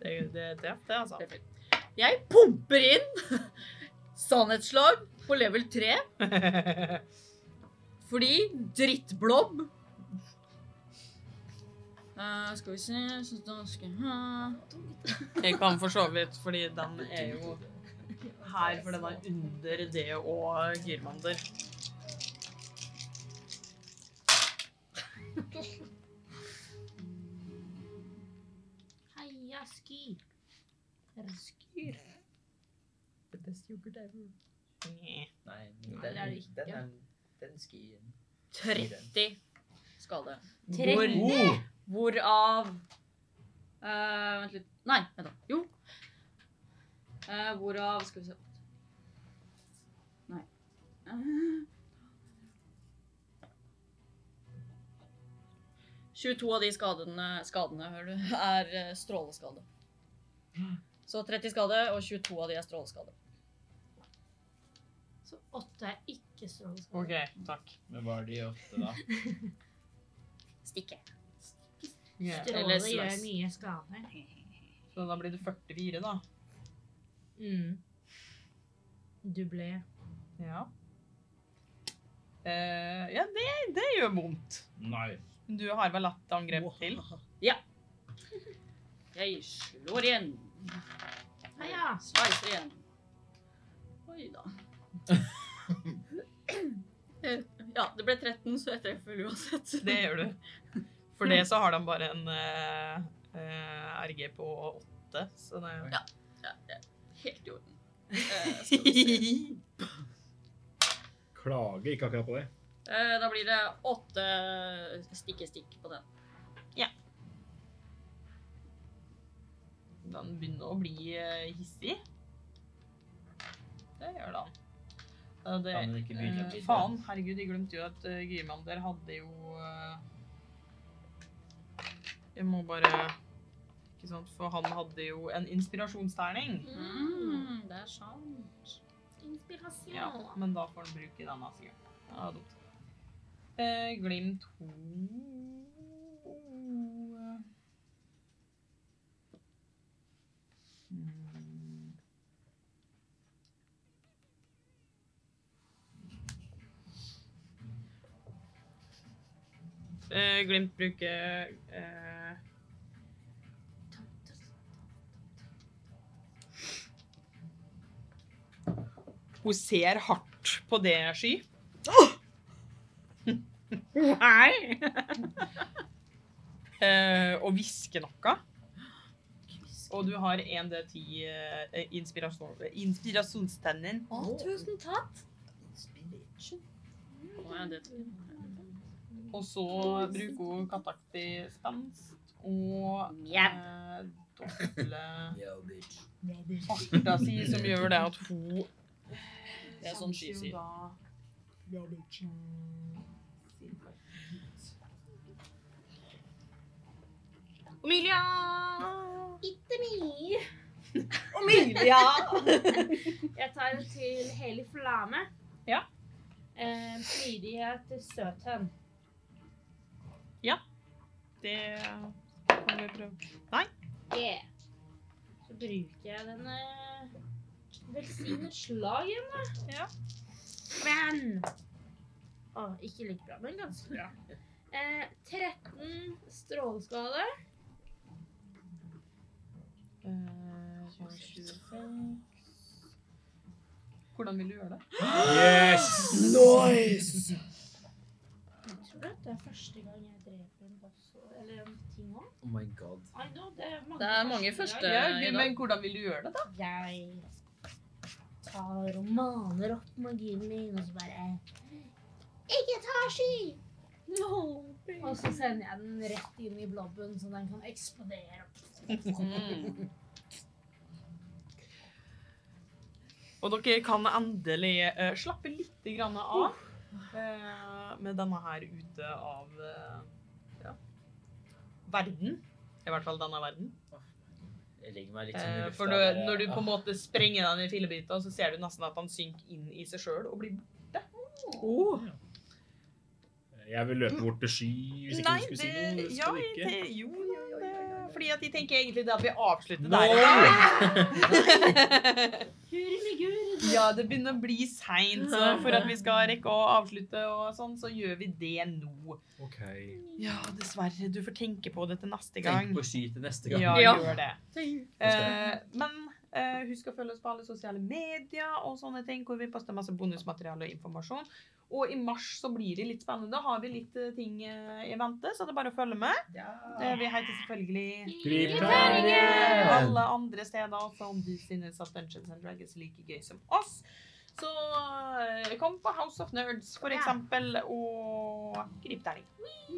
Det, det treff, det, altså. Jeg pumper inn sannhetsslag på level 3 fordi drittblob Eh, Skal vi se Syns du han skal ha Jeg kan for så vidt, fordi den er jo her, for den er under det og Girmander. Heia sky. Skyr. The best yogurt ever. Nei, det er den, det ikke. den, er, den skien. 30 skade. Tretti? Hvor, Oh! hvorav eh, Vent litt. Nei, vent da. Jo. Eh, hvorav Skal vi se Nei. Eh. 22 av de skadene, skadene hører du, er eh, stråleskade. Så 30 skade, og 22 av de er stråleskade. Så åtte er ikke stråleskade. OK, takk. Men var de åtte, da? Stikke. Eller Stråler gjør slice. mye skade. Så da blir det 44, da. Mm. Du ble Ja. Eh, ja, det, det gjør vondt. Nei. Du har vel latt angrep til? Jeg slår igjen. Heia! Sveiser igjen. Oi da. Eh, ja, det ble 13, så jeg treffer uansett. Det gjør du. For det så har de bare en eh, eh, RG på 8, så det er Ja, det er helt i orden. Eh, skal vi se. Klager ikke akkurat på det. Eh, da blir det åtte stikke-stikk på den. Den begynner å bli eh, hissig. Det gjør den. Eh, det, Kan den ikke begynne å eh, bli det? faen, herregud, jeg glemte jo at uh, Gyrmander hadde jo eh, Jeg må bare Ikke sant, for han hadde jo en inspirasjonsterning. Mm, det er sant. Inspirasjon. Ja, men da får han bruke den neste gang. Ja, det er dumt. Eh, Mm. Glim 2 Eh, Glimt bruker eh, Hun ser hardt på det sky. Nei! Eh, og hvisker noe. Og du har en D10 eh, inspirasjon, inspirasjonstennen. Å, tusen takk. Å, ja, det Og så bruker hun kattaktig spenst og Mjau. eh, doble Yo, bitch. farta si, som gjør det at hun Det er sånn sky sier. Omilia! Ikke mye. Omilia! Jeg tar det til Heli Flame. Ja. Eh, smidighet støthønn. Det kan vi prøve. Yeah. Så bruker jeg denne velsignet slag igjen, da. Ja. Men Å, ikke like bra, men ganske bra. Eh, 13 stråleskade. Eh, Hvordan vil du gjøre det? Yes! Nice! Jeg tror at det er første gang jeg dreper en boss eller en ting òg. Oh my god. I know, det er mange, Det er mange første gang. Ja, i gud, dag. men hvordan vil du gjøre det, da? Jeg tar og maner opp magien min, og så bare Ikke ta sky. Og så sender jeg den rett inn i blobben, så den kan eksplodere. Mm. Og dere kan endelig eh, slappe litt grann av eh, med denne her ute av eh, ja, verden. I hvert fall denne verden. Jeg legger meg litt sånn i Eh, lufta. for når, bare- Ah. når du på en måte sprenger den i fillebiter, så ser du nesten at han synker inn i seg sjøl og blir borte. Eh, Jeg vil løpe bort til Sky hvis ikke Nei, hun skulle si det, noe. Det ja, skal vi det, ikke. jo, det, fordi at de tenker egentlig da at vi avslutter Nå! der i dag. Guri med guri. Ja, det begynner å bli seint, så for at vi skal rekke å avslutte og sånn, så gjør vi det nå. Ok. Ja, dessverre. Du får tenke på dette neste gang. Tenk på sky til neste gang. Ja, Ja. gjør det. Tenk. Eh, men eh, husk å følge oss på alle sosiale medier og sånne ting, hvor vi poster masse bonusmateriale og informasjon. Og i mars så blir det litt spennende. Da har vi litt eh, ting eh, i vente, så det er bare å følge med. Eh, vi heter selvfølgelig Grip terningen! alle andre steder også, om du synes at Dungeons and Dragons er like gøy som oss. Så eh, kom på House of Nerds, for eksempel, og grip terning.